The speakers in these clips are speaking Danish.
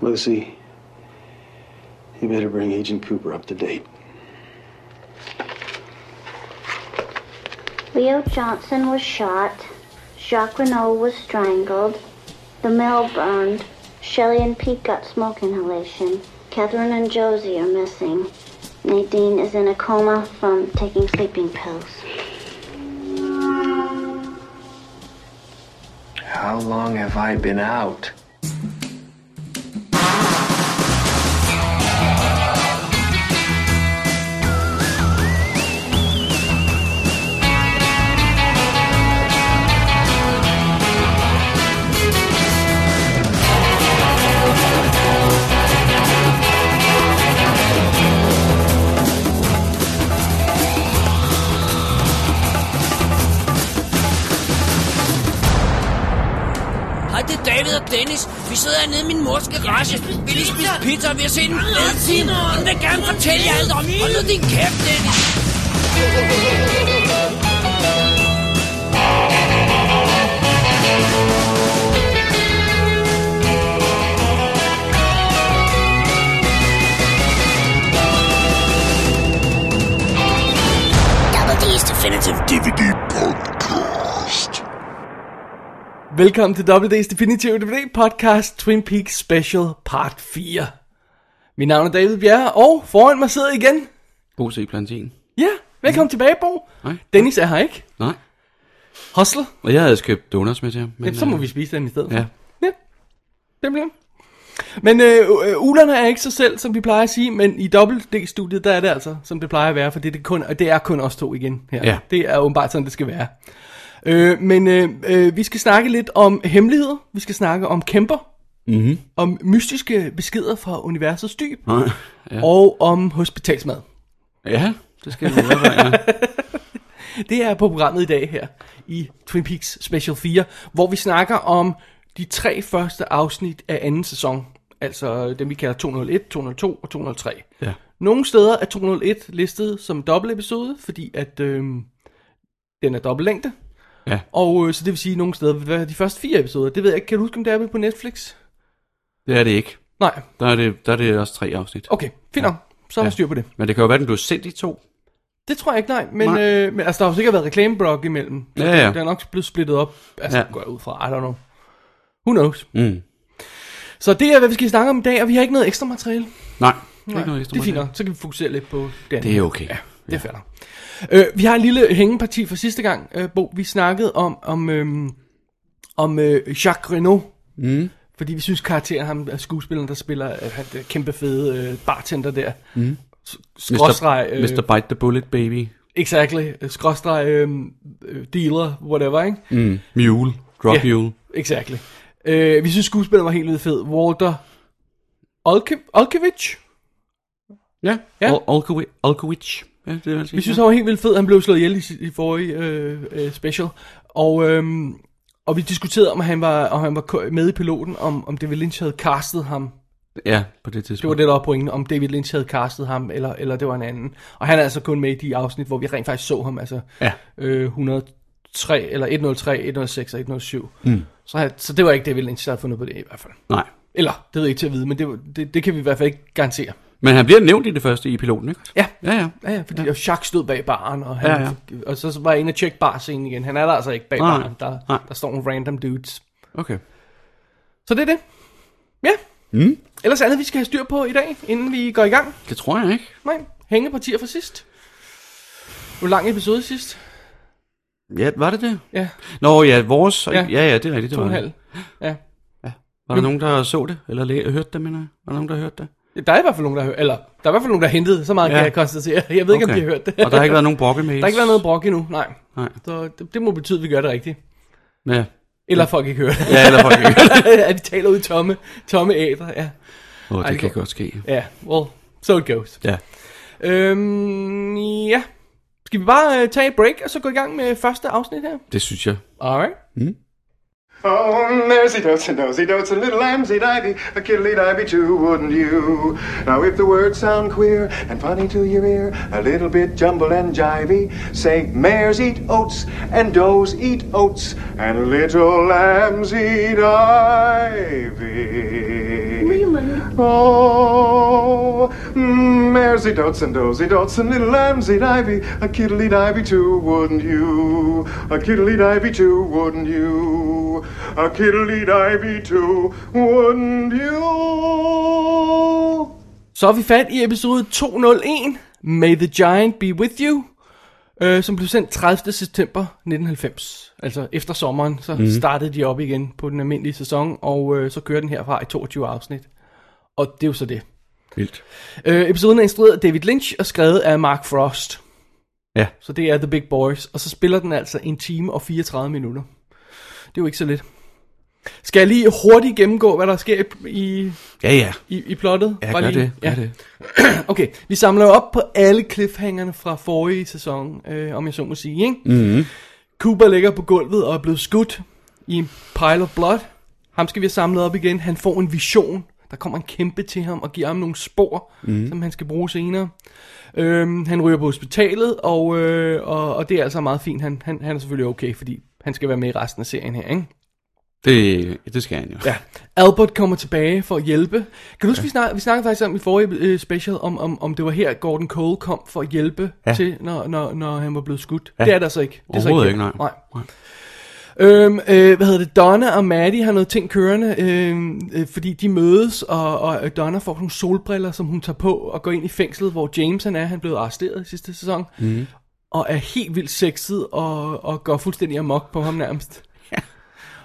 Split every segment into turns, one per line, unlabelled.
Lucy, you better bring Agent Cooper up to date.
Leo Johnson was shot. Jacques Renault was strangled. The mill burned. Shelley and Pete got smoke inhalation. Catherine and Josie are missing. Nadine is in a coma from taking sleeping pills.
How long have I been out?
Hej, det er David og Dennis. Vi sidder hernede i min mors garage. Vi lige spise pizza, og vi har set en fed time. Hun vil gerne fortælle jer alt om. Hold nu din kæft, Dennis.
Double D's Definitive DVD Podcast.
Velkommen til WD's Definitive DVD Podcast Twin Peaks Special Part 4. Mit navn er David Bjerre, og foran mig sidder igen.
God se plantain.
Ja,
Mm.
velkommen tilbage, Bo.
Hej.
Dennis er her ikke.
Nej.
Hustle.
Og jeg havde købt donuts med til ham. Men,
Jamen, så må
øh,
vi spise den i stedet.
Ja.
Ja, simpelthen. Men øh, øh, ulerne er ikke sig selv, som vi plejer at sige, men i WD-studiet, der er det altså, som det plejer at være, for det er, kun, og det er kun os to igen her.
Ja.
Det er åbenbart sådan, det skal være. Øh, men øh, øh, vi skal snakke lidt om hemmeligheder, vi skal snakke om kæmper,
Mhm.
om mystiske beskeder fra universets dyb,
Nej. Ja.
og om hospitalsmad.
ja, det skal vi være. Ja.
Det er på programmet i dag her i Twin Peaks Special 4, hvor vi snakker om de tre første afsnit af anden sæson. Altså dem vi kalder 201, 202 og 203.
ja.
Nogle steder er 201 listet som dobbeltepisode, fordi at øhm, den er dobbeltlængde.
Ja.
Og øh, så det vil sige, at nogle steder vil være de første fire episoder. Det ved jeg ikke. Kan du huske, om det er på Netflix?
Det er det ikke.
Nej.
Der er det, der er det også tre afsnit.
Okay, fint nok. Så har jeg
Ja.
styr på det.
Men det kan jo være, den blev sendt i to.
Det tror jeg ikke, nej. Men,
Nej.
øh, men altså, der har jo sikkert været reklameblok imellem. Så
Ja, ja.
Den er nok blevet splittet op. Altså,
Ja.
ja. går jeg ud fra. I don't know. Who knows?
Mm.
Så det er, hvad vi skal snakke om i dag, og vi har ikke noget ekstra materiale.
Nej, det er
Nej,
ikke noget ekstra.
det er fint
materiale.
nok. Så kan vi fokusere lidt på det andet.
Det er okay.
Ja, det er fair nok. øh, Vi har en lille hængeparti fra sidste gang, øh, Bo. Vi snakkede om, om, øhm, om øh, Jacques Renault.
Mm.
Fordi vi synes karakteren, ham er skuespilleren, der spiller øh, han, der kæmpe fede øh, bartender der. Mm. Skråstreg. øh,
Mr. Mr. Bite the Bullet Baby.
Exactly. Skråstreg øh, øh, dealer, whatever, ikke?
Mm. Mule. Drug
Ja.
Mule.
Exactly. Øh, vi synes skuespilleren var helt vildt fed. Walter Olke- Olkevich.
Ja.
Ja.
Al- Alkowi- Alkowicz. Ja, det vil jeg sige.
Vi synes, han var helt vildt fed. Han blev slået ihjel i, sit- i forrige øh, øh, special. Og, øh, og vi diskuterede, om han var, om han var ko- med i piloten, om, om David Lynch havde castet ham.
Ja, på
Det
det
var
tidspunkt.
det, der var pointen, om David Lynch havde castet ham, eller, eller det var en anden. Og han er altså kun med i de afsnit, hvor vi rent faktisk så ham. Altså,
Ja.
øh, 103, eller 103, 106 og 107. Mm. Så, han- så det var ikke David Lynch, der havde fundet på det i hvert fald.
Nej.
Eller, det ved jeg ikke til at vide, men det, var- det, det kan vi i hvert fald ikke garantere.
Men han bliver nævnt i det første i piloten, ikke?
Ja,
Ja, ja.
ja, ja fordi ja. Jacques stod bag baren, og, han, ja,
Ja,
ja. og så var jeg inde og tjekke barscenen igen. Han er der altså ikke bag
Nej,
baren, der,
nej.
der står nogle random dudes.
Okay.
Så det er det. Ja. Mm. Ellers andet, vi skal have styr på i dag, inden vi går i gang.
Det tror jeg ikke.
Nej, hængepartier fra sidst. Hvor lang episode sidst?
Ja, var det det?
Ja,
Nå ja, vores. Ja, ja, ja det er rigtigt. Det
to og
var
en
det.
halv. Ja.
Var der nogen, der så det? Eller læ- hørte det, mener jeg? Var der nogen, der hørte det?
Ja, Der er i hvert fald nogen, der har hørt, eller der er i hvert fald nogen, der har hentet, så meget ja.
Ja.
kan jeg konstatere. Jeg ved ikke, om de har hørt det.
Og der har ikke været nogen brokke med
der har ikke været noget brok endnu, nej.
Nej.
Så det, det må betyde, at vi gør det rigtigt.
Ja.
Eller folk ikke hører det.
Ja, eller folk ikke.
at vi taler ud i tomme, tomme æder. Ja,
Åh, oh,
Ej, det
det kan
går-
godt ske.
ja well, so it goes.
Ja.
Øhm, ja. Skal vi bare øh, tage et break, og så gå i gang med første afsnit her?
Det synes jeg.
Alright.
Oh, nosy dotes and nosy dotes and little lambsy divey, a kiddly divey too, wouldn't you? Now, if the words sound queer and funny to your ear, a little bit jumble and jivey, say mares eat oats and does eat oats and little lambs eat ivy. Oh, mersey dotes and dozy dotes and little lambsy divey, a kiddly divey too, wouldn't you? A kiddly divey too, wouldn't you? A kiddly divey too, wouldn't you?
Så er vi fat i episode 201, May the Giant Be With You, øh, som blev sendt 30. september 1990. Altså efter sommeren, så mm. startede de op igen på den almindelige sæson, og øh, så kører den herfra i 22 afsnit. Og det er jo så det.
Vildt.
Øh, episoden er instrueret af David Lynch og skrevet af Mark Frost.
Ja.
Så det er The Big Boys, og så spiller den altså en time og 34 minutter. Det er jo ikke så lidt. Skal jeg lige hurtigt gennemgå, hvad der sker i, i,
Ja, ja.
i, i plottet?
Ja,
Bare
gør
lige-
det. Gør det.
Okay, vi samler jo op på alle cliffhangerne fra forrige sæson, øh, om jeg så må sige, ikke? Mm-hmm. Cooper ligger på gulvet og er blevet skudt i en pile of blood. Ham skal vi have samlet op igen. Han får en vision. Der kommer en kæmpe til ham og giver ham nogle spor, mm. som han skal bruge senere. Øhm, han ryger på hospitalet, og, øh, og, og det er altså meget fint. Han, han, han er selvfølgelig okay, fordi han skal være med i resten af serien her, ikke?
Det, det skal han jo.
Ja. Albert kommer tilbage for at hjælpe. Kan du huske, ja. vi, snak, vi snakkede faktisk om i forrige øh, special, om, om, om det var her, Gordon Cole kom for at hjælpe ja.
Ja.
til, når, når, når han var blevet skudt. Ja. Det er der så ikke. Det er så
Overhovedet
her.
ikke, nej.
nej. Øhm, øh, hvad hedder det? Donna og Maddie har noget ting kørende, øhm, øh, fordi de mødes, og, og øh, Donna får nogle solbriller, som hun tager på og går ind i fængslet, hvor James han er. Han blev arresteret i sidste sæson. Mm. Og er helt vildt sexet og, og går fuldstændig amok på ham nærmest.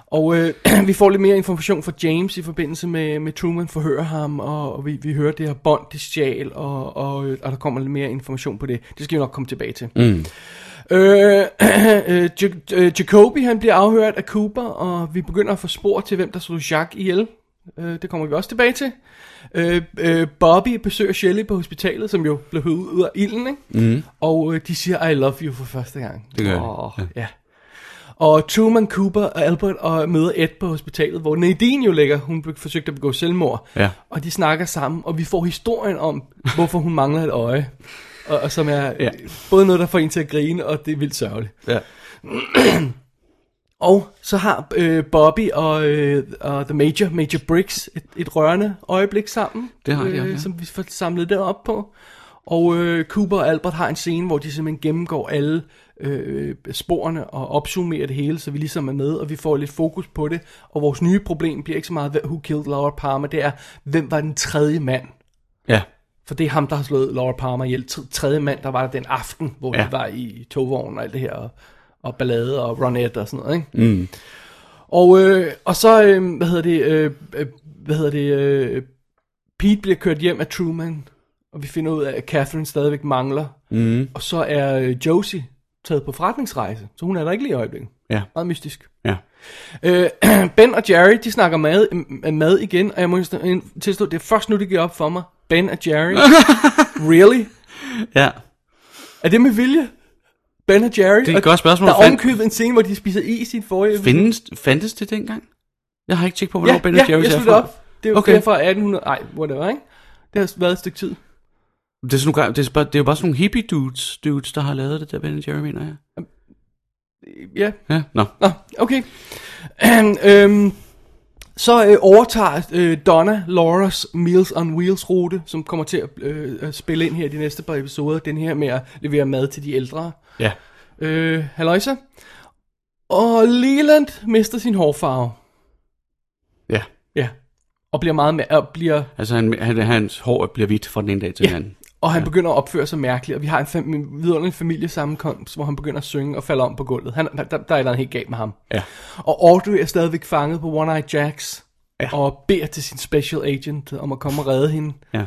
Og øh, vi får lidt mere information fra James i forbindelse med, med Truman forhører ham, og, og vi, vi hører det her bånd, de stjal, og, og, øh, og der kommer lidt mere information på det. Det skal vi nok komme tilbage til. Mm. Øh, øh, Ja- øh, Jacobi han bliver afhørt af Cooper, og vi begynder at få spor til, hvem der slog Jacques ihjel. Øh, det kommer vi også tilbage til. Øh, øh, Bobby besøger Shelley på hospitalet, som jo blev høvet ud af ilden, ikke? Mm. og øh, de siger, I love you for første gang.
Mhm. Det gør de,
Åh,
ja.
ja. Og Truman, Cooper og Albert og møder Ed på hospitalet, hvor Nadine jo ligger. Hun be- forsøgte at begå selvmord.
Ja.
Og de snakker sammen, og vi får historien om, hvorfor hun mangler et øje. Og, og som er ja.
Ja.
både noget, der får en til at grine, og det er vildt sørgeligt.
Ja.
Og så har øh, Bobby og, øh, og The Major, Major Briggs, et, et rørende øjeblik sammen. øh,
Det har de, ja.
Som vi får samlet det op på. Og øh, Cooper og Albert har en scene, hvor de simpelthen gennemgår alle øh, sporene og opsummerer det hele, så vi ligesom er med, og vi får lidt fokus på det. Og vores nye problem bliver ikke så meget, who killed Laura Palmer, det er, hvem var den tredje mand?
Ja.
For det er ham, der har slået Laura Palmer ihjel. T- Tredje mand, der var der den aften, hvor ja.
Ja.
de var i togvognen og alt det her, og, og ballade og Ronette og sådan noget, ikke? Mm. Og, øh, og så, øh, hvad hedder det, øh, øh, hvad hedder det, øh, Pete bliver kørt hjem af Truman, og vi finder ud af, at Catherine stadigvæk mangler. Mm. Og så er øh, Josie taget på forretningsrejse, så hun er der ikke lige i øjeblikket.
Ja.
Meget mystisk.
Ja.
Øh, ben og Jerry, de snakker mad, m- mad igen, og jeg må indst- tilstå, det er først nu, det giver op for mig. Ben og Jerry. really?
Ja.
Er det med vilje? Ben og Jerry?
Det er et
Og
godt spørgsmål.
Der er
Fand-
omkøbet en scene, hvor de spiser is i en forrige...
Findes, fandtes det dengang? Jeg har ikke tjekket på, hvornår
ja,
Ben
ja,
Jerry's
jeg
er
slog det
fra.
op. Det er jo
Okay.
okay. fra 1800... Ej, whatever, ikke? Det har været et stykke tid.
Det er, sådan, nogle- det, er bare, det er jo bare sådan nogle hippie dudes, dudes, der har lavet det der Ben Jerry, mener jeg.
Ja,
Ja, nå.
Nå, okay. øhm, så øh, overtager øh, Donna Laura's Meals on Wheels rute, som kommer til at, øh, at spille ind her i de næste par episoder. Den her med at levere mad til de ældre.
Ja.
Øh, halløjsa. Og Leland mister sin hårfarve.
Ja.
Ja. Og bliver meget mær- og, bliver,
Altså, han, han, hans hår bliver hvidt fra den ene dag til den anden.
og han ja. begynder at opføre sig mærkeligt. Og vi har en fam- vidunderlig familiesammenkomst, hvor han begynder at synge og falder om på gulvet. Han, der, der er et eller andet helt galt med ham.
Ja.
Og Audrey er stadigvæk fanget på One Eye Jacks. Ja. Og beder til sin special agent om at komme og redde hende.
Ja.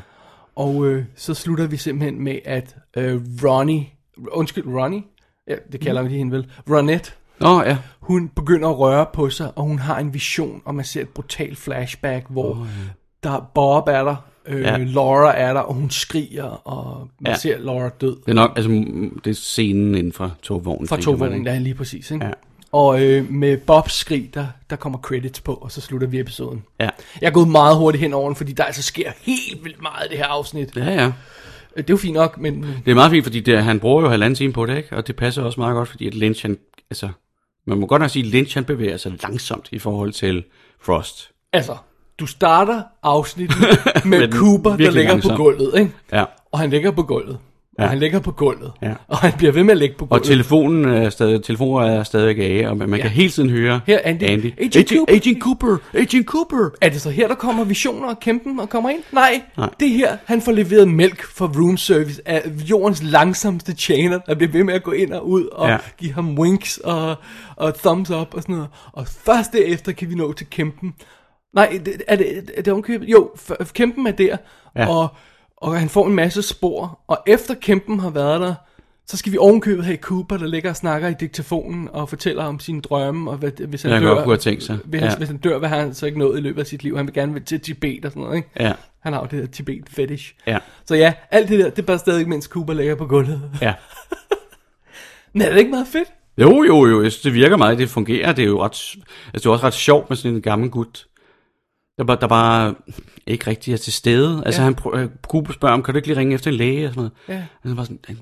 Og øh, så slutter vi simpelthen med, at øh, Ronnie... Undskyld, Ronnie? Ja, det kalder vi hende vel. Ronette,
Nå, ja.
hun begynder at røre på sig, og hun har en vision, og man ser et brutalt flashback, hvor oh, ja. der Bob er der, øh, ja.
Ja.
Laura er der, og hun skriger, og man ja.
Ja.
ser Laura død
Det er nok, altså, mm, det er scenen inden for togvognen.
fra
tænker man,
togvognen,
ikke?
der er lige præcis. Ikke?
Ja.
Og øh, med Bobs skrig, der, der kommer credits på, og så slutter vi episoden.
Ja.
Jeg er gået meget hurtigt hen over den, fordi der altså sker helt vildt meget i det her afsnit.
Ja, ja.
Øh, Det er jo fint nok, men
Det er meget fint, fordi det, han bruger jo halvanden time på det, ikke? Og det passer også meget godt, fordi at Lynch, han, altså, man må godt nok sige, at Lynch, han bevæger sig langsomt i forhold til Frost.
altså, Du starter afsnittet med,
Med den
med Cooper, der
virkelig
ligger på
langsom.
gulvet, ikke?
Ja.
Og han ligger på gulvet. Ja.
Ja.
Og han ligger på gulvet.
Ja.
Og han bliver ved med at ligge på
Og
gulvet.
telefonen er stadig, telefonen er stadig af, og man, man ja. kan hele tiden høre
Her, Andy.
Andy.
Agent
Agent,
Cooper.
Agent Cooper! Agent Cooper!
Er det så her, der kommer visioner og kæmpen og kommer ind? Nej,
Nej.
det er her, han får leveret mælk fra room service af jordens langsomste tjener, der bliver ved med at gå ind og ud og ja.
Ja.
give ham winks og, og thumbs up og sådan noget. Og først derefter kan vi nå til kæmpen. Nej, det- er det, er det omkøbet? Jo, f- kæmpen er der, ja.
Ja.
og, og han får en masse spor. Og efter kæmpen har været der, så skal vi ovenkøbet have Cooper, der ligger og snakker i diktafonen og fortæller om sine drømme, og hvad, hvis han
Jeg kan
dør,
godt kunne have tænkt sig.
Hvis, ja.
Ja.
hvis han dør, hvad har han så ikke nået i løbet af sit liv? Han vil gerne til Tibet og sådan noget, ikke?
Ja.
Han har jo det der Tibet fetish.
Ja.
Så ja, alt det der, det er bare stadig, mens Cooper ligger på gulvet.
Ja.
Men er det ikke meget fedt?
Jo, jo, jo, jeg synes, det virker meget, det fungerer. Det er jo ret, altså, det er også ret sjovt med sådan en gammel gut, der bare, der bare ikke rigtig er til stede. Altså,
Ja.
ja. han prøver, Cooper spørger om, kan du ikke lige ringe efter en læge og sådan noget? Altså,
Ja.
Han, er bare sådan, han,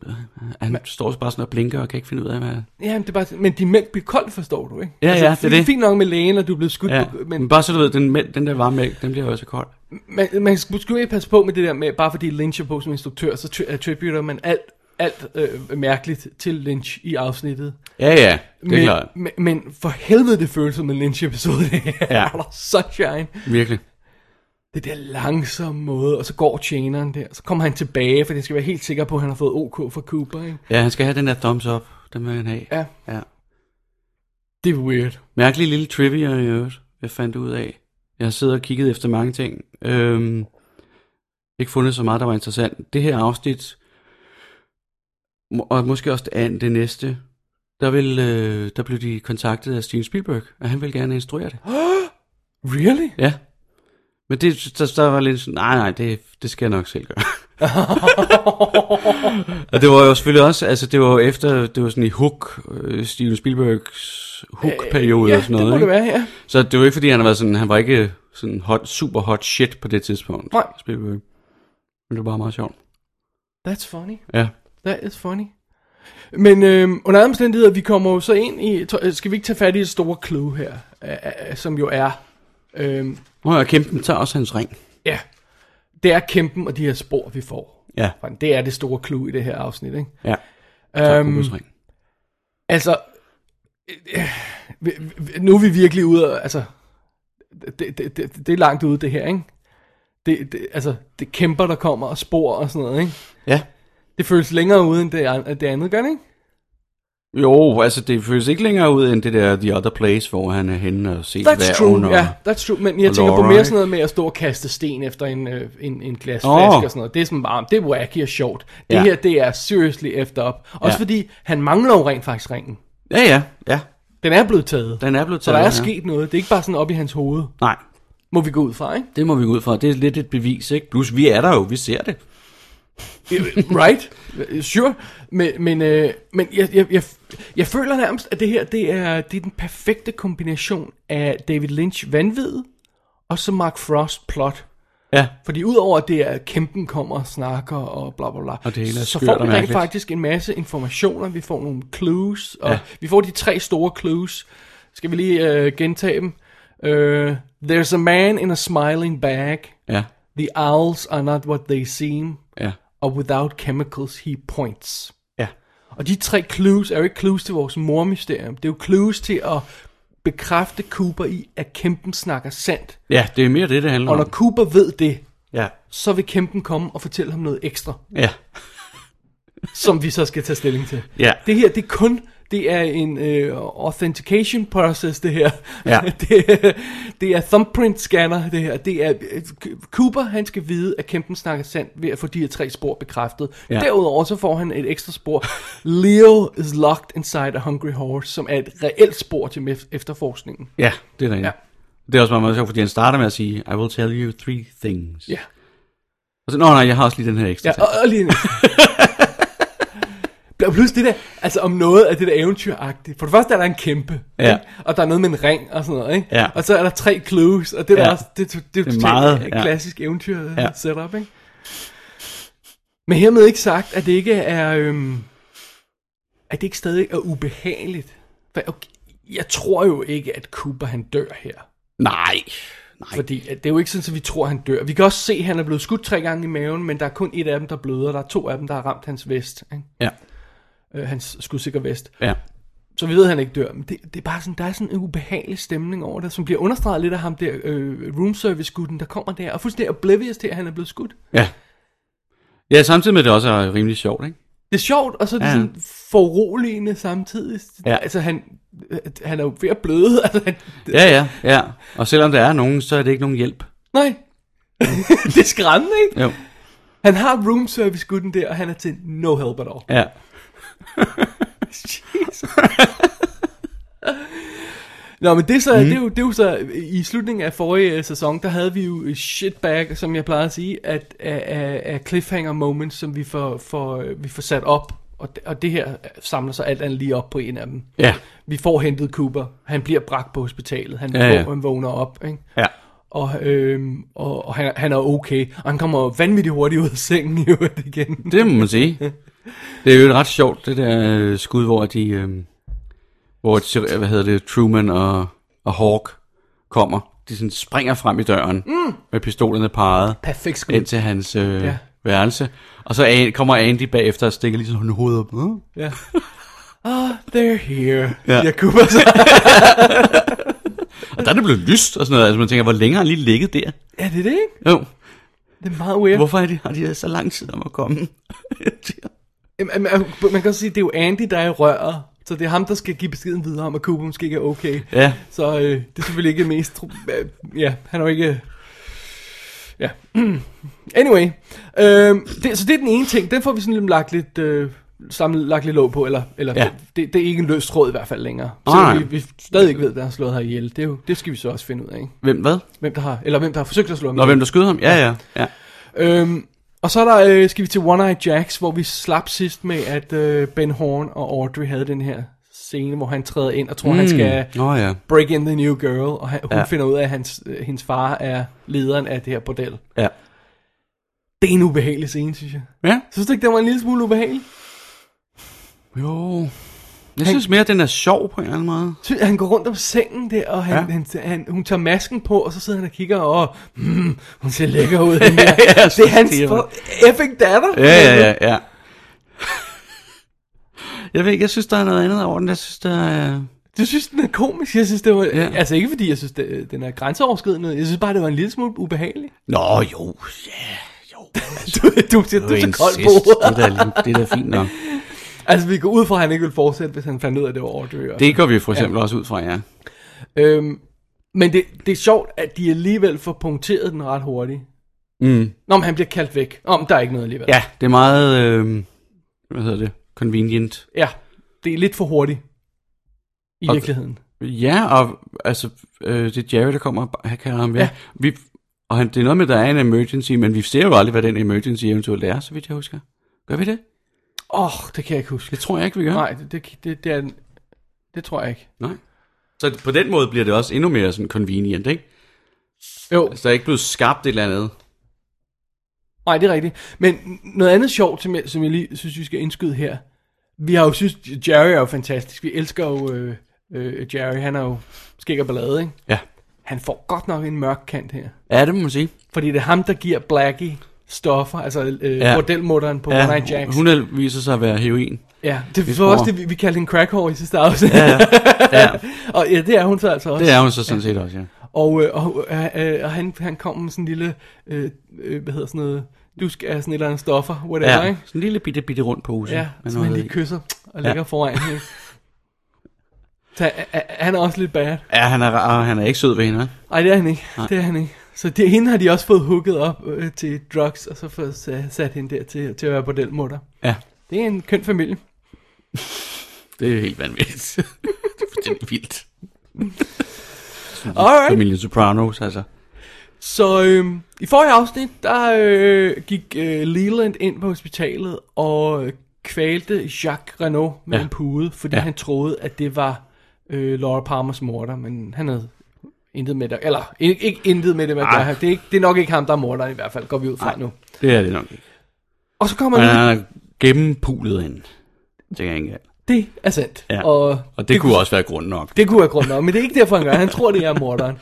øh, han står bare sådan og blinker og kan ikke finde ud af, hvad...
Ja, men, det er bare, men din mælk bliver kold, forstår du, ikke? Altså,
Ja, ja, det er
det er
det.
fint nok med lægen, og du er blevet skudt
Ja,
på,
men, men bare så du ved, den, mæl- den der varme mælk, den bliver jo også kold.
man, man skal måske ikke passe på med det der med, bare fordi Lynch er på som instruktør, så tri- attributer man alt, alt øh, mærkeligt til Lynch i afsnittet.
Ja, ja, det er
men,
klart.
Men, men for helvede, det føles som en Lynch-episode, det her.
Ja.
Out of Sunshine.
Virkelig.
Det der langsomme måde, og så går tjeneren der, så kommer han tilbage, for det skal være helt sikker på, at han har fået OK fra Cooper, ikke?
Ja, han skal have den der thumbs up, den vil han have.
Ja,
ja.
det er weird.
Mærkelig lille trivia i øvrigt, jeg fandt ud af. Jeg har siddet og kigget efter mange ting. Øhm, ikke fundet så meget, der var interessant. Det her afsnit, må- og måske også det, andet, det næste, der, vil, øh, der blev de kontaktet af Steven Spielberg, og han ville gerne instruere det.
Really?
Ja. Men det, der, der var lidt sådan, nej, nej, det, det skal jeg nok selv gøre. og det var jo selvfølgelig også, altså det var jo efter, det var sådan i Hook, øh, Steven Spielbergs Hook-periode
ja,
og sådan noget.
det må det
ikke?
være, ja.
Så det var ikke fordi, han har været sådan, han var ikke sådan hot, super hot shit på det tidspunkt.
Nej.
Spielberg. Men det var bare meget sjovt.
That's funny.
Ja.
That is funny. Men øh, under andre omstændigheder, vi kommer jo så ind i... tro- øh, Skal vi ikke tage fat i et store clue her, øh, øh, som jo er... Øh,
Og jeg kæmpen tager også hans ring.
ja, det er kæmpen og de her spor, vi får.
Ja.
Det er det store clue i det her afsnit, ikke?
Ja. Tager
Øhm,
Coopers ring.
Altså, øh, øh, øh, nu er vi virkelig ude af, altså, det, det, det, det er langt ude det her, ikke? Det, det, altså, det er kæmper, der kommer og spor og sådan noget, ikke?
Ja.
Det føles længere ude, end det, an- det andet gør, det, ikke?
Jo, altså det føles ikke længere ud end det der The Other Place, hvor han er henne og ser
That's true,
og...
ja, that's true. Men jeg
og
tænker på
Laura,
mere
ikke?
sådan noget med at stå og kaste sten efter en, øh, en, en glas
Åh.
flaske og sådan noget. Det er sådan varmt, det er wacky og sjovt. Det
Ja.
her, det er seriously efter op. Også
Ja.
fordi, han mangler jo rent faktisk ringen.
Ja, ja, ja.
Den er blevet taget.
Den er blevet
så der er
taget, ja.
sket noget. Det er ikke bare sådan op i hans hoved.
Nej,
Må vi gå ud fra, ikke?
det må vi gå ud fra. Det er lidt et bevis, ikke? Plus, vi er der jo, vi ser det.
Øh, right, sure, men, men, øh, men jeg, jeg, jeg, jeg føler nærmest, at det her, det er, det er den perfekte kombination af David Lynch vanvid, og så Mark Frost plot.
Ja.
Fordi udover at det er, at kæmpen kommer og snakker og bla bla bla,
Og det hele er
så
skørt og
får vi rent
mærkeligt.
faktisk en masse informationer, vi får nogle clues, og ja.
Ja.
vi får de tre store clues. Skal vi lige øh, gentage dem? Øh, There's a man in a smiling bag.
Ja,
The owls are not what they seem
ja,
og without chemicals he points.
ja.
Og de tre clues er jo ikke clues til vores mormysterium. Det er jo clues til at bekræfte Cooper i, at kæmpen snakker sandt.
Ja, det er mere det, det handler
Og når
om.
Cooper ved det,
Ja,
så vil kæmpen komme og fortælle ham noget ekstra,
ja,
som vi så skal tage stilling til.
ja.
Det her, det er kun, det er en øh, authentication process, det her.
Ja.
det, er- det er thumbprint scanner, det her. Det er, øh, Cooper, han skal vide, at kæmpen snakker sandt ved at få de her tre spor bekræftet. Ja.
Ja.
Derudover så får han et ekstra spor. Leo is locked inside a hungry horse, som er et reelt spor til mef- efterforskningen.
Ja, det er rigtigt.
Ja.
Ja. Det er også meget, meget sjovt, fordi han starter med at sige, I will tell you three things.
Ja.
Og så, Nå nej, jeg har også lige den her ekstra.
Ja,
ting."
og, og lige Og Plus det der, altså om noget af det der eventyragtigt. For det første er der en kæmpe,
Ja.
ikke? og der er noget med en ring og sådan noget, ikke?
Ja.
og så er der tre clues, og det er ja.
Ja.
også, det, det, det,
er
det er
meget,
et
ja.
klassisk eventyr
Ja.
ja. setup, ikke? Men hermed ikke sagt, at det ikke er, øhm, at det ikke stadig er ubehageligt. For, okay, jeg tror jo ikke, at Cooper han dør her.
Nej,
Nej. Fordi at det er jo ikke sådan, at vi tror, han dør. Vi kan også se, at han er blevet skudt tre gange i maven, men der er kun et af dem, der bløder. Der er to af dem, der har ramt hans vest. Ikke?
Ja,
Øh, hans skudsikker vest.
ja.
Så vi ved, at han ikke dør. Men det, det er bare sådan, der er sådan en ubehagelig stemning over det, som bliver understreget lidt af ham der øh, room service gutten, der kommer der, og fuldstændig oblivious til, at han er blevet skudt.
Ja. Ja, samtidig med, at det også er rimelig sjovt, ikke?
Det er sjovt, og så er det
Ja.
ja. sådan foruroligende samtidig.
Ja.
Ja. Altså, han, øh, han er jo ved at bløde. Altså, han, det,
Ja, ja, ja. Og selvom der er nogen, så er det ikke nogen hjælp.
Nej. det er skræmmende, ikke?
Jo.
Han har room service gutten der, og han er til no help at all.
Ja.
Nå, men det, er så, mm. det, er jo, det er jo så, i slutningen af forrige øh, sæson, der havde vi jo shitbag, som jeg plejer at sige, at, af, af, af cliffhanger moments, som vi får, får, øh, vi får sat op, og det, og det her samler sig alt andet lige op på en af dem.
Ja.
Vi får hentet Cooper, han bliver bragt på hospitalet, han,
Ja,
ja,
ja.
ja. han vågner op, ikke?
Ja.
Og, øhm, og, og han, han er okay, og han kommer vanvittigt hurtigt ud af sengen i øvrigt igen.
Det må man sige. Det er jo et ret sjovt, det der øh, skud, hvor de... Øh, hvor, et, ser- hvad hedder det, Truman og, og Hawk kommer. De sådan springer frem i døren mm. med pistolerne parret
Perfekt skud.
ind til hans øh, ja.
Ja.
værelse. Og så an, kommer Andy bagefter og stikker lige sådan hovedet op. "Åh."
Ja. Ah, they're here.
Ja.
Ja. Jeg kunne bare så.
Og der er det blevet lyst og sådan noget. Altså man tænker, hvor længe har han lige ligget der?
Er det det, ikke?
Jo.
Det er meget weird.
Hvorfor er de, har de så lang tid om at komme?
Jamen, man, man kan også sige, at det er jo Andy, der er i røret. Så det er ham, der skal give beskeden videre om, at Cooper måske ikke er okay.
ja,
Så øh, det er selvfølgelig ikke mest... tro- øh, Ja, han er jo ikke... øh, Ja. Anyway. Øh, det, så det er den ene ting. Den får vi sådan lidt lagt lidt... Øh, samlet, lagt lidt låg på, eller, eller
Ja.
ja. det, det, er ikke en løs tråd i hvert fald længere.
Nej.
Så vi, vi stadig ikke ved, der har slået her ihjel. Det, er jo, det skal vi så også finde ud af, ikke?
hvem hvad?
Hvem der har, eller hvem der har forsøgt at slå ham
Nå, hvem der skød ham? Ja, ja, ja.
Øhm, og så er der, øh, skal vi til One Eye Jacks, hvor vi slap sidst med, at øh, Ben Horn og Audrey havde den her scene, hvor han træder ind og tror, mm. han skal
Nå ja.
break in the new girl, og han, hun
Ja.
ja. finder ud af, at hans, øh, hendes far er lederen af det her bordel.
Ja.
Det er en ubehagelig scene, synes jeg.
Ja.
Synes du ikke, den var en lille smule ubehagelig?
Jo. Jeg synes mere, at den er sjov på en eller anden måde.
Synes, han går rundt om sengen der, og han,
Ja.
ja. han, han, hun tager masken på, og så sidder han og kigger, og mm, hun ser lækker ud. hende der.
ja,
det er hans
siger man.
for- effing datter.
Ja, ja, ja, ja. jeg ved ikke, jeg synes, der er noget andet over den. Jeg synes, der er...
Du synes, den er komisk? Jeg synes, det var...
Ja.
Ja. Altså ikke fordi, jeg synes, det, den er grænseoverskridende. Jeg synes bare, det var en lille smule ubehagelig.
Nå, jo, ja. Jo,
Du, du, siger, du er så kold på.
det, er da- det er da fint nok.
Altså, vi går ud fra, at han ikke vil fortsætte, hvis han fandt ud af, at det var Audrey. og-
Det går vi for eksempel ja. også ud fra, ja.
Øhm, men det, det er sjovt, at de alligevel får punkteret den ret hurtigt.
Mm.
Nå, men han bliver kaldt væk. Nå, men der er ikke noget alligevel.
Ja, det er meget... Øh, hvad hedder det? Convenient.
ja det er lidt for hurtigt. I
Og-
virkeligheden.
Ja, og altså, øh, det er Jerry, der kommer og han kalder ham, ja. ja.
Ja.
Vi, og han, det er noget med, at der er en emergency, men vi ser jo aldrig, hvad den emergency eventuelt er, så vidt jeg husker. Gør vi det?
Åh, oh, det kan jeg ikke huske.
Det tror jeg ikke, vi gør.
Nej, det, det, det, det, er, en- det tror jeg ikke.
Nej. Så på den måde bliver det også endnu mere sådan convenient, ikke?
Jo,
Altså, der er ikke blevet skabt et eller andet.
Nej, det er rigtigt. Men noget andet sjovt, som jeg, som jeg lige synes, vi skal indskyde her. Vi har jo synes, Jerry er jo fantastisk. Vi elsker jo øh, øh, Jerry. Han er jo skæg og ballade, ikke?
Ja.
Han får godt nok en mørk kant her.
Ja, det må man sige.
Fordi det er ham, der giver Blackie stoffer, altså øh,
Ja.
ja. bordelmutteren på ja, One Night Jacks.
hun er, viser sig at være heroin.
ja, det
tror-
var også det, vi, vi kaldte en crackhår i sidste afsnit. Ja,
Ja,
og ja, det er hun så altså også.
det er hun så sådan set også, ja.
Og, øh, og, øh, øh, og han, han kom med sådan en lille, øh, øh, hvad hedder sådan noget, dusk af sådan et eller andet stoffer, whatever,
ja.
ikke?
Sådan en lille bitte, bitte rund pose.
Ja,
med
som han
noget
lige
i.
kysser og
Ja.
lægger foran hende. Så a- a- han er også lidt bad.
Ja, han er, og han er ikke sød ved hende, hva'?
Nej, det er han ikke. Det er han ikke. Så det, hende har de også fået hooket op øh, til drugs, og så fået sa- sat hende der til, til at være bordelmutter.
Ja,
Det er en køn familie.
det er helt vanvittigt. det er fuldstændig vildt.
Alright.
Familien Sopranos, altså.
Så øhm, i forrige afsnit, der øh, gik øh, Leland ind på hospitalet og øh, kvalte Jacques Renault med
Ja.
ja. en pude, fordi
Ja.
ja. han troede, at det var øh, Laura Palmers morder, men han havde intet med det, eller ikke, ikke intet med det, man
Ej.
gør. Det er, ikke, det er nok ikke ham, der er morderen i hvert fald, går vi ud fra
Ej.
nu.
Det er det nok ikke.
Og så kommer
Men
han ud,
han er gennempulet hende. Det kan jeg ikke.
Det er sandt.
Ja.
Og,
Og det, det kunne også være grund nok.
Det kunne være grund nok, men det er ikke derfor, han gør. Han tror, det er morderen.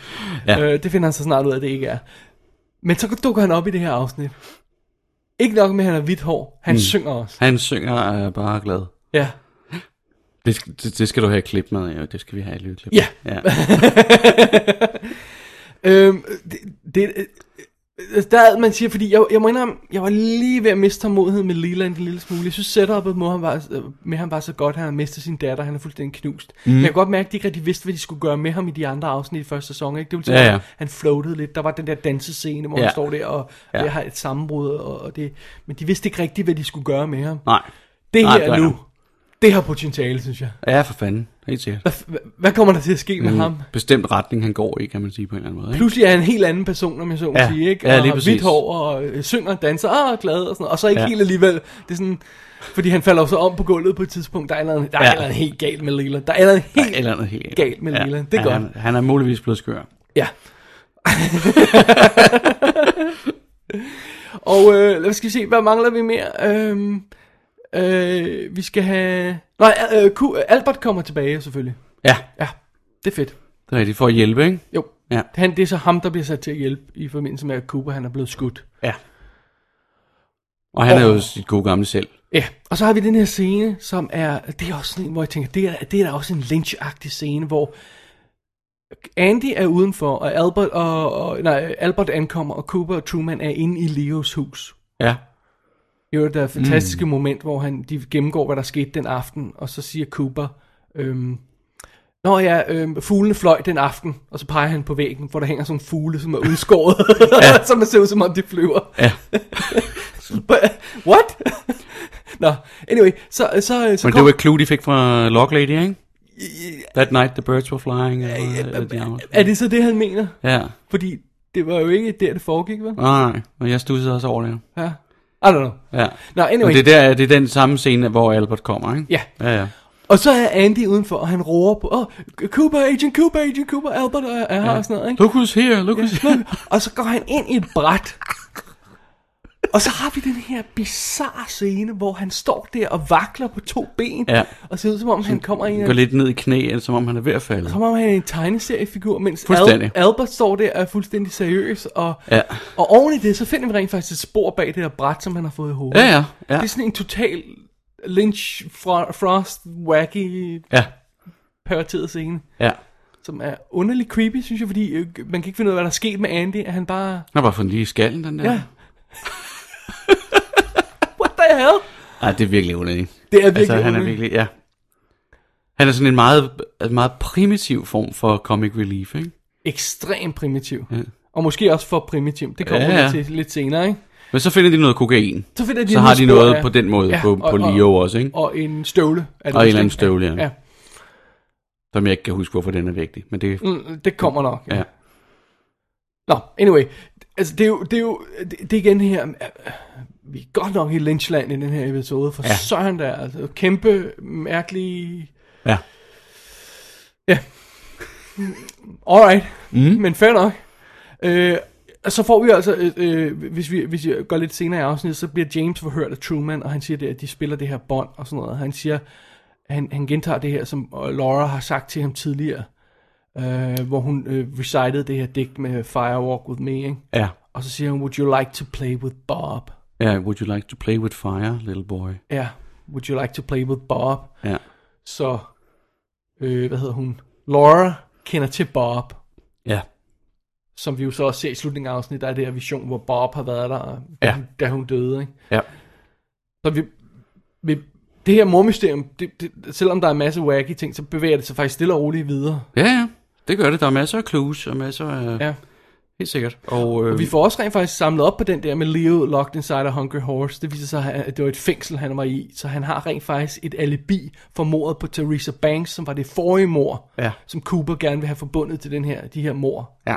Ja.
ja. øh, det finder han så snart ud af, at det ikke er. Men så dukker han op i det her afsnit. Ikke nok med, at han har hvidt hår. Han mm. synger også.
Han synger og er bare glad.
Ja.
Det, sk- det, det skal du have et klip med, ja. Det skal vi have et lydklip.
Ja.
ja.
Øhm, det, det, øh, der er, man siger, fordi jeg, jeg må indrømme, jeg var lige ved at miste tålmodigheden med Leland en lille smule. Jeg synes, setupet med ham var, øh, med ham var så godt, han har mistet sin datter, han er fuldstændig knust.
Mhm.
Mm. Men jeg kan godt mærke, at de ikke rigtig vidste, hvad de skulle gøre med ham i de andre afsnit i første sæson. Ikke? Det vil sige,
Ja,
ja,
ja.
ja. han floatede lidt. Der var den der dansescene, hvor
Ja.
ja. han står der og,
Ja.
og jeg har et sammenbrud. Og, og det, men de vidste ikke rigtigt, hvad de skulle gøre med ham.
Nej.
Det
Nej, det
her
er
nu,
rigtigt.
det har potentiale, synes jeg.
Ja, for fanden. Helt sikkert.
Hvad, hvad- hvad kommer der til at ske med
Mm.
ham?
Bestemt retning, han går i, kan man sige på en eller anden måde. Ikke?
Pludselig er han en helt anden person, om jeg så må
Ja,
ja, sige, ikke?
ja,
Og
lige
har
præcis.
hvidt hår og øh, synger, danser og er glad og sådan noget. Og så ikke
Ja.
ja. helt alligevel. Det er sådan, fordi han falder jo så om på gulvet på et tidspunkt. Der er noget, der er
Ja.
ja. noget helt galt med Leland. Der er noget
Der er
helt...
et eller andet helt galt.
galt med Leland. Det er godt.
Han, han er muligvis blevet skør.
Ja. og øh, lad os skal se, hvad mangler vi mere? Øhm, øh, vi skal have... Nej, øh, Q, Albert kommer tilbage selvfølgelig.
Ja,
Ja, det er fedt.
det er rigtigt. For at hjælpe, ikke?
Jo.
Ja.
Han, det er så ham, der bliver sat til at hjælpe i forbindelse med, at Cooper han er blevet skudt.
Ja. Og han er jo sit gode gamle selv.
Ja, og så har vi den her scene, som er, det er også sådan en, hvor jeg tænker, det er, det er da også en lynch-agtig scene, hvor Andy er udenfor, og Albert, og, og, nej, Albert ankommer, og Cooper og Truman er inde i Leos hus.
Ja.
Det er jo det fantastiske mm. moment, hvor han, de gennemgår, hvad der skete den aften, og så siger Cooper, øhm, Nå ja, øhm, fuglene fløj den aften, og så peger han på væggen, hvor der hænger sådan en fugle, som er udskåret, ja. som ser ud som om de flyver.
Ja.
But- What? Nå, anyway, så, så, så
Men det var et clue, de fik fra Lock Lady, ikke?
I-
That night the birds were flying. Eller, eller de andre.
Er det så det, han mener?
Ja.
Fordi det var jo ikke der, det foregik, vel?
Nej, nej. Men jeg stussede også over det.
Ja. I don't know.
Ja.
Nå, anyway.
Men det, der, det er den samme scene, hvor Albert kommer, ikke?
Ja.
Ja, ja.
Og så er Andy udenfor, og han råber på, oh, Cooper, Agent Cooper, Agent Cooper, Albert er, er her og sådan noget, ikke?
Look who's here, look who's here.
Og så går han ind i et bræt. Og så har vi den her bizarre scene, hvor han står der og vakler på to ben,
Ja.
og ser ud som om, han kommer ind
Går
i
lidt ned i knæ, som om han er ved at falde.
som om han er en tegneseriefigur, mens
Fuldstændig.
Al- Albert står der og er fuldstændig seriøs. Og,
Ja.
og oven i det, så finder vi rent faktisk et spor bag det der bræt, som han har fået i hovedet.
Ja, ja, ja.
Det er sådan en total Lynch, Fro- Frost, wacky,
Ja,
perverteret scene,
ja.
som er underligt creepy, synes jeg, fordi øh, man kan ikke finde ud af, hvad der er sket med Andy, at han bare...
Han har bare fundet lige i skallen, den der.
Ja. What the hell?
Ej, det er virkelig underligt.
Det er virkelig
altså, han er
underligt.
virkelig, ja. Han er sådan en meget, en meget primitiv form for comic relief, ikke?
Ekstremt primitiv. Ja. Og måske også for primitiv. Det kommer
Ja,
ja,
ja.
ja. til lidt senere, ikke?
Men så finder de noget kokain.
Så, finder
Så har de
nogle spor
noget
af-
på den måde på- på Leo også, ikke?
Og en støvle. er det
Og en
vist,
eller anden
ikke?
støvle, ja.
ja.
Som jeg ikke kan huske, hvorfor den er vigtig. Men det,
Mm, det kommer nok.
ja.
Nå, anyway. Altså, det er jo, det er jo det, det er igen her, øh, vi er godt nok i Lynchland i den her episode, for
Ja.
ja. søren der, altså, kæmpe, mærkelige...
Ja.
Ja. Alright, mm. men fair nok. Øh, og så får vi altså, øh, øh, hvis, vi, hvis jeg går lidt senere i afsnittet, så bliver James forhørt af Truman, og han siger, det, at de spiller det her bånd og sådan noget. Han siger, han, han gentager det her, som øh, Laura har sagt til ham tidligere, øh, hvor hun øh, recitede det her digt med Firewalk With Me, ikke?
ja.
Og så siger hun, would you like to play with Bob?
Ja, would you like to play with fire, little boy?
Ja, would you like to play with Bob?
Ja.
Så, øh, hvad hedder hun? Laura kender til Bob,
Ja.
som vi jo så også ser i slutningen af afsnittet, der er det her vision, hvor Bob har været der,
Ja.
ja. da hun døde, ikke?
Ja.
Så vi, vi det her mormysterium, det, det, selvom der er en masse wacky ting, så bevæger det sig faktisk stille og roligt videre.
Ja, ja. Det gør det. Der er masser af clues og masser af...
Ja.
Helt sikkert. Og, øh,
Og vi får også rent faktisk samlet op på den der med Leo locked inside a hungry horse. Det viser sig, at det var et fængsel, han var i. Så han har rent faktisk et alibi for mordet på Theresa Banks, som var det forrige mor,
Ja.
som Cooper gerne vil have forbundet til den her, de her mor.
Ja.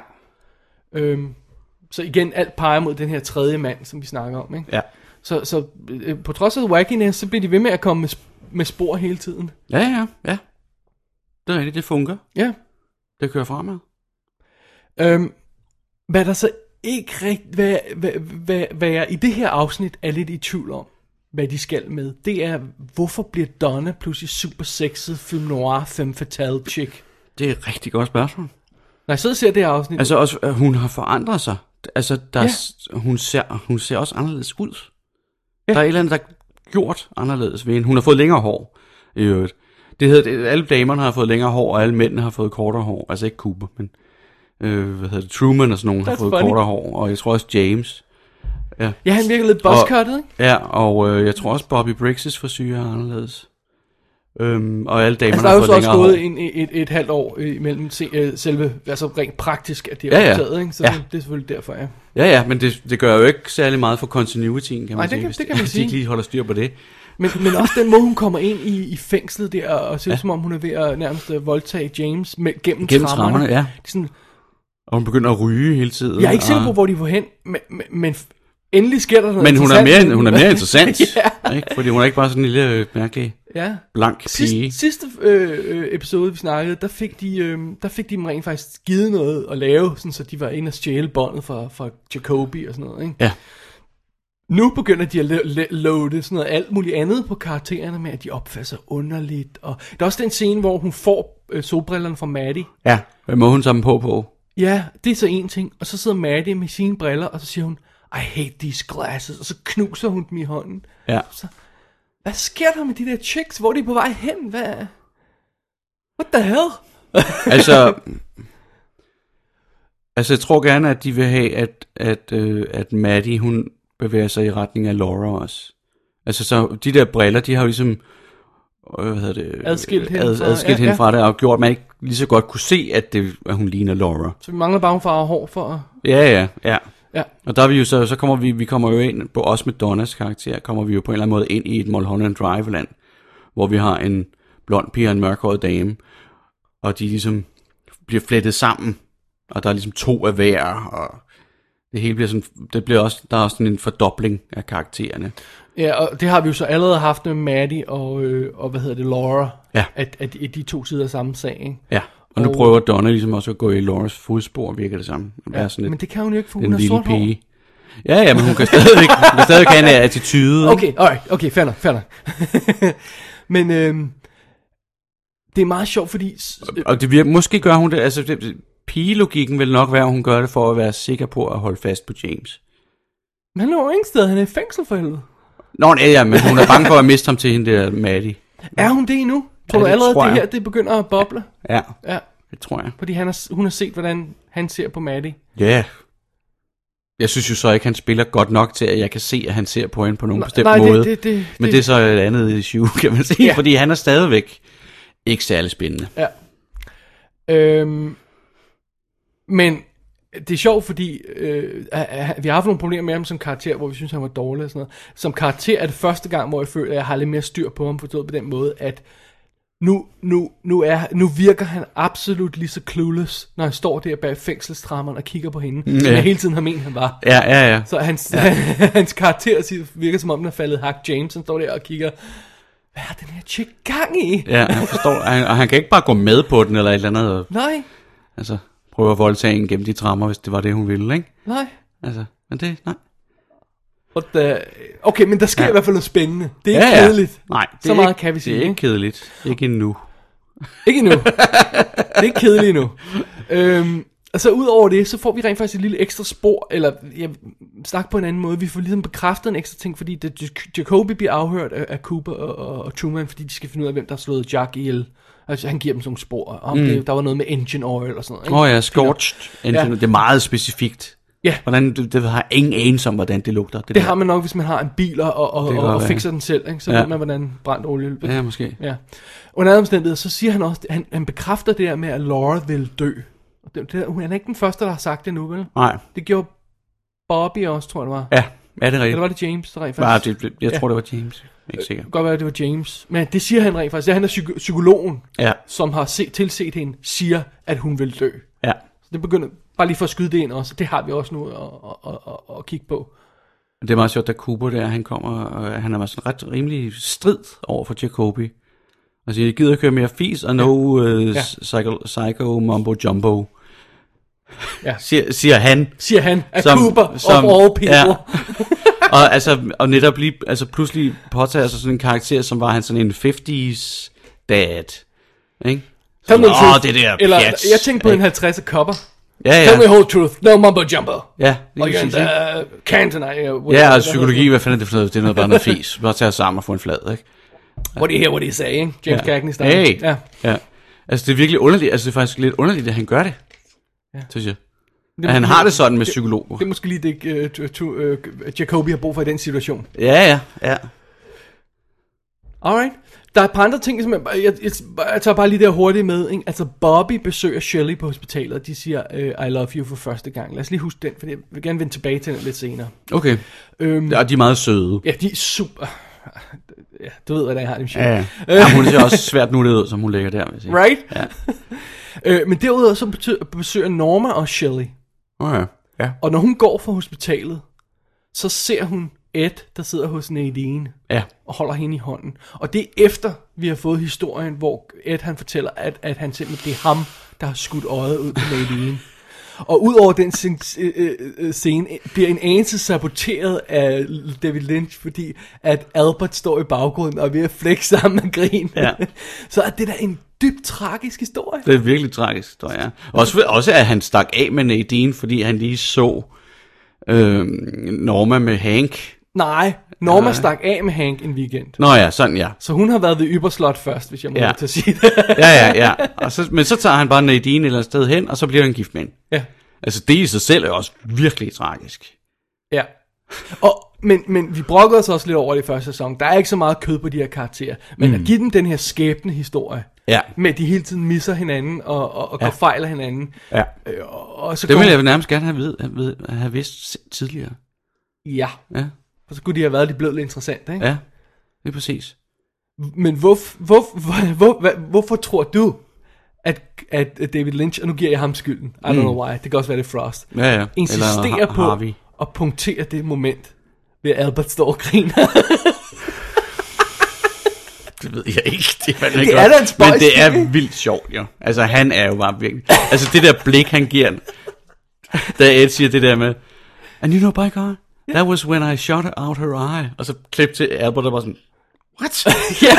Øhm, så igen, alt peger mod den her tredje mand, som vi snakker om. Ikke?
Ja.
Så, så øh, på trods af wackiness, så bliver de ved med at komme med, sp- med spor hele tiden.
Ja, ja, ja. Det er rigtigt. Det fungerer.
Ja.
Det kører fremad.
Øhm, hvad der så ikke rigtigt, hvad, hvad, hvad, hvad jeg i det her afsnit er lidt i tvivl om, hvad de skal med, det er, hvorfor bliver Donna pludselig super sexet film noir femme fatale chick?
Det er et rigtig godt spørgsmål.
Når jeg sidder og ser det her afsnit, altså,
Altså også, at hun har forandret sig. Altså, der ja.
Ja.
er, hun, ser, hun ser også anderledes ud.
Ja.
Ja. Der er et eller andet, der er gjort anderledes ved hende. Hun har fået længere hår, i øvrigt. Det hedder, det, alle damerne har fået længere hår, og alle mændene har fået kortere hår. Altså ikke Cooper, men øh, hvad hedder det, Truman og sådan nogen har
That's
fået
funny.
kortere hår. Og jeg tror også James.
ja, han virker lidt buzzcuttet, ikke?
Ja, og øh, jeg tror også Bobby Briggs' frisyr er anderledes. Øhm, og alle damerne
Altså, der er
har
jo så
fået
også
længere hår.
gået en, et, et, et halvt år øh, imellem se, øh, selve, altså rent praktisk, at det er
Ja, ja.
optaget, ikke? Så
Ja.
det, det er selvfølgelig derfor, ja.
Ja, ja, men det, det gør jo ikke særlig meget for continuityen, kan man
Nej, det
sige.
kan-
hvis
det kan man
hvis de
sige.
ikke lige holder styr på det.
Men, men også den måde, hun kommer ind i, i fængslet der, og ser ja. som om hun er ved at nærmest øh, voldtage James med, gennem,
Gennem
trammerne.
trammerne, ja.
Det er sådan,
Og hun begynder at ryge hele tiden.
jeg er ikke sikker på,
og...
hvor de var hen, men, men, men endelig sker der noget
Men hun er,
interessant.
mere, hun er mere interessant,
ja.
ikke? fordi hun er ikke bare sådan en lille øh, mærkelig
ja.
blank pige.
Sidste, sidste øh, øh, episode, vi snakkede, der fik, de, øh, der fik de dem rent faktisk givet noget at lave, sådan, så de var inde og stjæle båndet fra, fra Jacobi og sådan noget. Ikke?
Ja.
Nu begynder de at lo- lo- loade sådan noget alt muligt andet på karaktererne med, at de opfører sig underligt. Og der er også den scene, hvor hun får øh, solbrillerne fra Maddie.
Ja, hvad må hun sammen på på?
Ja, det er så en ting. Og så sidder Maddie med sine briller, og så siger hun, I hate these glasses. Og så knuser hun dem i hånden.
Ja.
Hvad sker der med de der chicks? Hvor er de på vej hen? Hvad? What the hell?
Altså, altså, jeg tror gerne, at de vil have, at, at, øh, at Maddie, hun bevæger sig i retning af Laura også. Altså, så de der briller, de har jo ligesom øh, hvad hedder det,
Adskilt hende
ad,
fra-
adskilt
ja,
hende
ja.
fra det, og gjort, at man ikke lige så godt kunne se, at, det, at hun ligner Laura.
Så vi mangler bare, hun farver hår for at...
Ja, ja, ja.
Ja.
Og der er vi jo så, så kommer vi, vi kommer jo ind på, også med Donnas karakter, kommer vi jo på en eller anden måde ind i et Mulholland Drive-land, hvor vi har en blond pige og en mørkhåret dame, og de ligesom bliver flettet sammen, og der er ligesom to af hver, og det hele bliver sådan, det bliver også, der er også sådan en fordobling af karaktererne.
Ja, og det har vi jo så allerede haft med Maddie og, øh, og hvad hedder det, Laura.
Ja.
At, at, at de to sider af samme sag, ikke?
Ja. Og nu
Og-
prøver Donna ligesom også at gå i Lauras fodspor, virker det samme. At være sådan
Men
lidt,
det kan hun jo ikke, for hun
den
har
lille
sort hår.
pige. Ja, ja, men hun kan stadigvæk, hun kan stadigvæk have en attitude. ikke?
Okay, alright, okay, fair nok, fair nok. Men øhm, det er meget sjovt, fordi... s- øh,
Og det virker, måske gør hun det, altså det, pigelogikken vil nok være, at hun gør det for at være sikker på at holde fast på James.
Han lå jo ingen sted, han er i fængsel for helvede.
Nå, nej, ja, men hun er bange for at miste ham til hende der Maddie.
Er hun det endnu? Tror
Ja,
du
det
allerede,
tror
det
jeg.
her det begynder at boble?
Ja,
Ja,
det tror jeg.
fordi han har, hun har set, hvordan han ser på Maddie.
Ja. Yeah. Jeg synes jo så ikke, han spiller godt nok til, at jeg kan se, at han ser på hende på nogen bestemt
nej,
måde.
det, det, det,
men det er så et andet issue, kan man sige,
Ja.
ja. fordi han er stadigvæk ikke særlig spændende.
Ja. Øhm, men det er sjovt, fordi øh, at- at vi har haft nogle problemer med ham som karakter, hvor vi synes, han var dårlig og sådan noget. Som karakter er det første gang, hvor jeg føler, at jeg har lidt mere styr på ham, forstået på den måde, at nu, nu, nu, er, nu virker han absolut lige så clueless, når han står der bag fængselstrammeren og kigger på hende, mm, som
ja.
jeg hele tiden har ment, han var.
Ja, ja, ja.
Så hans, ja. hans karakter siger- virker som om, den er faldet hak James, han står der og kigger, hvad er den her chick gang i?
Ja, han forstår, og han, og han kan ikke bare gå med på den eller et eller andet, og,
Nej,
altså prøve at voldtage en gennem de trammer, hvis det var det, hun ville, ikke?
nej.
Altså, men det, nej.
What the... uh, Okay, men der sker ja. i hvert fald noget spændende. Det er
Ja,
ikke
ja.
kedeligt.
Nej, det
Så
er
meget
ikke,
kan vi sige,
Det er ikke
ikke?
kedeligt. Ikke endnu.
Ikke endnu. det er ikke kedeligt endnu. Øhm, og så ud over det, så får vi rent faktisk et lille ekstra spor, eller jeg snak på en anden måde, vi får ligesom bekræftet en ekstra ting, fordi det, Jacobi bliver afhørt af, af Cooper og, og, og Truman, fordi de skal finde ud af, hvem der har slået Jack ihjel. Altså, han giver dem sådan nogle spor, om mm. det, der var noget med engine oil og sådan noget. ikke?
Åh oh, ja, scorched. Ja. Det er meget specifikt.
Ja.
Hvordan, det, det har ingen anelse om, hvordan det lugter.
Det har man nok, hvis man har en bil og, og, og,
Det kan
og,
godt
og
være.
fikser den selv, ikke? så
Ja.
ja. ved man, hvordan brændt olie
Ja, måske.
Ja. Under alle omstændigheder, så siger han også, han, han bekræfter det der med, at Laura vil dø. Og det, det, han er ikke den første, der har sagt det nu, vel?
Nej.
Det gjorde Bobby også, tror jeg det var.
Ja, er det rigtigt?
Eller var det James, der rent
Nej,
faktisk?
det, det, jeg
Ja.
tror, det var James. Ikke sikker.
Det kan godt være, at det var James. Men det siger han rent faktisk. Ja, han er psyko- psykologen,
Ja,
som har set, tilset hende, siger, at hun vil dø.
ja.
Så det begynder, bare lige for at skyde det ind også, det har vi også nu at, at, at, at, at kigge på.
Det er meget sjovt, da Cooper der, han kommer, og han er sådan ret rimelig strid over for Jacobi. Og siger, jeg gider ikke køre mere fis, og no øh,
Ja.
psycho, psycho mumbo jumbo.
Ja.
siger, siger han.
Siger han, at
Som-
Cooper
som-
of all people.
ja. og, altså, og netop lige, altså pludselig påtager sig sådan en karakter, som var han sådan en 50's dad. Ikke?
Tell me the
Åh,
truth.
det der
Eller,
pjat.
jeg tænkte på en 50 kopper.
Ja, ja.
Tell me whole truth. No mumbo jumbo.
Ja, lige
Og
præcis,
jeg
ikke?
endda Canton. øh,
Ja, og psykologi, hvad fanden er det for noget? Det er noget bare noget fis. Bare tage os sammen og få en flad, ikke?
What do you hear, what do you say, ikke? James
Ja.
Cagney starter.
Hey!
Ja.
ja. Altså, det er virkelig underligt. Altså, det er faktisk lidt underligt, at han gør det. Ja. Synes jeg. At han har det sådan med psykologer.
Det er måske lige det, øh, tu- tu- øh, Jacobi har brug for i den situation.
Ja, ja, ja.
Alright. Der er et par andre ting, som jeg, jeg, jeg, jeg tager bare lige der hurtigt med. Ikke? Altså, Bobby besøger Shelley på hospitalet, og de siger, øh, I love you for første gang. Lad os lige huske den, for jeg vil gerne vende tilbage til den lidt senere.
Okay.
Øhm,
Og de er meget søde.
ja, de er super... Ja, du ved, hvordan jeg har det med Shelley.
Ja. ja hun ser også svært nuttet ud, som hun ligger der, vil jeg sige.
Right?
Ja.
øh, men derudover så betyder, besøger Norma og Shelley.
Okay. Ja.
Og når hun går fra hospitalet, så ser hun Ed, der sidder hos Nadine.
Ja.
og holder hende i hånden. Og det er efter, vi har fået historien, hvor Ed han fortæller, at, at han simpelthen, det er ham, der har skudt øjet ud på Nadine. Og udover den scen- øh, øh, øh, scene, bliver en anelse saboteret af David Lynch, fordi at Albert står i baggrunden og er ved at flække sammen med grin.
Ja.
Så er det da en dybt tragisk historie.
Det er virkelig tragisk, tror jeg. Også, også at han stak af med Nadine, fordi han lige så øh, Norma med Hank.
Nej, Norma stak af med Hank en weekend.
Nå ja, sådan ja.
Så hun har været ved Yberslot først, hvis jeg må
Ja.
ja. til at sige det.
Ja, ja, ja. Og så, men så tager han bare Nadine et eller andet sted hen, og så bliver han gift med hende.
ja.
Altså, det i sig selv er også virkelig tragisk.
Ja. Og, men, men vi brokkede os også lidt over det i første sæson. Der er ikke så meget kød på de her karakterer. Men mm. at give dem den her skæbne historie,
Ja.
med at de hele tiden misser hinanden og, og, og ja. fejler hinanden.
Ja.
Øh, og, og så
Det
kommer-
ville jeg nærmest gerne have, vid, have, vid, have vidst se- tidligere.
Ja.
Ja,
Og så kunne de have været lidt blevet lidt interessante, ikke?
ja. Det er præcis.
Men hvor, hvor, hvor, hvor, hvor, hvorfor tror du, at, at at David Lynch, og nu giver jeg ham skylden, I don't
Mm.
know why, det kan også være det er Frost,
Ja, ja.
insisterer
Eller Har-
på
Harvey.
at punktere det moment, ved at Albert står og griner.
Det ved jeg ikke. Det er, fandme ikke
Det er
godt.
da en spøjs
Men det
ting,
er
ikke?
vildt sjovt, jo. Altså, han er jo bare virkelig... Altså, det der blik, han giver, da Ed siger det der med... And you know, by God, that was when I shot out her eye. Og så klip til Albert, der var sådan... What?
Ja,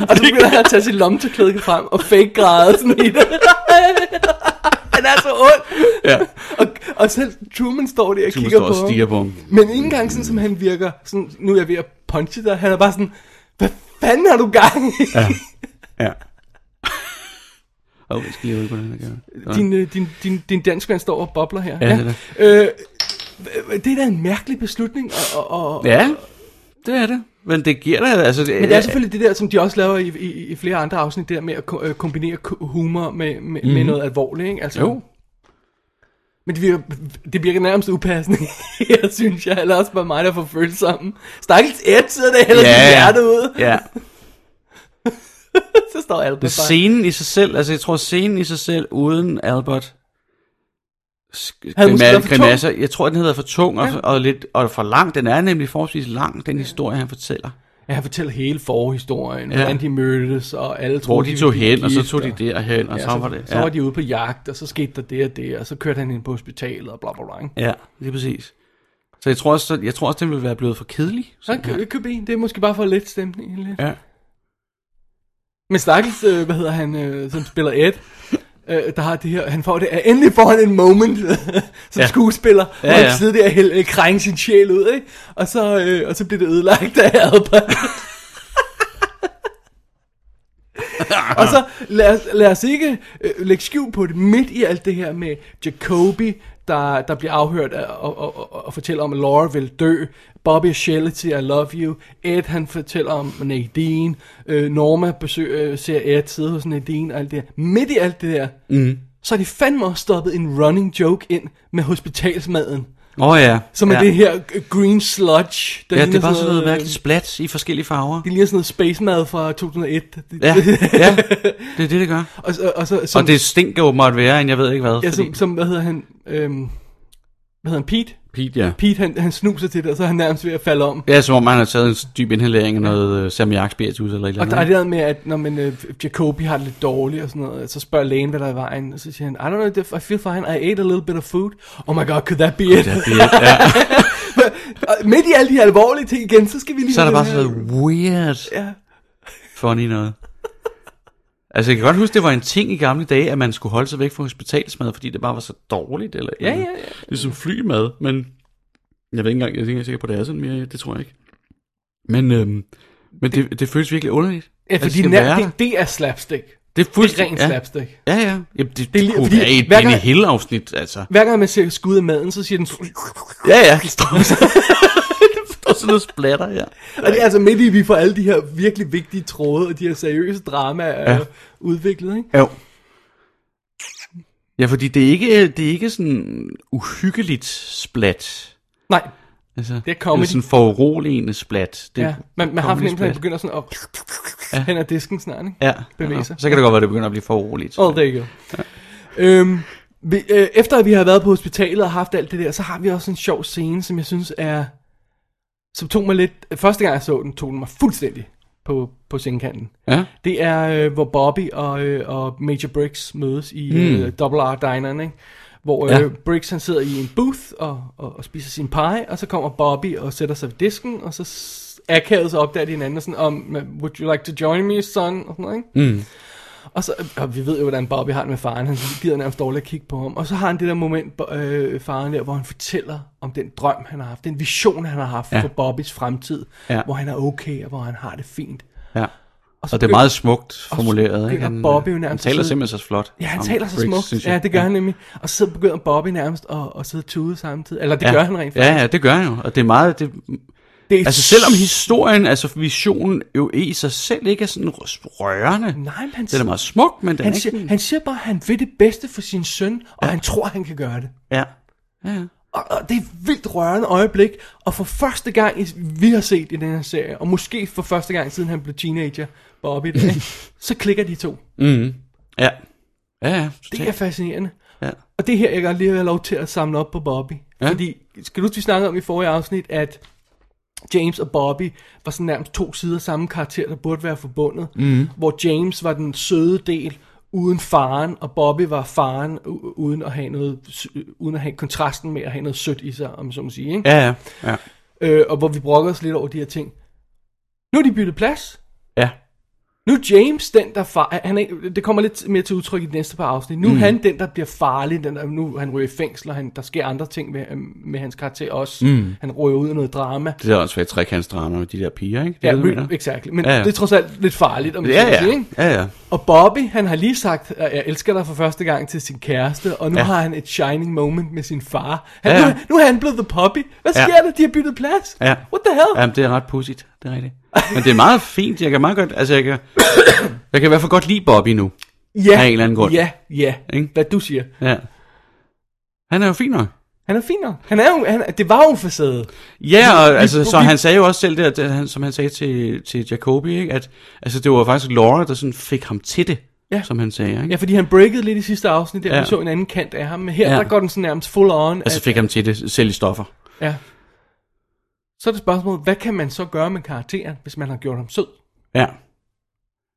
og nu begynder han at tage sit lommetørklæde frem og fake græde sådan i det. han er så ond.
ja.
Og, og selv Truman står der og
Du må
kigger på
stå og
ham.
stiger på ham.
Men ikke engang sådan, som han virker, sådan, nu er jeg ved at punche dig, han er bare sådan, hvad fanden har du gang i? Ja.
Ja. Åh, oh, jeg skal lige holde på den her gøre.
Din, øh, din, din, din danskvand står og bobler her.
Ja, det er
Øh, øh, det er da en mærkelig beslutning, og, og, og,
Ja, det er det. Men det giver dig, altså... Det,
Men det er selvfølgelig det der, som de også laver i, i, i flere andre afsnit, der med at ko- øh, kombinere ko- humor med, med, mm. med noget alvorligt, ikke? Altså,
Mhm. Jo.
Men det virker, det virker nærmest upassende, her, synes jeg. Eller også bare mig, der får følsomme. Stakkels Ed sidder der heller yeah. hjerte ud.
ja.
Så står alt
Det scenen i sig selv, altså jeg tror scenen i sig selv, uden Albert sk-
Havde måske
grima-
været for tung?
grimasser, jeg tror, den hedder for tung og, og, lidt, og for lang. Den er nemlig forholdsvis lang, den historie, han fortæller.
Ja, han fortæller hele forhistorien,
Ja.
ja. hvordan de mødtes, og alle
Hvor
troede,
de tog
ville blive
hen, og så
gift,
tog de derhen, og
Ja,
så var det.
så var de ude på jagt, og så skete der det og det, og så kørte han ind på hospitalet, og bla bla bla. ikke?
Ja, lige præcis. Så jeg tror også, jeg tror også den ville være blevet for kedelig.
Så kan det købe en. Det er måske bare for lidt stemning. Lidt.
Ja.
Men stakkels, øh, hvad hedder han, øh, som spiller Ed, øh, der har det her, han får det, øh, endelig får han en moment som
Ja.
ja. skuespiller, ja,
Ja,
hvor han
ja.
ja. sidder der og hæl, øh, krænge sin sjæl ud, ikke? Og så, øh, og så bliver det ødelagt af Albert.
Ah.
og så lad os, lad os ikke øh, lægge skjul på det midt i alt det her med Jacoby, der, der bliver afhørt af- og, og, og, og fortæller om, at Laura vil dø. Bobby og Shelley til I love you. Ed, han fortæller om Nadine. Øh, Norma besøger, øh, ser Ed sidde hos Nadine og alt det her. Midt i alt det der, mm. så har de fandme også stoppet en running joke ind med hospitalsmaden.
Åh oh, ja.
Som er
ja.
det her øh, green sludge. Der
Ja, det
ligner
er bare sådan noget
øh,
mærkeligt splat i forskellige farver.
Det ligner sådan noget space mad fra 2001.
Ja, ja, det er det, det gør.
og, så- og, så,
og det stinker åbenbart værre, end jeg ved ikke hvad.
Ja,
fordi...
som, som hvad hedder han? Øhm, hvad hedder han? Pete?
Pete, ja.
Pete, han, han snuser til det, og så er han nærmest ved at falde om.
Ja, som om han har taget en dyb inhalering af noget øh, salmiak spiritus eller et eller
Og
andet.
der er det der med, at når man, øh, Jacobi har det lidt dårligt og sådan noget, så spørger lægen, hvad der er i vejen, og så siger han, I don't know, if I feel fine, I ate a little bit of food. Oh my god, could that be it?
Ja, det er- ja.
og midt i alle de alvorlige ting igen, så skal vi lige...
Så er der
have
bare
den
sådan
her-
noget weird
Ja.
funny noget. Altså, jeg kan godt huske, det var en ting i gamle dage, at man skulle holde sig væk fra hospitalsmad, fordi det bare var så dårligt. Eller,
Ja, ja, ja.
Ligesom flymad, men jeg ved ikke engang, jeg er ikke engang sikker på, at det er sådan mere. Det tror jeg ikke. Men, øhm, men det, det føles virkelig underligt.
Ja,
at det
fordi
skal
nær,
være der.
det, det er slapstick.
det er
Det er
fuldstændig...
rent slapstick.
Ja, ja. ja. Jamen, det,
Det er
det,
lige-
det kunne
fordi
være et
hver gang-
Benny Hill-afsnit, altså.
Hver gang man ser skud af maden, så siger den...
Ja, ja. Det står der er sådan noget splatter, ja.
Og det er altså midt i, at vi får alle de her virkelig vigtige tråde, og de her seriøse dramaer ja.
Ja.
udviklet, ikke?
Jo. Ja, fordi det er ikke, det er ikke sådan uhyggeligt splat.
Nej,
Altså,
Det er comedy.
Eller sådan foruroligende splat. Det
det ja. Man, man har
comedy
fornemmelsen, at det
splat.
begynder sådan at... Ja.
Ja.
Hen ad disken snart, ikke?
Ja,
bevæge
ja.
sig.
så kan det godt være, at det begynder at blive foruroligt.
All day ago. Ja. Øhm, vi, øh, efter at vi har været på hospitalet og haft alt det der, så har vi også en sjov scene, som jeg synes er... Som tog mig lidt... Første gang jeg så den, tog den mig fuldstændig på, på sengekanten.
Ja,
Det er, øh, hvor Bobby og, øh, og Major Briggs mødes i mm. øh, Double R Dineren, ikke? Hvor øh,
Hmm. Ja.
Briggs han sidder i en booth og, og, og spiser sin pie, og så kommer Bobby og sætter sig ved disken, og så s- akavet så opdager de hinanden og sådan, om, would you like to join me, son? Og sådan noget, ikke? Mm. Og, så, og vi ved jo, hvordan Bobby har det med faren, han gider nærmest dårligt at kigge på ham. Og så har han det der moment, bo- øh, faren der, hvor han fortæller om den drøm, han har haft, den vision, han har haft ja.
Ja.
for Bobbys fremtid, ja.
Ja.
hvor han er okay, og hvor han har det fint.
ja.
så
Og det er meget smukt formuleret. Ikke?
begynder Bobby jo
han
nærmest at
taler
sidde-
simpelthen så flot.
Ja, han
om
taler så
Briggs,
smukt.
synes jeg.
Ja, det gør han nemlig. Og så begynder Bobby nærmest at, at sidde og tude samtidig. Eller det ja. gør han rent faktisk.
Ja, ja, det gør han jo. Og det er meget... Det,
Det er
altså selvom historien, altså visionen jo i sig selv ikke er sådan rørende.
Nej, men han,
Den er meget smuk, men den
han,
er ikke...
siger, han siger bare, at han vil det bedste for sin søn, og han tror, han kan gøre det.
Ja. Ja, ja.
Og, og det er et vildt rørende øjeblik. Og for første gang, i- vi har set i den her serie, og måske for første gang, siden han blev teenager, Bobby, der, ikke? så klikker de to.
Mm. Ja. Ja, ja.
Det er fascinerende.
Ja.
Og det er her, jeg godt lige vil have lov til at samle op på Bobby. Ja.
Ja.
Fordi, skal du huske, vi snakkede om i forrige afsnit, at James og Bobby var sådan nærmest to sider af samme karakter, der burde være forbundet. Mm. Hvor James var den søde del uden faren, og Bobby var faren u- uden at have noget, sø- uden at have kontrasten med at have noget sødt i sig, om jeg så må sige. Ikke?
Ja, ja. Ja.
Ja. Øh, og hvor vi brokkede os lidt over de her ting. Nu er de byttet plads.
ja.
Nu er James den, der far, han er, det kommer lidt mere til udtryk i de næste par afsnit. Nu er mm. han den, der bliver farlig. Den, der, nu han ryger i fængsel, og han, der sker andre ting med, øh, med hans karakter også. Mm. Han ryger ud i noget drama.
Det der også være trekantsdrama med de der piger, ikke? Det
Ja,
er det, du mener.
re- exakt. Men ja,
Ja,
ja.
ja.
det er trods alt lidt farligt, om
Ja,
ja, ja.
ja.
Sige, ikke?
Ja, ja.
Og Bobby, han har lige sagt, at jeg elsker dig for første gang til sin kæreste, og nu ja.
Ja.
har han et shining moment med sin far. Han,
Ja, ja.
Nu, nu er han blevet the puppy. Hvad
Ja.
sker ja. der? De har byttet plads.
Ja.
What the hell?
Jamen, det er ret pudsigt, det er rigtigt. Men det er meget fint, jeg kan meget godt, altså jeg kan, jeg kan i hvert fald godt lide Bobby nu,
Ja,
af en eller anden grund.
ja, ja.
ikke?
Hvad du siger.
Ja. Han er jo fin nok.
Han er fin nok. Han er jo, han, det var jo en facade.
Ja, og
vi-
altså, så
vi-
han sagde jo også selv det, at han, som han sagde til, til Jacobi, ikke? at altså, det var faktisk Laura, der sådan fik ham til det,
Ja.
som han sagde. Ikke?
Ja, fordi han breakede lidt i sidste afsnit, der ja.
Ja.
vi så en anden kant af ham. Men her, ja.
Ja.
der går den sådan nærmest full on.
altså fik ham til det, selv i stoffer.
at, ja. Så er det spørgsmålet, hvad kan man så gøre med karakteren, hvis man har gjort ham sød?
Ja,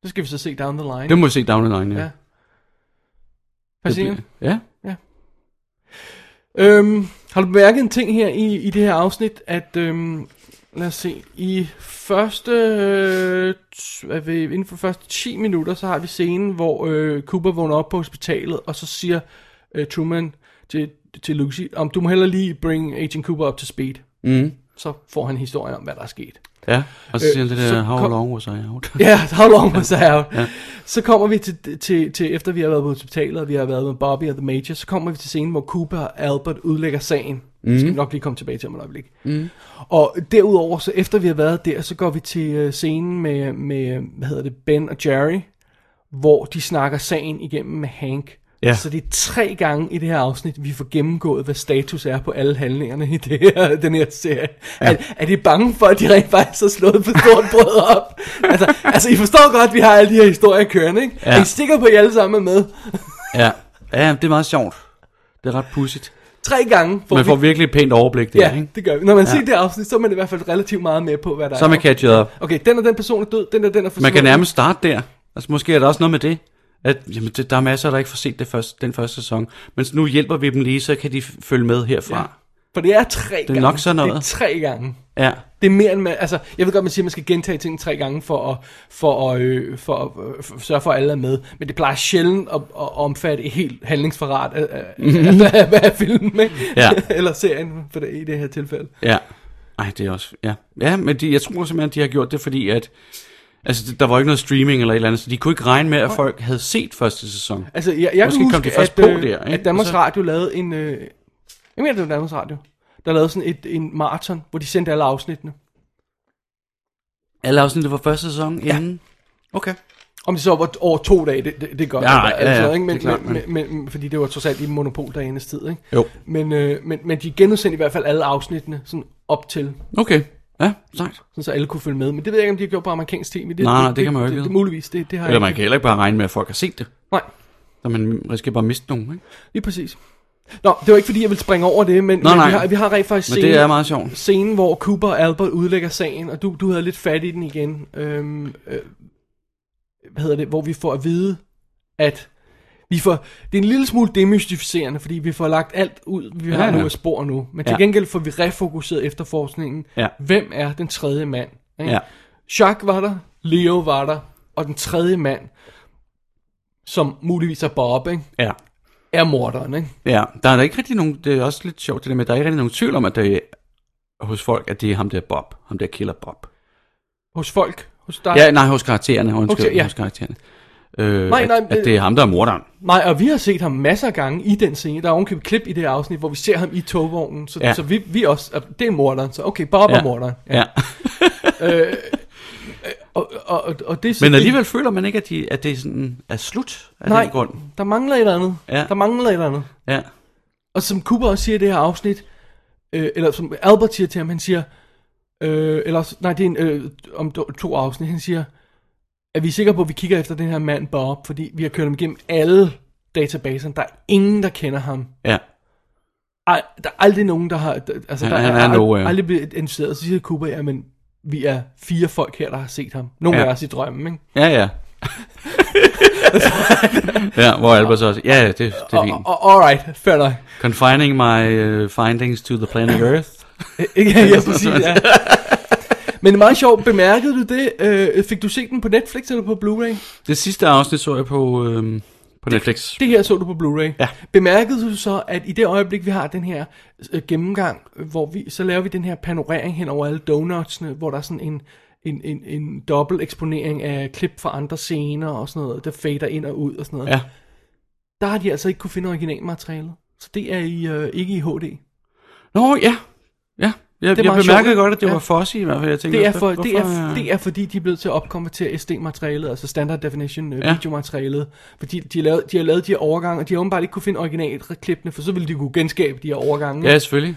Det skal vi så se down the line.
det må vi se down the line, ja.
Ja.
ja.
Fascinerende.
ja.
Øhm, har du bemærket en ting her i, i det her afsnit, at øhm, lad os se, i første, øh, t- hvad ved, inden for første 10 minutter, så har vi scenen, hvor øh, Cooper vågner op på hospitalet, og så siger øh, Truman til, til Lucy, om du må hellere lige bring Agent Cooper op til speed.
Mm.
Så får han historien om, hvad der er sket.
Ja, og så
Øh,
siger han det der,
så
how
kom-
long was I out?
Ja, yeah, how long was I out? Yeah. Så kommer vi til, til, til, efter vi har været på hospitalet, og vi har været med Bobby og The Major, så kommer vi til scenen, hvor Cooper og Albert udlægger sagen. Mm. Det skal vi nok lige komme tilbage til om et øjeblik. Mm. Og derudover, så efter vi har været der, så går vi til øh, scenen med, med, øh, hvad hedder det, Ben og Jerry, hvor de snakker sagen igennem med Hank.
Ja.
Så det er tre gange i det her afsnit, vi får gennemgået, hvad status er på alle handlingerne i det her, den her serie. Ja. Er, er de bange for, at de rent faktisk har slået på stort brød op? altså, altså, I forstår godt, at vi har alle de her historier kørende, ikke? Ja.
Ja.
Er I sikker på, at I alle sammen er med?
Ja, ja det er meget sjovt. Det er ret pudsigt.
Tre gange får
Man får
vi...
virkelig et pænt overblik der,
Ja,
ikke?
det gør vi. Når man ja.
Ja.
ser det afsnit, så er man i hvert fald relativt meget med på, hvad der
Så er man
er.
catchet op.
Okay, den og den person er død, den og den er
Man kan
forsvundet.
nærmest starte der. Altså, måske er der også noget med det. At, jamen, det, der er masser, der ikke får set det første, den første sæson. Men så nu hjælper vi dem lige, så kan de f- følge med herfra.
For det er tre gange.
er nok sådan
Det er
noget.
tre gange.
Ja,
Det er mere end man, altså, jeg ved godt, man siger, at man skal gentage ting tre gange for at, for at, øh, for at, øh, for at sørge for, at alle er med. Men det plejer sjældent at, at omfatte et helt handlingsforrat af, af, af, af, af filmen, ikke?
Mhm. Ja.
eller serien for det, i det her tilfælde.
ja. Ej, det er også... Ja, ja men de, jeg tror simpelthen, de har gjort det, fordi at... Altså, der var ikke noget streaming eller et eller andet, så de kunne ikke regne med, at folk havde set første sæson.
Altså, jeg, jeg
Måske
kan
kom
huske,
de først
at,
på
øh,
der, ikke?
at Danmarks
Og så-
Radio lavede en... Øh, jeg mener, det var Danmarks Radio. Der lavede sådan et, en maraton, hvor de sendte alle afsnittene.
Alle afsnittet fra første sæson ja. inden. Okay.
Om det så var over to dage, det, det, det gør
Ja,
det, Altså,
nej, ja, ja,
ikke? Men,
det er klart,
men, men, men, fordi det var trods alt i monopoldagenes tid, ikke?
Jo.
Men, øh, men, men de genudsendte i hvert fald alle afsnittene sådan op til,
Okay. Ja, sejt.
sådan så alle kunne følge med. Men det ved jeg ikke, om de har gjort på amerikansk tv. Det,
Nej, nej, det kan man jo ikke
Det, det,
vide.
muligvis, det, det har
Eller
jeg
man kan heller ikke bare regne med, at folk har set det.
Nej,
Så man risikerer bare at miste nogen, ikke?
lige præcis. Nå, det var ikke fordi, jeg ville springe over det, men,
Nå,
men
nej.
Vi, har, vi har rent faktisk
Men det er meget sjovt.
scenen, hvor Cooper og Albert udlægger sagen, og du, du havde lidt fat i den igen. Øhm, øh, hvad hedder det? Hvor vi får at vide, at vi får, det er en lille smule demystificerende, fordi vi får lagt alt ud, vi
Ja,
har nu
ja.
af spor nu. Men til
Ja.
gengæld får vi refokuseret efterforskningen.
Ja.
Hvem er den tredje mand? Ikke?
Ja.
Jacques var der, Leo var der, og den tredje mand, som muligvis er Bob, ikke?
Ja.
er morderen. Ikke?
Ja, der er da ikke rigtig nogen, det er også lidt sjovt det der med, der er ikke rigtig nogen tvivl om, at det er hos folk, at det er ham der Bob, ham der killer Bob.
Hos folk, hos dig.
Ja, nej, hos karaktererne, undskyld,
Okay,
okay,
ja.
ja. hos karaktererne. Øh,
Nej,
nej, nej,
nej,
at, at det er ham, der er morderen.
Nej, og vi har set ham masser af gange i den scene. Der er ovenkøbet klip i det her afsnit, hvor vi ser ham i togvognen. Så, ja.
Ja.
så vi, vi også... og Det er morderen, så okay, Bob ja. er morderen.
Ja. ja.
Og, og, og, og det er så-
Men alligevel føler man ikke, at, de, at det er sådan er slut af
Nej,
den grund.
der mangler et eller andet.
Ja.
Der mangler et eller andet.
Ja.
Og som Cooper også siger i det her afsnit, øh, eller som Albert siger til ham, han siger... Øh, eller, også- nej, det er en, øh, om to, to afsnit. Han siger, er vi sikre på, at vi kigger efter den her mand Bob? Fordi vi har kørt ham igennem alle databaserne. Der er ingen, der kender ham.
Ja.
Ej, der er aldrig nogen, der har... der- Altså, der
Han- han
er,
er
ald-
nowhere.
aldrig blevet identificeret. Så siger Cooper, ja, men vi er fire folk her, der har set ham. Nogle
Ja.
af os i drømmen, ikke?
Ja, ja. ja, hvor Albert så også, ja, ja, det, det er
Og,
fint.
og, alright, fair nok.
Confining my uh, findings to the planet Earth.
Ikke? Ja, præcis, ja. Men det er meget sjovt. Bemærkede du det? Øh, fik du set den på Netflix eller på Blu-ray?
Det sidste afsnit så jeg på, øhm, på Netflix.
Det her så du på Blu-ray.
Ja.
Bemærkede du så, at i det øjeblik, vi har den her øh, gennemgang, øh, hvor vi, så laver vi den her panorering hen over alle donutsene, hvor der er sådan en, en, en, en dobbelt eksponering af klip fra andre scener og sådan noget, der fader ind og ud og sådan noget.
Ja.
Der har de altså ikke kunne finde originalmaterialet. Så det er i, øh, ikke i HD.
Nå, ja. Ja, jeg,
Det er
jeg
meget
bemærkede
sjovt, ikke?
godt, at det
Ja.
var Fossi i hvert fald. Jeg tænkte,
Det er,
også,
for, det, er,
hvorfor, øh?
det er fordi, de er blevet til at opkonvertere SD-materialet, altså standard definition øh,
Ja.
videomaterialet. Fordi de, har lavet, de har lavet de her overgange, og de har åbenbart ikke kunne finde originalklippene, for så ville de kunne genskabe de her overgange.
Ja, selvfølgelig.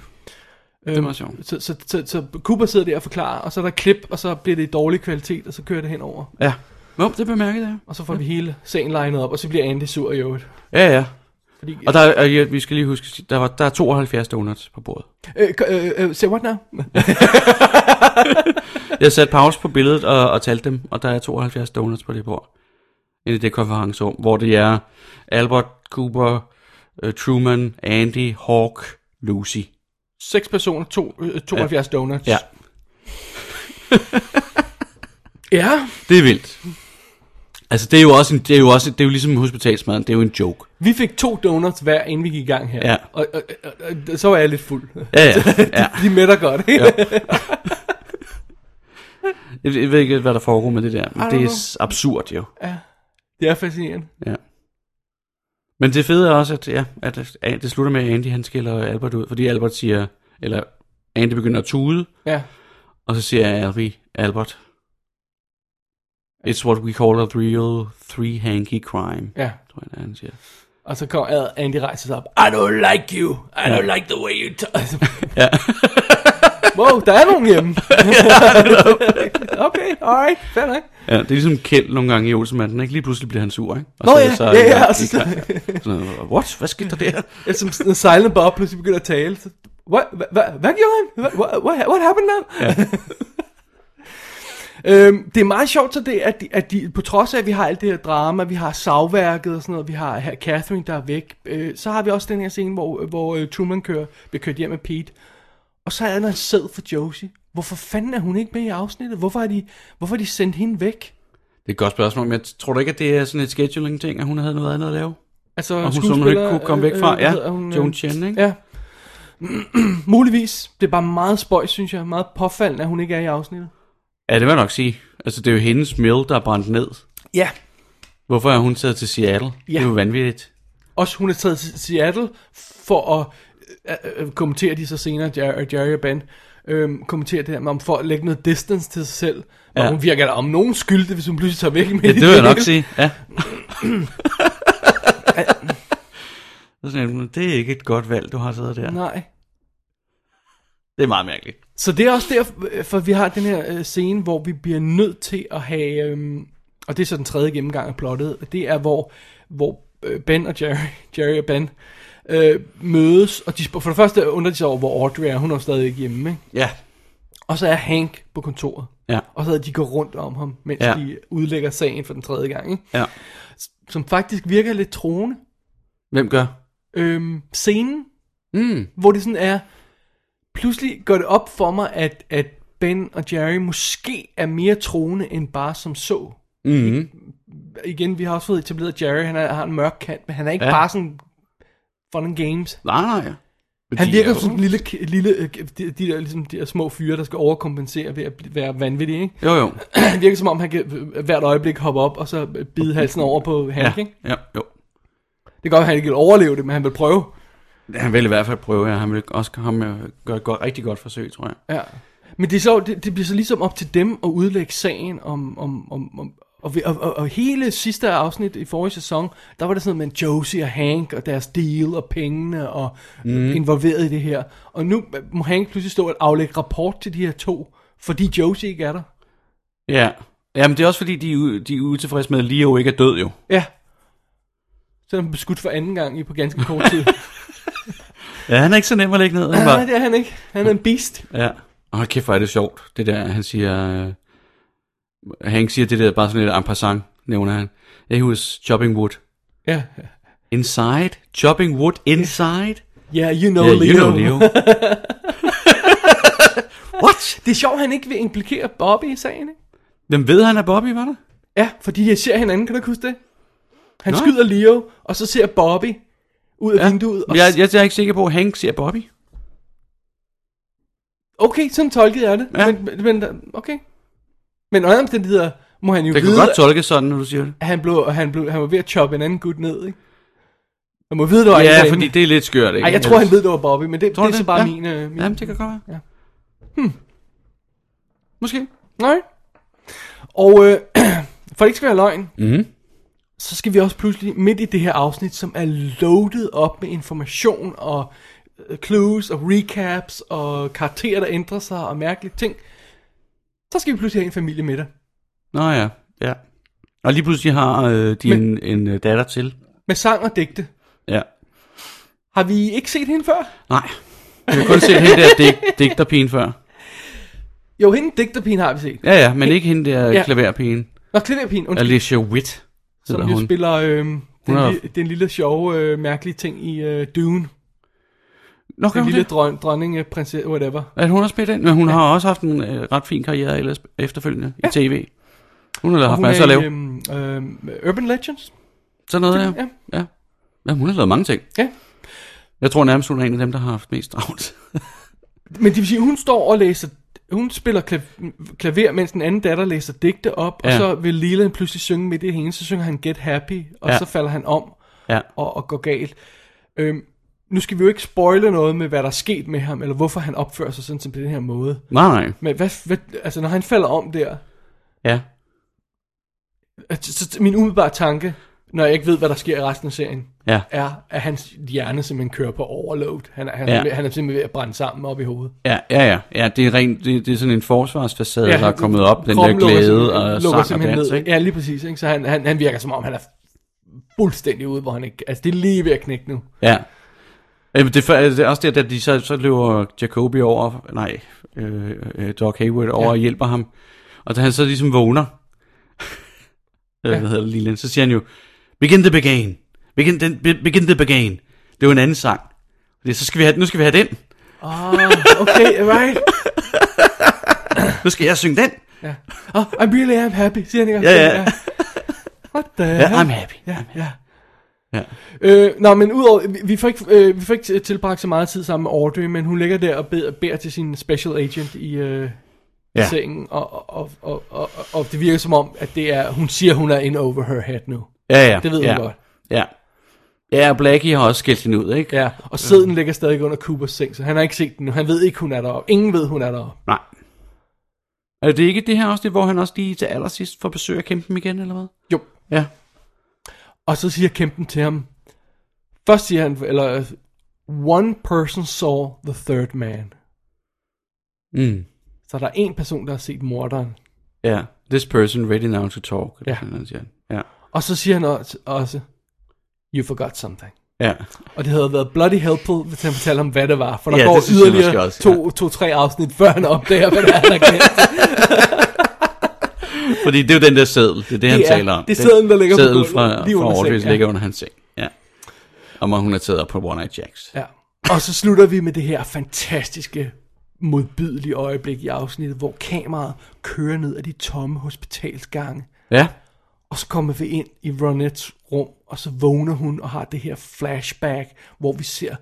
det er
meget sjovt.
Øhm, Så, så, så, så Cooper sidder der og forklarer, og så er der klip, og så bliver det i dårlig kvalitet, og så kører det henover.
Ja. Nå, det bemærkede jeg.
Og så får vi hele sagen legnet op, og så bliver Andy sur i øvrigt.
Ja, ja.
Fordi,
Og der, er- og ja, vi skal lige huske, der, var, der er 72 donuts på bordet.
øh, øh, øh, say what now?
Jeg satte pause på billedet og, og talte dem, og der er 72 donuts på det bord. Inde i det konferencerum, hvor det er Albert, Cooper, øh, Truman, Andy, Hawk, Lucy.
Seks personer, to, øh, 72 donuts.
Ja.
ja.
Det er vildt. Altså, det er jo også, en, det er jo også, det er jo ligesom hospitalsmaden, det er jo en joke.
Vi fik to donuts hver, inden vi gik i gang her.
Ja.
Og, og, og, og, så var jeg lidt fuld.
Ja, ja, ja.
De mætter godt.
Jeg ved jeg ved ikke, hvad der foregår med det der. Men
I
det
don't
er
know.
s- absurd jo.
det er fascinerende.
Ja. Men det fede er også, at, ja, at at det slutter med, at Andy han skiller Albert ud. Fordi Albert siger, eller Andy begynder at tude,
Ja.
og så siger Albie, Albert, It's what we call a real three-hanky crime,
Ja.
tror jeg, han siger.
Og så kommer Ad- Andy rejser sig op. I don't like you. I don't like the way you talk.
Ja.
wow, der er nogen hjemme. okay, alright. Fair nok.
Ja, det er ligesom Kjeld nogle gange i Olsenmanden, ikke? Lige pludselig bliver han sur, ikke? Og
Nå
så,
ja, ja, ja. Og så,
Sådan noget, what? Hvad skete der der?
ja, som sådan en silent bob pludselig begynder at tale. Så, Hvad, hvad, hvad, hvad gjorde han? Hvad, hvad, what happened now? Øhm, det er meget sjovt så det, at, de, at de, på trods af, at vi har alt det her drama, vi har savværket og sådan noget, vi har her Catherine, der er væk, øh, så har vi også den her scene, hvor, hvor øh, Truman kører, bliver kørt hjem med Pete. Og så er der en sæd for Josie. Hvorfor fanden er hun ikke med i afsnittet? Hvorfor har de, hvorfor har de sendt hende væk?
Det er et godt spørgsmål, men jeg tror du ikke, at det er sådan et scheduling-ting, at hun havde noget andet at lave?
Altså,
Og hun som hun
skuespiller, øh,
ikke kunne komme væk fra.
hvad
Ja,
hedder hun?
Joan Chen, ikke?
Ja. Muligvis. Det er bare meget spøjs, synes jeg. Meget påfaldende, at hun ikke er i afsnittet.
Ja, det vil jeg nok sige. Altså, det er jo hendes mill, der er brændt ned.
Ja.
Hvorfor er hun taget til Seattle? Ja. Det er jo vanvittigt.
Også hun er taget til Seattle for at øh, øh, kommentere de så senere, Jerry, Jerry og Ben, øhm, kommentere det her med, om for at lægge noget distance til sig selv. Og
Ja.
hun virker da om nogen skyld, hvis hun pludselig tager væk med
Ja, det vil jeg nok sige. Ja. Så sådan, en, det er ikke et godt valg, du har taget der.
Nej.
Det er meget mærkeligt.
Så det er også derfor, vi har den her øh, scene, hvor vi bliver nødt til at have, øhm, og det er så den tredje gennemgang af plottet, og det er, hvor, hvor øh, Ben og Jerry, Jerry og Ben øh, mødes, og de, sp- for det første undrer de sig over, hvor Audrey er, hun er jo stadig ikke hjemme, ikke?
Ja.
og så er Hank på kontoret,
Ja.
og så de går rundt om ham, mens
Ja.
ja. de udlægger sagen for den tredje gang, ikke?
ja.
som faktisk virker lidt troende.
Hvem gør?
Øhm, scenen,
Mm.
hvor det sådan er, pludselig går det op for mig, at, at Ben og Jerry måske er mere troende end bare som så.
Mm.
Igen, vi har også fået etableret, at Jerry han er, har en mørk kant, men han er ikke
Ja.
ja. bare sådan fun and games.
Nej, nej.
Han
de
virker
er
som sådan en lille, ki- lille øh, de, de, der, ligesom, de der små fyre, der skal overkompensere ved at bl- være vanvittige. Ikke?
Jo, jo.
Han virker som om, han kan øh, hvert øjeblik hoppe op og så bide halsen over på Hank.
Ja,
Ikke?
ja, jo.
Det kan godt, være, han ikke vil overleve det, men han vil prøve.
Han vil i hvert fald prøve, ja. Han vil også ham øh, gøre et godt, rigtig godt forsøg, tror jeg.
Ja. Men det, er så, det, det bliver så ligesom op til dem at udlægge sagen om... om, om, om og, vi- og, og, og, hele sidste afsnit i forrige sæson, der var det sådan noget med Josie og Hank og deres deal og pengene og mm. involveret i det her. Og nu må Hank pludselig stå og aflægge rapport til de her to, fordi Josie ikke er der.
Ja. Jamen, det er også fordi, de, er u- de er utilfredse med, at Leo ikke er død, jo.
Ja. Så er han beskudt for anden gang i på ganske kort tid.
Ja, han er ikke så nem at lægge ned. Han
Nej,
bare,
det er han ikke. Han er en beast.
ja. Og hold kæft, hvor er det sjovt. Det der, han siger... Øh, Hank siger det der bare sådan lidt en passant, nævner han. Yeah, he was chopping wood.
Ja.
Inside? Chopping wood inside?
Yeah, you know
yeah,
Leo.
you know Leo. What?
Det er sjovt, han ikke vil implikere Bobby i sagen, ikke?
Hvem ved, han er Bobby, var der?
Ja, fordi jeg ser hinanden, kan du ikke huske det? Han
Nå.
Nå. skyder Leo, og så ser Bobby ud af
Ja.
ja. vinduet. Og
Jeg, jeg, jeg er ikke sikker på, at Hank siger Bobby.
Okay, sådan tolkede jeg det.
Ja.
Ja. Men, men- men, okay. Men under alle omstændigheder må han jo
Det kunne
vide,
godt tolkes sådan, når du siger det.
at han, blev, han, blev, han var ved at choppe en anden gut ned, ikke? Han må vide, det var en
Ja,
derinde.
fordi det er lidt skørt, ikke?
Ej, jeg tror, han ved, det var Bobby, men det,
Tror
det er
du
så
det?
bare
Ja.
min... Øh, min...
Jamen, det kan godt være. Hmm.
Ja.
Måske.
Nej. Og øh, for det ikke skal være løgn,
Mhm.
så skal vi også pludselig midt i det her afsnit, som er loaded op med information og øh, clues og recaps og karakterer, der ændrer sig og mærkelige ting. Så skal vi pludselig have en familie med dig.
Nå ja, ja. Og lige pludselig har øh, de Men...
Men-
en, en øh, datter til.
Med sang og digte.
Ja.
Har vi ikke set hende før?
Nej. Jeg har kun set hende der dig, digterpigen før.
Jo, hende digterpigen har vi set.
Ja, ja, men ikke hende der ja.
Ja.
klaverpigen.
Nå, klaverpigen, undskyld.
Alicia Witt hedder
Som jo
hun.
spiller øh, den,
Hun er-
li- den lille sjove, øh, mærkelige ting i øh, Dune.
Nå, gør
Den
hun
lille
det?
dron, dronning, øh, prinsesse, whatever.
At hun har spillet den, men hun ja. har også haft en øh, ret fin karriere ellers, efterfølgende ja. i tv. Hun har lavet haft
hun
masser at
er i
lave.
øh, øh, Urban Legends.
Sådan noget der.
Ja.
Ja. ja. hun har lavet mange ting.
Ja.
Jeg tror nærmest, hun er en af dem, der har haft mest travlt.
Men det vil sige, hun står og læser, hun spiller klav- klaver, mens den anden datter læser digte op, ja.
Ja.
og så vil Leland pludselig synge midt i hende, så synger han Get Happy, og
Ja.
ja. så falder han om
ja.
og, og går galt. Øhm, nu skal vi jo ikke spoile noget med, hvad der er sket med ham, eller hvorfor han opfører sig sådan som på den her måde.
Nej, nej.
Men hvad, hvad, altså, når han falder om der,
Ja.
at- så, så min umiddelbare tanke, når jeg ikke ved, hvad der sker i resten af serien,
Ja.
er, at hans hjerne simpelthen kører på overload. Han, er- han,
Ja.
ja. han er simpelthen ved at brænde sammen op i hovedet.
Ja, ja, ja. ja det, er rent, det, det er sådan en forsvarsfacade, ja, der er
han-
kommet op. Den der
kroppen lukker
glæde
simpelthen-
og
lukker
sang og
simpelthen
dans,
ned.
ikke?
Ja, lige præcis. Ikke? Så han, han, han virker som om, han er fuldstændig ude, hvor han ikke... Altså, det er lige ved at knække nu.
Ja. Jamen, det, er, for- det er også det, at de så, så løber Jacobi over, nej, øh, øh, Doc Hayward over
Ja.
og hjælper ham. Og da han så ligesom vågner, ja. hvad hedder det, Leland, så siger han jo, begin the began, begin the, be- begin the began. Det er jo en anden sang. Det, er, så skal vi have, nu skal vi have den, Ah,
Okay, right.
nu skal jeg synge den.
Oh, I really am happy, siger han ikke?
Ja, ja.
What the
Ja,
hell?
I'm happy.
Ja, ja.
Ja.
Øh, nå, men udover, vi, vi, får ikke, øh, vi får ikke tilbragt så meget tid sammen med Audrey, men hun ligger der og beder, beder til sin special agent i, øh, ja.
Ja.
i sengen, og, og, og, og, og, og det virker som om, at det er, hun siger, hun er in over her head nu.
Ja, ja.
Det ved
ja.
hun godt.
Ja. Ja, og Blackie har også skældt hende ud, ikke?
Ja, og sæden ligger stadig under Coopers seng, så han har ikke set den nu. Han ved ikke, hun er deroppe. Ingen ved, hun er deroppe.
Nej. Er det ikke det her også, det, hvor han også lige til allersidst får besøg af kæmpen igen, eller hvad?
Jo.
Ja.
Og så siger kæmpen til ham, først siger han, eller, one person saw the third man.
Mm.
Så der er en person, der har set morderen.
Ja. This person ready now to talk. eller
Ja.
sådan noget, siger han. Ja.
Og så siger han også, også You forgot something.
Ja.
Og det havde været bloody helpful, hvis han fortalte om, hvad det var. For der
Ja,
går
det synes jeg
yderligere
måske også,
to, to, tre afsnit, før han opdager, hvad det er, han har glemt.
Fordi det er jo den der seddel, det er det, han
er-
taler om.
det er sedlen, der ligger på
seddel
gulvet,
fra,
lige under
fra Audrey's
sengen, ja.
ligger under hans seng. Ja. Om at hun er taget op på One Night Jacks.
Ja. Og så slutter vi med det her fantastiske, modbydelige øjeblik i afsnittet, hvor kameraet kører ned ad de tomme hospitalsgange.
Ja.
Og så kommer vi ind i Ronettes rum, og så vågner hun og har det her flashback, hvor vi ser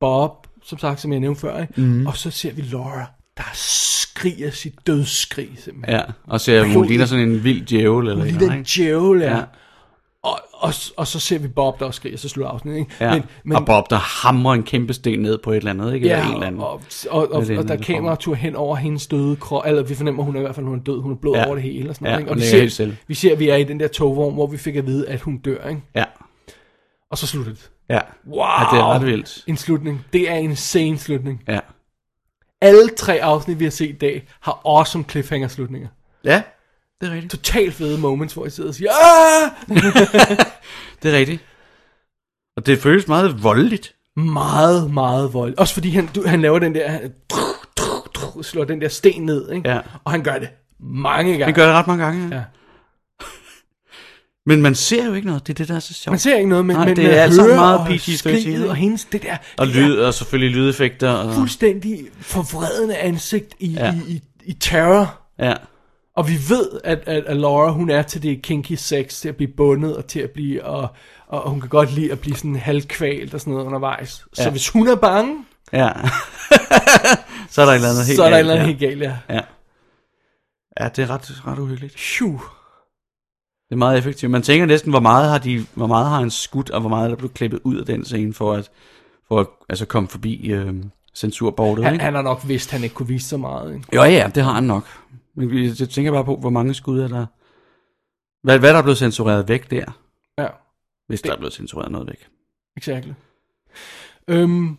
Bob, som sagt, som jeg nævnte før, ikke?
Mhm.
Mm. og så ser vi Laura, der skriger sit dødsskrig, simpelthen.
Ja. Og ser, hun
Blodet.
ligner sådan en vild djævel, eller
Hun
et
ligner en
eller andet,
djævel, ja.
Ja.
Og, og, og så ser vi Bob, der også skriger, så slutter afsnittet, ikke?
Ja. Men, og Bob, der hamrer en kæmpe sten ned på et eller andet, ikke? eller en
Ja,
eller anden.
og, og, og, og,
Med den
og der er
anden
kameratur hen over hendes døde krop, eller vi fornemmer, hun er i hvert fald hun er død, hun er blod
Ja.
over det hele, og sådan
Ja,
noget, ikke? og
hun
vi
ligger helt
ser,
stille.
vi ser, at vi er i den der togvogn, hvor vi fik at vide, at hun dør, ikke?
Ja.
og så slutter det.
Ja.
Wow!
ja. det er ret vildt.
En slutning. Det er en insane slutning.
Ja.
Alle tre afsnit, vi har set i dag, har awesome cliffhanger-slutninger.
Ja. Det er rigtigt.
Totalt fede moments, hvor jeg sidder og siger, "Ah!" Aah!
Det er rigtigt. Og det føles meget voldeligt.
Meget, meget vold. Også fordi han, du, han laver den der, han slår den der sten ned, ikke?
Ja.
og han gør det mange gange.
Han gør det ret mange gange.
Ja.
Men man ser jo ikke noget. Det er det, der er så sjovt.
Man ser ikke noget, men,
Nej,
men
det
man
er alt sammen
hører
meget
og
PG-13,
skriget
ikke?
og hendes det der,
og
det
lyd, og selvfølgelig lydeffekter. Og,
der fuldstændig forvredende ansigt i, ja.
Ja.
i, i, i terror.
ja.
Og vi ved, at, at, at Laura, hun er til det kinky sex, til at blive bundet og til at blive, og, og hun kan godt lide at blive sådan halvkvalt og sådan noget undervejs. Så
Ja.
hvis hun er bange,
ja. så er der et eller andet helt
så er der et
galt,
eller andet
ja.
helt galt, ja.
Ja. ja, det er ret, ret uhyggeligt.
Phew.
Det er meget effektivt. Man tænker næsten, hvor meget har, de, hvor meget har en skudt, og hvor meget er der blevet klippet ud af den scene, for at, for at altså, komme forbi øh, censurbordet.
Han,
ikke?
han har nok vidst, han ikke kunne vise så meget. Ikke?
Jo, ja, det har han nok. Men vi- jeg tænker bare på, hvor mange skud er der... Hvad, hvad der er blevet censureret væk der,
Ja,
hvis det... der er blevet censureret noget væk.
exakt. Øhm,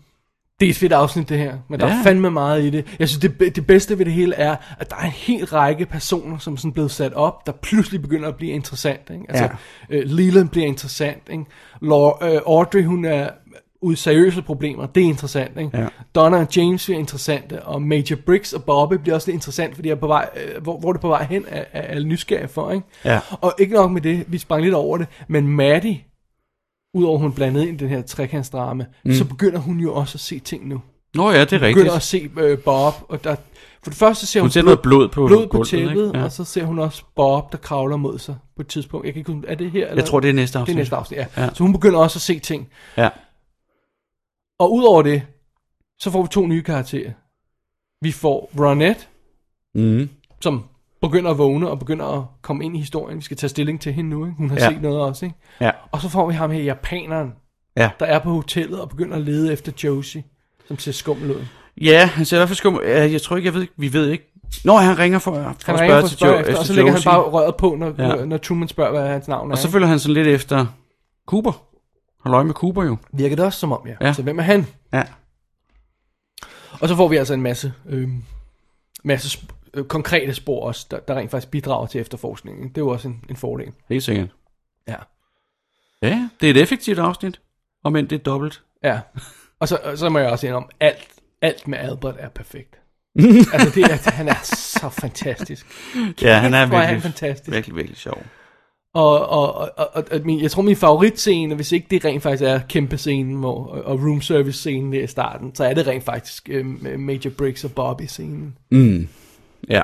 det er et fedt afsnit, det her, men der er
Ja.
fandme meget i det. Jeg synes, det, be- det bedste ved det hele er, at der er en hel række personer, som sådan blevet sat op, der pludselig begynder at blive interessant. Ikke? Altså, ja. øh, Leland bliver interessant. Ikke? Laura, øh, Audrey, hun er ud seriøse problemer, det er interessant. Ikke?
Ja.
Donna og James bliver interessante, og Major Briggs og Bobby bliver også lidt interessant, fordi jeg er på vej, øh, hvor, hvor det er på vej hen er, er, er nysgerrig for. Ikke?
Ja.
Og ikke nok med det, vi sprang lidt over det, men Maddie, udover hun blandede ind i den her trekantsdrama, mm. så begynder hun jo også at se ting nu.
Nå ja, det er rigtigt.
Begynder at se øh, Bob, og der, for det første ser hun,
Hun ser noget blod på
blod på
gulvet,
tæppet,
ikke?
ja.
Ja.
og så ser hun også Bob, der kravler mod sig på et tidspunkt. Jeg kan ikke huske, er det her? Eller?
Jeg tror, det er næste
det
afsnit.
er næste afsnit, ja. ja.
Ja.
Så hun begynder også at se ting.
Ja.
Og udover det, så får vi to nye karakterer. Vi får Ronette,
Mm.
som begynder at vågne og begynder at komme ind i historien. Vi skal tage stilling til hende nu, ikke? Hun har ja.
Ja.
set noget også, ikke?
Ja.
Og så får vi ham her, japaneren,
Ja.
der er på hotellet og begynder at lede efter Josie, som ser skummel ud.
ja, han ser i hvert fald skum. Ja, Jeg tror ikke, jeg ved, vi ved ikke. Nå, han ringer for, for han at
Han
spørge
ringer for at
til
spørge
Jo-
efter,
efter
og så lægger han
Josie.
bare røret på, når,
Ja.
ja. når Truman spørger, hvad hans navn er.
Og så følger han sådan lidt efter Cooper. Hold øje med Cooper jo.
ikke? virker det også som om, ja. ja.
Ja.
Så hvem er han?
Ja.
Og så får vi altså en masse, øh, masse sp- øh, konkrete spor også, der, der rent faktisk bidrager til efterforskningen. ikke? Det er jo også en, en fordel.
Helt sikkert.
Ja.
Ja, det er et effektivt afsnit. Om end det er dobbelt.
Ja. Og så, og så må jeg også indrømme, alt, alt med Albert er perfekt. altså, det er, han er så så fantastisk.
Ja, han er
Hvor er han
virkelig,
fantastisk.
virkelig, virkelig sjov.
Og, og, og, og, og min, jeg tror min favoritscene, hvis ikke det rent faktisk er kæmpe scenen hvor, og og room service scenen der i starten, så er det rent faktisk øh, Major Briggs og Bobby scenen,
Mm. Ja.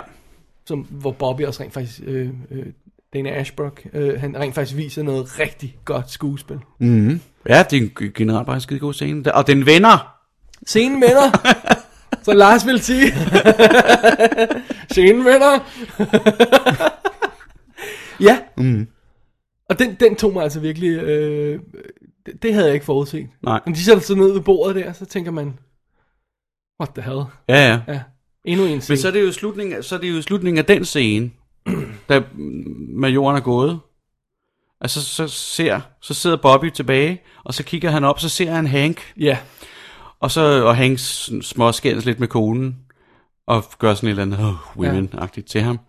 som, hvor Bobby også rent faktisk, øh, øh, Dana Ashbrook, øh, han rent faktisk viser noget rigtig godt skuespil. Mm-hmm.
Mm. Ja, det er en g- generelt bare en skide god scene. Der- Og den vender.
Scenen venner, så Lars vil sige. scenen venner. ja.
Mm.
Og den, den tog mig altså virkelig, øh, det, det havde jeg ikke forudset.
Nej.
Men de sætter sig ned ved bordet der, så tænker man, what the hell?
Ja, ja.
Ja, endnu en scene.
Men så er det jo slutningen, af- så er det jo slutningen af den scene, da majoren er gået. Altså, så, ser, så sidder Bobby tilbage, og så kigger han op, så ser han Hank,
Ja,
og så og Hank s- småskændes lidt med konen, og gør sådan et eller andet oh, women-agtigt til ham.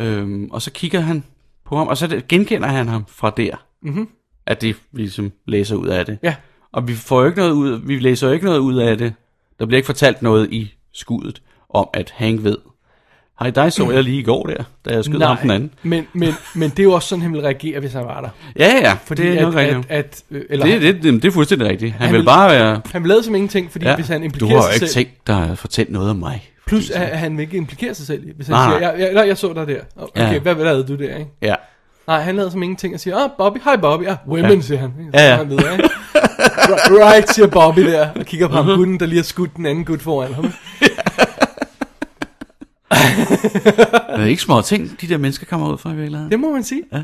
Øhm, og så kigger han på ham, og så det- genkender han ham fra der.
Mhm.
At det vi ligesom læser ud af det.
ja,
Og vi får jo ikke noget ud, vi læser jo ikke noget ud af det. Der bliver ikke fortalt noget i skuddet om, at Hank ved. Hej, dig så jeg lige i går der, da jeg skød ham den anden.
Men, men, men det er jo også sådan, han ville reagere, hvis han var der.
Ja, ja,
Fordi
Fordi det er nok
at, at,
rigtigt.
at, øh, eller
Det, det, det, det er fuldstændig rigtigt. Han,
Han
han vil
vil-
bare være...
han vil lade som ingenting, fordi
Ja,
ja, hvis han
du
implikerer
har jo
sig
ikke
selv,
tænkt dig at fortælle noget om mig.
plus at, at han vil ikke implikere sig selv, i, hvis han
Nej,
siger,
nej.
jeg, jeg, nej, jeg så dig der, Og, okay,
Ja.
hvad lavede du der, ikke?
Ja,
Nej, han lader som ingenting og siger, ah, Bobby, hej Bobby, ah, women, ja. siger han. ikke? Så
Ja, ja.
går Han videre, ikke? Ri- right, siger Bobby der, og kigger på
Mhm.
ham, gutten, der lige har skudt den anden gut foran ham.
det er ikke små ting, de der mennesker kommer ud fra i virkeligheden.
Det må man sige.
Ja.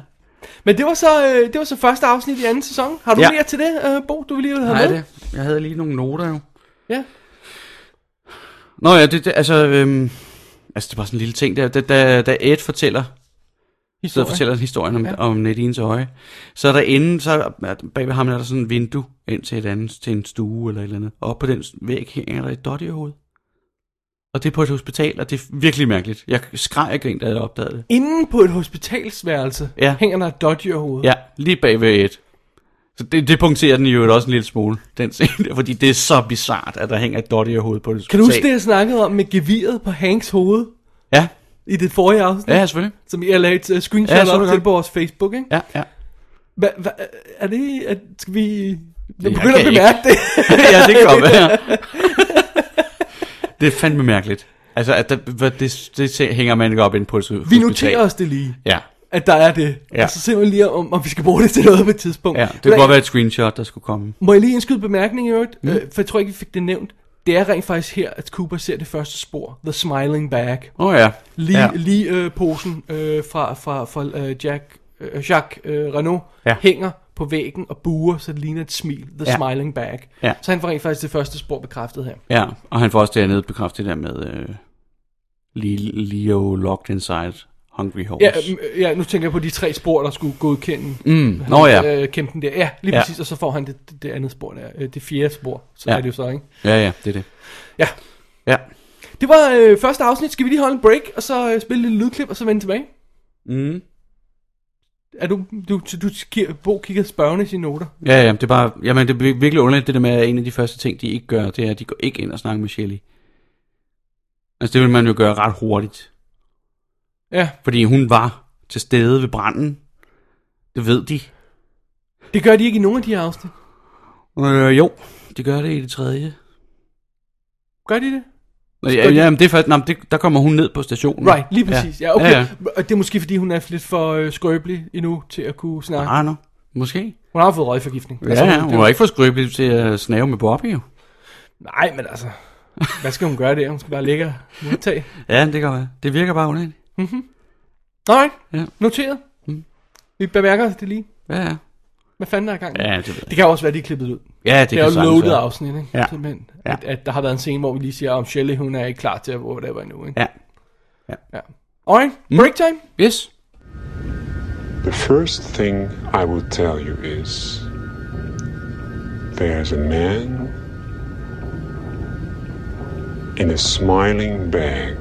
Men det var så, øh, det var så første afsnit i anden sæson. Har du ja.
Ja.
mere til det, øh, Bo, du vil lige have
Nej,
med?
det. Jeg havde lige nogle noter jo.
Ja.
Nå ja, det, det altså... Øhm, altså, det er bare sådan en lille ting der. Da, da, da Ed fortæller Så
Historie.
fortæller historien om,
Ja.
ja. om Nadines øje. Så er der inde, så er der- bag ved ham er der sådan et vindue ind til et andet, til en stue eller et eller andet. Og oppe på den væg hænger der et dotterhoved. Og det er på et hospital, og det er virkelig mærkeligt. Jeg skreg og grin, da jeg opdagede det.
Inden på et hospitalsværelse ja.
Ja.
hænger der et dodgy hoved.
Ja, lige bag ved et. Så det, det punkterer den jo også en lille smule, den scene, der, fordi det er så bizart, at der hænger et dotterhoved på et hospital.
Kan du huske det, jeg snakkede om med geviret på Hanks hoved
Ja,
i det forrige afsnit?
ja selvfølgelig.
Som jeg lagde et øh, screenshot
Ja,
ja,
så
op
det
til
godt.
på vores Facebook, ikke?
Ja, ja.
Hva, hva, er det... Er, skal vi... Jeg
Jeg
begynder at
kan
bemærke det.
ja, det kan godt være. det er fandme mærkeligt. Altså, at der, hvad, det, det se- hænger man ikke op ind på et
Vi
hospital.
noterer os det lige,
Ja,
at der er det. Ja.
Ja.
Og så simpelthen lige om, om vi skal bruge det til noget på et tidspunkt.
ja. Det kunne godt være et screenshot, der skulle komme.
Må jeg lige indskyde en bemærkning i øvrigt? Mm. Øh, for jeg tror ikke, vi fik det nævnt. Det er rent faktisk her, at Cooper ser det første spor. The Smiling Bag.
Åh oh, ja.
Lige, ja.
ja.
lige øh, posen øh, fra, fra, fra øh, Jack, øh, Jacques øh, Renault ja.
Ja.
hænger på væggen og buer, så det ligner et smil. The ja.
Ja.
Smiling Bag.
Ja.
Så han får rent faktisk det første spor bekræftet her.
ja, og han får også dernede bekræftet det der med øh, Li- Leo locked inside Hungry Horse.
Ja, øh, ja, nu tænker jeg på de tre spor, der skulle godkende
mm. Nå ja,
øh, kæmpen der. Ja, lige ja.
Ja.
præcis. Og så får han det, det- det andet spor der. Øh, det fjerde spor. Så ja.
Ja.
er det jo så, ikke?
ja, ja, det er det.
Ja.
Ja.
Det var øh, første afsnit. Skal vi lige holde en break, og så øh, spille et lille lydklip, og så vende tilbage?
Mm.
Er du, du, du, du Bo kigger spørgende i sine noter.
Ja, ja, det er bare, jamen, det er vir- virkelig underligt, det der med, at en af de første ting, de ikke gør, det er, at de går ikke ind og snakker med Shelly. Altså, det vil man jo gøre ret hurtigt.
Ja,
Fordi hun var til stede ved branden. Det ved de.
det gør de ikke i nogen af de her afsnit.
Øh, jo, de gør det i det tredje.
Gør de det?
Nå, Ja, ja, men det er faktisk, nej, men det, der kommer hun ned på stationen.
Right, lige præcis. Ja, ja okay.
Ja, ja.
Og det er måske, fordi hun er lidt for øh, skrøbelig endnu til at kunne snakke.
Ah, no. Måske.
Hun har fået røgforgiftning. Altså,
Ja, ja,
hun,
hun var ikke for skrøbelig til at snave med Bobby, jo.
Nej, men altså... Hvad skal hun gøre der? Hun skal bare ligge og modtage.
Ja, det kan være. Det virker bare underligt.
Alright,
Ja. Mm.
noteret. Vi bemærker os det lige.
Ja, ja.
Hvad fanden der er i gang? i?
Ja, det, ved jeg.
Det kan også være, de er klippet ud.
ja, det,
Det,
kan
er jo
sagtens
loaded
være.
afsnit, ikke?
Ja.
Simpelthen.
Ja.
At, at, der har været en scene, hvor vi lige siger, om Shelley, hun er ikke klar til at whatever endnu, ikke?
Ja. Mm.
ja. Alright, break time.
Yes.
The first thing I will tell you is there's a man in a smiling bag.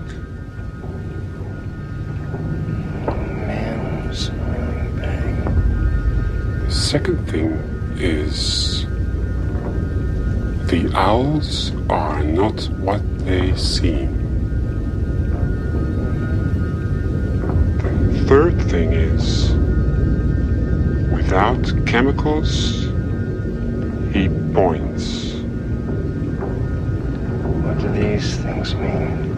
Man smiling bag. The second thing is the owls are not what they seem. third thing is without chemicals, he points.
What do these things mean?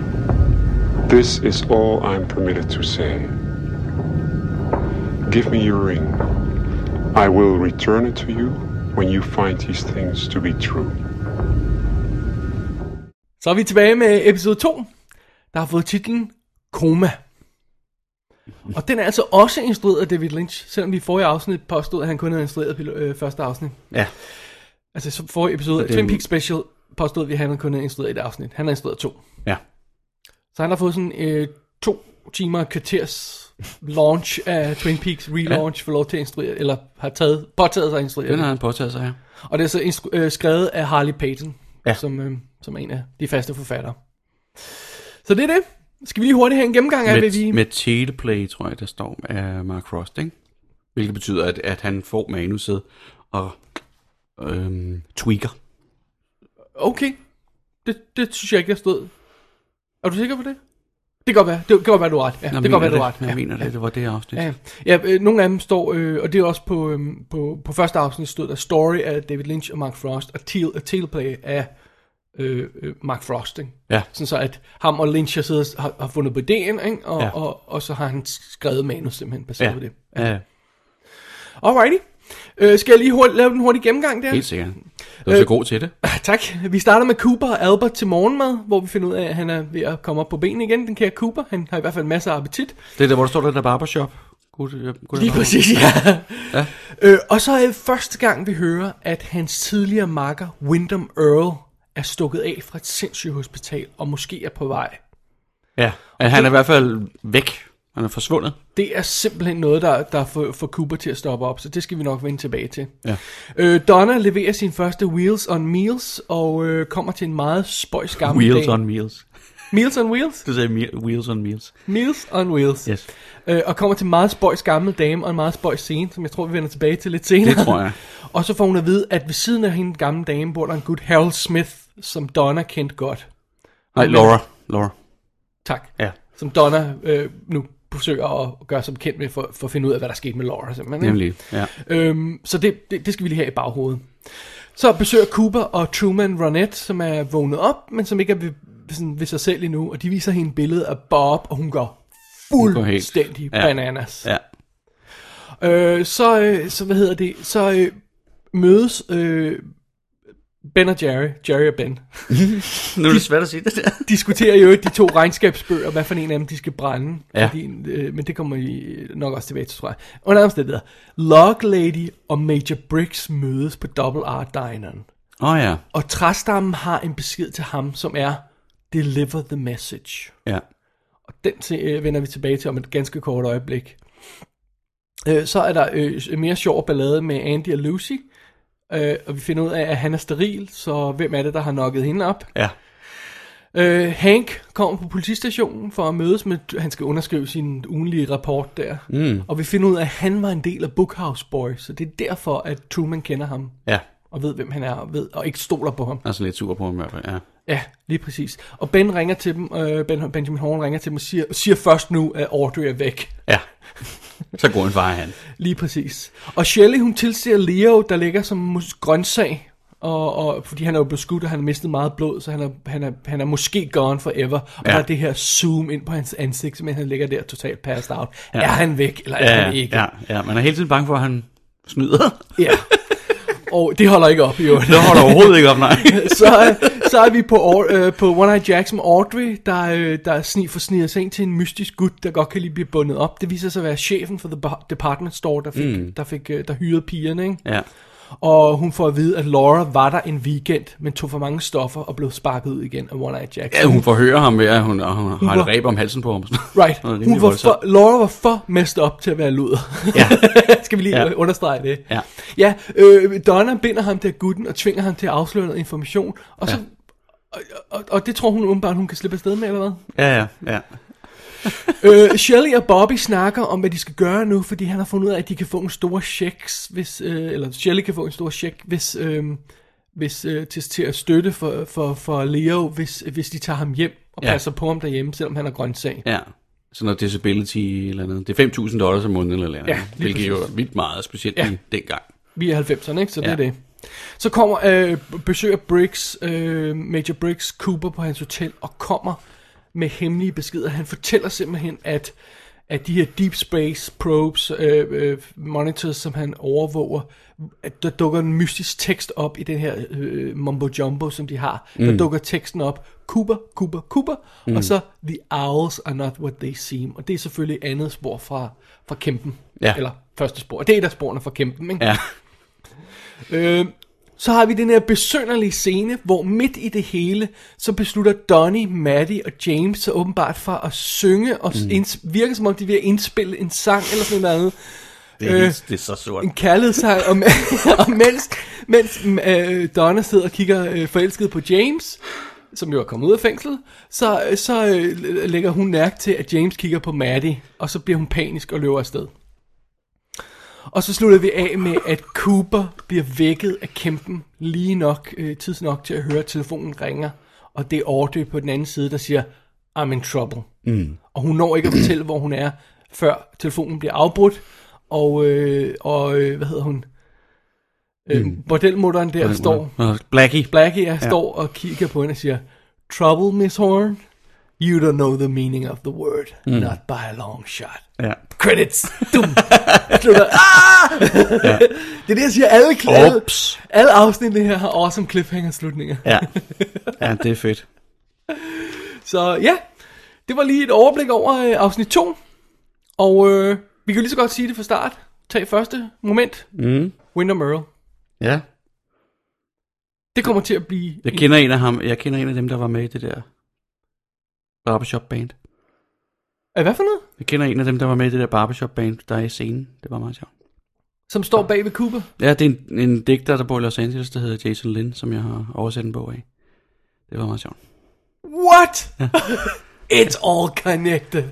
This is all I'm permitted to say. Give me your ring. I will return it to you when you find these things to be true.
Så er vi tilbage med episode 2, der har fået titlen Koma. Og den er altså også instrueret af David Lynch, selvom vi i forrige afsnit påstod, at han kun havde instrueret pil- øh, første afsnit.
Ja.
Altså så forrige episode af
det er
Twin
en-
Peaks Special påstod vi, at han kun havde instrueret et afsnit. Han har instrueret to.
Ja.
Så han har fået sådan øh, to timer og kvarters launch af Twin Peaks relaunch ja. for lov til at instruere, eller har taget, påtaget sig at instruere.
Den
det.
har han påtaget sig her.
Og det er så instru- øh, skrevet af Harley Payton, ja.
Ja.
som, øh, som er en af de faste forfattere. Så det er det. Skal vi lige hurtigt have en gennemgang af, hvad vi...
Med, med teleplay, tror jeg, der står af Mark Frost, ikke? Hvilket betyder, at, at han får manuset og øhm, tweaker.
Okay. Det, det synes jeg ikke, jeg stod. Er du sikker på det? Det kan godt være. Det kan godt være, du har ret. Ja,
Nå,
det kan godt være,
mener
du har ret.
Jeg
Ja.
mener det, det var det afsnit.
Ja, ja øh, nogle af dem står, øh, og det er også på, øh, på, på første afsnit stod der Story af David Lynch og Mark Frost, og Teal, uh, Teleplay af øh, øh, Mark Frost, ikke?
Ja.
Sådan så at ham og Lynch har, siddet, har, har fundet på ideen, ikke? Og,
Ja.
og, og, så har han skrevet manus simpelthen baseret på det.
ja. ja.
Alrighty. Øh, skal jeg lige hurtigt, lave en hurtig gennemgang der? Ah,
Helt sikkert. Du
Øh.
er så god til det.
Tak. Vi starter med Cooper og Albert til morgenmad, hvor vi finder ud af, at han er ved at komme op på benene igen. Den kære Cooper, han har i hvert fald masser af appetit.
Det er der, hvor der står der, der barbershop. God, øh, god
Lige præcis, ja. ja. Øh, og så er det første gang, vi hører, at hans tidligere makker, Wyndham Earl, er stukket af fra et sindssygt hospital og måske er på vej.
Ja, at han er i hvert fald væk. Han er forsvundet.
Det er simpelthen noget, der, der får, får Cooper til at stoppe op, så det skal vi nok vende tilbage til.
Ja.
Øh, Donna leverer sin første Wheels on Meals og øh, kommer til en meget spøjs gammel
Wheels
dag.
on meals.
Meals on Wheels?
Du sagde me- wheels on meals.
Meals on Wheels.
Yes.
Øh, og kommer til en meget spøjs gammel dame og en meget spøjs scene, som jeg tror, vi vender tilbage til lidt senere.
Det tror jeg.
Og så får hun at vide, at ved siden af hende gamle dame bor der en gut Harold Smith, som Donna kendte godt.
Nej, Laura. Laura.
Tak.
Ja.
Som Donna øh, nu forsøger at gøre sig bekendt med, for, for at finde ud af, hvad der skete med Laura. Simpelthen, ikke?
Nemlig. Ja.
Øhm, så det, det, det skal vi lige have i baghovedet. Så besøger Cooper og Truman Ronette, som er vågnet op, men som ikke er ved, sådan ved sig selv endnu, og de viser hende et billede af Bob, og hun går
går helt-
fuldstændig
ja.
bananas.
ja.
Øh, så, øh, så hvad hedder det, så øh, mødes øh, Ben og Jerry, Jerry og Ben,
Nu er det svært at sige det der.
diskuterer jo de to regnskabsbøger, hvad for en af dem de skal brænde.
Ja.
Fordi, øh, men det kommer vi nok også tilbage til, tror jeg. Under andre steder. Log Lady og Major Briggs mødes på Double R Dineren.
Åh oh, ja.
Og træstammen har en besked til ham, som er, deliver the message.
Ja.
Og den til, øh, vender vi tilbage til om et ganske kort øjeblik. Øh, så er der øh, en mere sjov ballade med Andy og Lucy. Øh, og vi finder ud af, at han er steril, så hvem er det, der har nokket hende op?
Ja.
Øh, Hank kommer på politistationen for at mødes med, han skal underskrive sin ugenlige rapport der. Mm. Og vi finder ud af, at han var en del af Bookhouse Boys, så det er derfor, at Truman kender ham
Ja.
og ved, hvem han er, og, ved, og ikke stoler på ham.
Altså lidt sur på ham i hvert fald. Ja.
Ja, lige præcis. Og Ben ringer til dem, øh, ben, Benjamin Horn ringer til dem og siger, siger først nu, at Audrey er væk.
ja. Så går en far han.
Lige præcis. Og Shelley, hun tilser Leo, der ligger som mus- grøntsag, og, og, fordi han er jo blevet skudt, og han har mistet meget blod, så han er, han er, han er måske gone forever. Og ja.
Ja.
der er det her zoom ind på hans ansigt, men han ligger der totalt passed out. Ja.
Ja.
Er han væk, eller er
Ja,
han ikke?
ja, ja. Man er hele tiden bange for, at han snyder.
ja. Og det holder ikke op, jo.
Det holder overhovedet ikke op, nej.
så, øh, så er vi på, Au- øh, på One Eye Jacks med Audrey, der, øh, der sni for sniger sig ind til en mystisk gut, der godt kan lige blive bundet op. Det viser sig at være chefen for The Ba- Department Store, der fik, mm. der, fik øh, der hyrede pigerne, ikke?
Ja.
Og hun får at vide, at Laura var der en weekend, men tog for mange stoffer og blev sparket ud igen af One Eye Jack.
ja, hun forhører ham ved, at hun, og hun har
var-
et ræb om halsen på ham.
Right.
Noget
Hun
rimelig
var
voldsomt.
for, Laura var for messed op til at være luder.
Ja.
Skal vi lige ja.
Ja.
understrege det?
Ja.
ja øh, Donna binder ham til gutten og tvinger ham til at afsløre noget information. Og, så, og, og, og det tror hun åbenbart, hun kan slippe afsted med, eller hvad?
Ja, ja, ja.
øh, Shelley og Bobby snakker om, hvad de skal gøre nu, fordi han har fundet ud af, at de kan få en stor checks, hvis, øh, eller Shelley kan få en stor check, hvis, øh, hvis, øh, til, til at støtte for, for, for Leo, hvis, hvis de tager ham hjem og
Ja.
passer på ham derhjemme, selvom han er grøntsag.
Ja. sådan noget disability eller andet. Det er 5.000 dollars om måneden eller andet,
Ja, lige
hvilket jo er
præcis.
vildt meget, specielt
Ja.
ja. dengang.
Vi er 90'erne, ikke? Så det
Ja.
er det. Så kommer, øh, besøger Briggs, øh, Major Briggs Cooper på hans hotel og kommer med hemmelige beskeder. Han fortæller simpelthen, at, at de her deep space probes, øh, øh, monitors, som han overvåger, at der dukker en mystisk tekst op i den her øh, mumbo jumbo, som de har. Mm. Der dukker teksten op, Cooper, Cooper, Cooper, mm. og så The owls are not what they seem. Og det er selvfølgelig andet spor fra, fra kæmpen.
Ja.
Eller første spor. Det er et af sporene fra kæmpen, ikke?
Ja,
Øh, så har vi den her besønderlige scene, hvor midt i det hele, så beslutter Donnie, Maddie og James så åbenbart for at synge, og mm. inds- virker som om de er ved at indspille en sang eller sådan noget andet.
det er,
Øh,
helt, det er så sort.
En kærlighedssang, og, og mens, mens øh, Donna sidder og kigger øh, forelsket på James, som jo er kommet ud af fængslet, så, så øh, lægger hun mærke til, at James kigger på Maddie, og så bliver hun panisk og løber afsted. Og så slutter vi af med, at Cooper bliver vækket af kæmpen lige nok, øh, tids nok til at høre, at telefonen ringer. Og det er Audrey på den anden side, der siger, I'm in trouble. Mm. Og hun når ikke at fortælle, hvor hun er, før telefonen bliver afbrudt. Og, øh, og øh, hvad hedder hun? Øh, bordelmutteren der står,
Og Blackie.
Blackie ja. står og kigger på hende og siger, Trouble, Miss Horn? You don't know the meaning of the word. Mm. Not by a long shot
Ja.
credits. Dum. Slutter. Ah! det er det, jeg siger. Alle, alle,
Ups.
alle afsnittene her har awesome cliffhanger-slutninger.
Ja. ja, det er fedt.
Så ja, det var lige et overblik over øh, afsnit 2. Og øh, vi kan lige så godt sige det fra start. Tag første moment.
Mm.
Winter Merle.
Ja.
Det kommer til at blive...
Jeg kender en af ham. Jeg kender en af dem, der var med i det der barbershop band.
Øh, Hvad for noget?
Jeg kender en af dem, der var med i det der barbershop band, der er i scenen. Det var meget sjovt.
Som står bag ved Cooper.
Ja, det er en, en digter, der bor i Los Angeles, der hedder Jason Lin, som jeg har oversat en bog af. Det var meget sjovt.
What? It's all connected.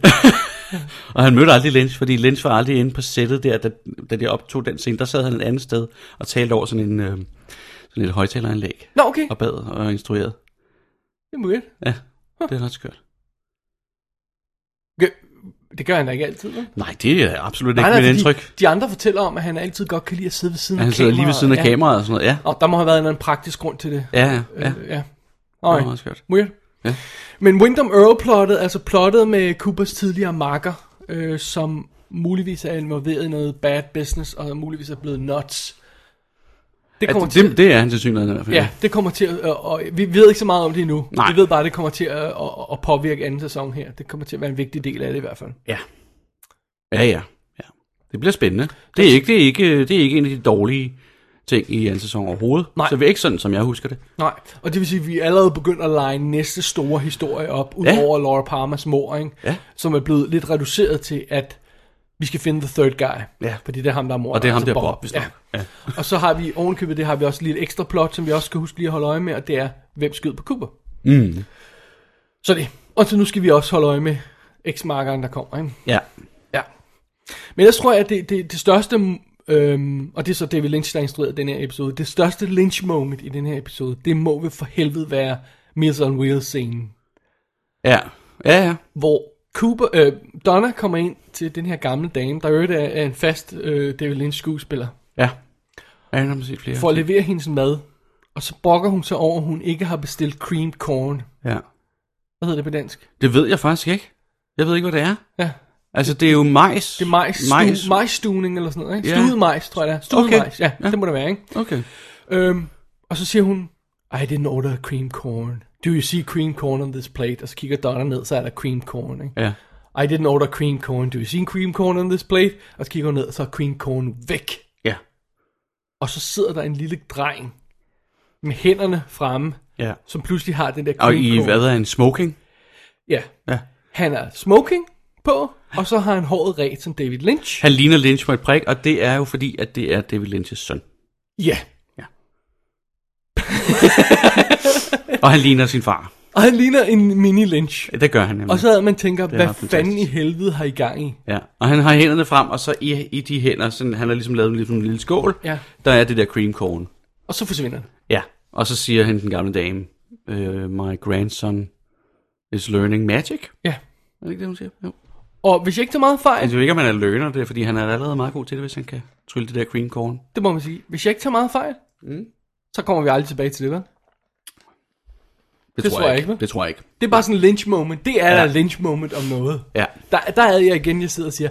Og han mødte aldrig Lynch, fordi Lynch var aldrig inde på sættet der, da, da de optog den scene. Der sad han et andet sted og talte over sådan en øh, sådan et højtaleranlæg
Nå, okay.
og bad og instruerede.
Det er weird.
Ja, det er ret skørt.
Gør- Det gør han da ikke altid, vel?
Nej, det er absolut
Nej,
ikke
nej,
mit
fordi
indtryk.
De andre fortæller om, at han altid godt kan lide at sidde ved siden
Han
af
sidder
kameraet.
lige ved siden af
ja.
kameraet og sådan noget. Ja,
Og der må have været en eller anden praktisk grund til det.
ja, ja.
Øh, ja.
Det var
Alright.
meget skørt.
Weird.
Ja.
Men Wyndham Earl-plottet, altså plottet med Coopers tidligere marker, øh, som muligvis er involveret i noget bad business, og muligvis er blevet nuts. Det
Ja,
kommer
det,
til...
det, det er han til synligheden i hvert fald.
Ja, det kommer til at, og, og vi ved ikke så meget om det endnu.
Nej.
Vi ved bare, at det kommer til at, at, at påvirke anden sæson her. Det kommer til at være en vigtig del af det i hvert fald.
Ja. Ja, ja. ja. Det bliver spændende. Det er, ikke, det, er ikke, det er ikke en af de dårlige ting i anden sæson overhovedet.
Nej.
Så det er ikke sådan, som jeg husker det.
Nej, og det vil sige, at vi er allerede begyndt at lege næste store historie op, ud
Ja.
over Laura Palmers mor, ikke?
Ja.
som er blevet lidt reduceret til, at vi skal finde the third guy.
Ja.
Fordi det er ham, der er mor.
Og det er ham, der er Bob, hvis
ja.
nok. Ja.
Og så har vi ovenkøbet, det har vi også lige et ekstra plot, som vi også skal huske lige at holde øje med, og det er, hvem skød på Cooper.
Mm.
Så det. Og så nu skal vi også holde øje med X-markeren, der kommer. Ikke?
Ja.
Ja. Men ellers tror jeg, at det, det, det største, øhm, og det er så David Lynch, der instruerede den her episode, det største Lynch-moment i den her episode, det må vel for helvede være Meals on Wheels-scenen,
Ja. Ja, ja.
hvor Cooper, øh, Donna kommer ind til den her gamle dame, der i øvrigt er, er en fast øh, David Lynch-skuespiller,
Ja. Ja, jeg har set flere.
for at levere hendes mad, og så brokker hun sig over, at hun ikke har bestilt creamed corn.
Ja.
Hvad hedder det på dansk?
Det ved jeg faktisk ikke. Jeg ved ikke, hvad det er.
Ja,
Altså, det er jo majs.
det er majs, majs. Stu, majsstuning eller sådan noget, ikke?
Ja.
Stuet majs, tror jeg det er. Stuet
Okay.
majs, ja, ja,
Ja.
det må det være, ikke?
Okay.
Øhm, og så siger hun, I didn't order cream corn. Do you see cream corn on this plate? Og så kigger Donna ned, så er der cream corn. Ikke?
Ja.
I didn't order cream corn. Do you see cream corn on this plate? Og så kigger hun ned, så er cream corn væk.
Ja.
Og så sidder der en lille dreng med hænderne fremme,
Ja.
som pludselig har den der cream
Og i,
corn.
hvad hedder han, smoking?
Ja.
Ja.
Han er smoking på, og så har han håret ret som David Lynch.
Han ligner Lynch på et prik, og det er jo fordi, at det er David Lynch's søn.
Ja.
Og han ligner sin far.
Og han ligner en mini Lynch.
Ja, det gør han nemlig.
Og så havde man tænker,
er
hvad
ret
fanden i
fantastisk.
helvede har I gang i?
Ja, og han har hænderne frem, og så i, i de hænder, sådan, han har ligesom lavet en, ligesom en lille skål,
Ja.
der er det der cream corn.
Og så forsvinder han.
Ja, og så siger han den gamle dame, øh, my grandson is learning magic.
Ja.
Er det ikke det, hun siger? Jo. Altså,
Og hvis jeg ikke tager meget
Jeg
fejl,
ved ikke, om han er løgner, det er, fordi han er allerede meget god til det, hvis han kan trylle det der cream corn.
det må man sige, hvis jeg ikke tager meget fejl,
Mm.
så kommer vi aldrig tilbage til det, vel?
Det,
tror jeg ikke, vel?
Det tror jeg ikke.
Det er bare sådan en lynch moment. Det er
Ja.
ja. lynch moment om noget.
Ja.
Der, der er jeg igen, jeg sidder og siger,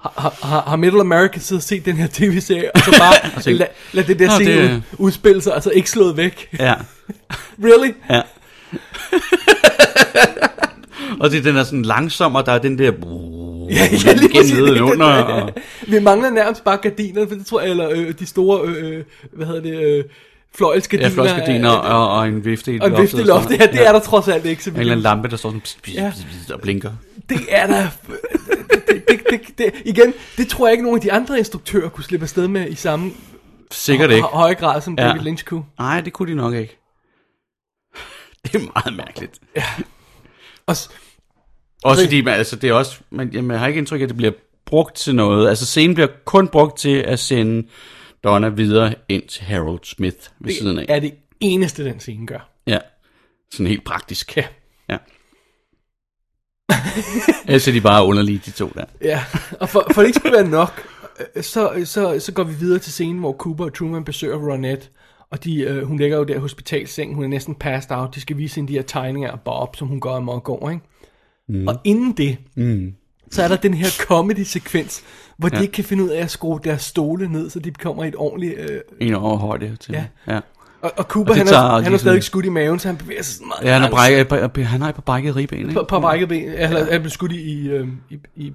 har, har- har, har Middle America siddet og set den her tv-serie, og så bare
tænkt,
lad, lad det der
"Nå,
scene
det-
ud, udspille sig, altså ikke slået væk.
Ja,
really?
ja. og det er den er sådan langsom, og der er den der... Ja,
præcis.
under, og...
Vi mangler nærmest bare gardinerne, for det tror jeg, eller øh, de store, øh, øh, hvad hedder det, øh, fløjelsgardiner.
Ja, flosgardiner
øh,
og, og en vifte i
og en vifte i loftet, ja, det er der trods alt ikke. Så
Og en eller anden lampe, der står sådan pss, pss,
Ja.
pss, pss, og blinker.
Det er der. Det, det, det, det, igen, det tror jeg ikke, nogen af de andre instruktører kunne slippe afsted med i samme
Sikkert ikke.
høje grad, som
Ja.
David Lynch kunne.
Nej, det kunne de nok ikke. Det er meget mærkeligt.
Og, s-
Også
Så-
fordi, man, altså, det er også, man, jamen, jeg har ikke indtryk af, at det bliver brugt til noget. Altså, scenen bliver kun brugt til at sende Donna videre ind til Harold Smith ved siden af.
det er det eneste, den scene gør.
Ja. Sådan helt praktisk.
Ja.
ja. Ellers er de bare underlige, de to der.
Ja, og for, for det ikke skulle være nok, øh, så, så, så går vi videre til scenen, hvor Cooper og Truman besøger Ronette. Og de, øh, hun ligger jo der i hospitalsengen, hun er næsten passed out. De skal vise hende de her tegninger af Bob, som hun går amok over, ikke? Mm. Og inden det, mm. så er der den her comedy-sekvens, hvor ja. de ikke kan finde ud af at skrue deres stole ned, så de kommer i et ordentligt... Øh,
En overhøjde til.
Ja.
ja.
og, og Cooper,
Og det
han, tager,
tager de
han er
sådan-
stadig ikke skudt i maven, så han bevæger sig sådan meget...
Ja, han har, brækket, han har på brækket ribben, ikke?
På, på brækket ben. Eller han blev skudt i... i, øh, i, i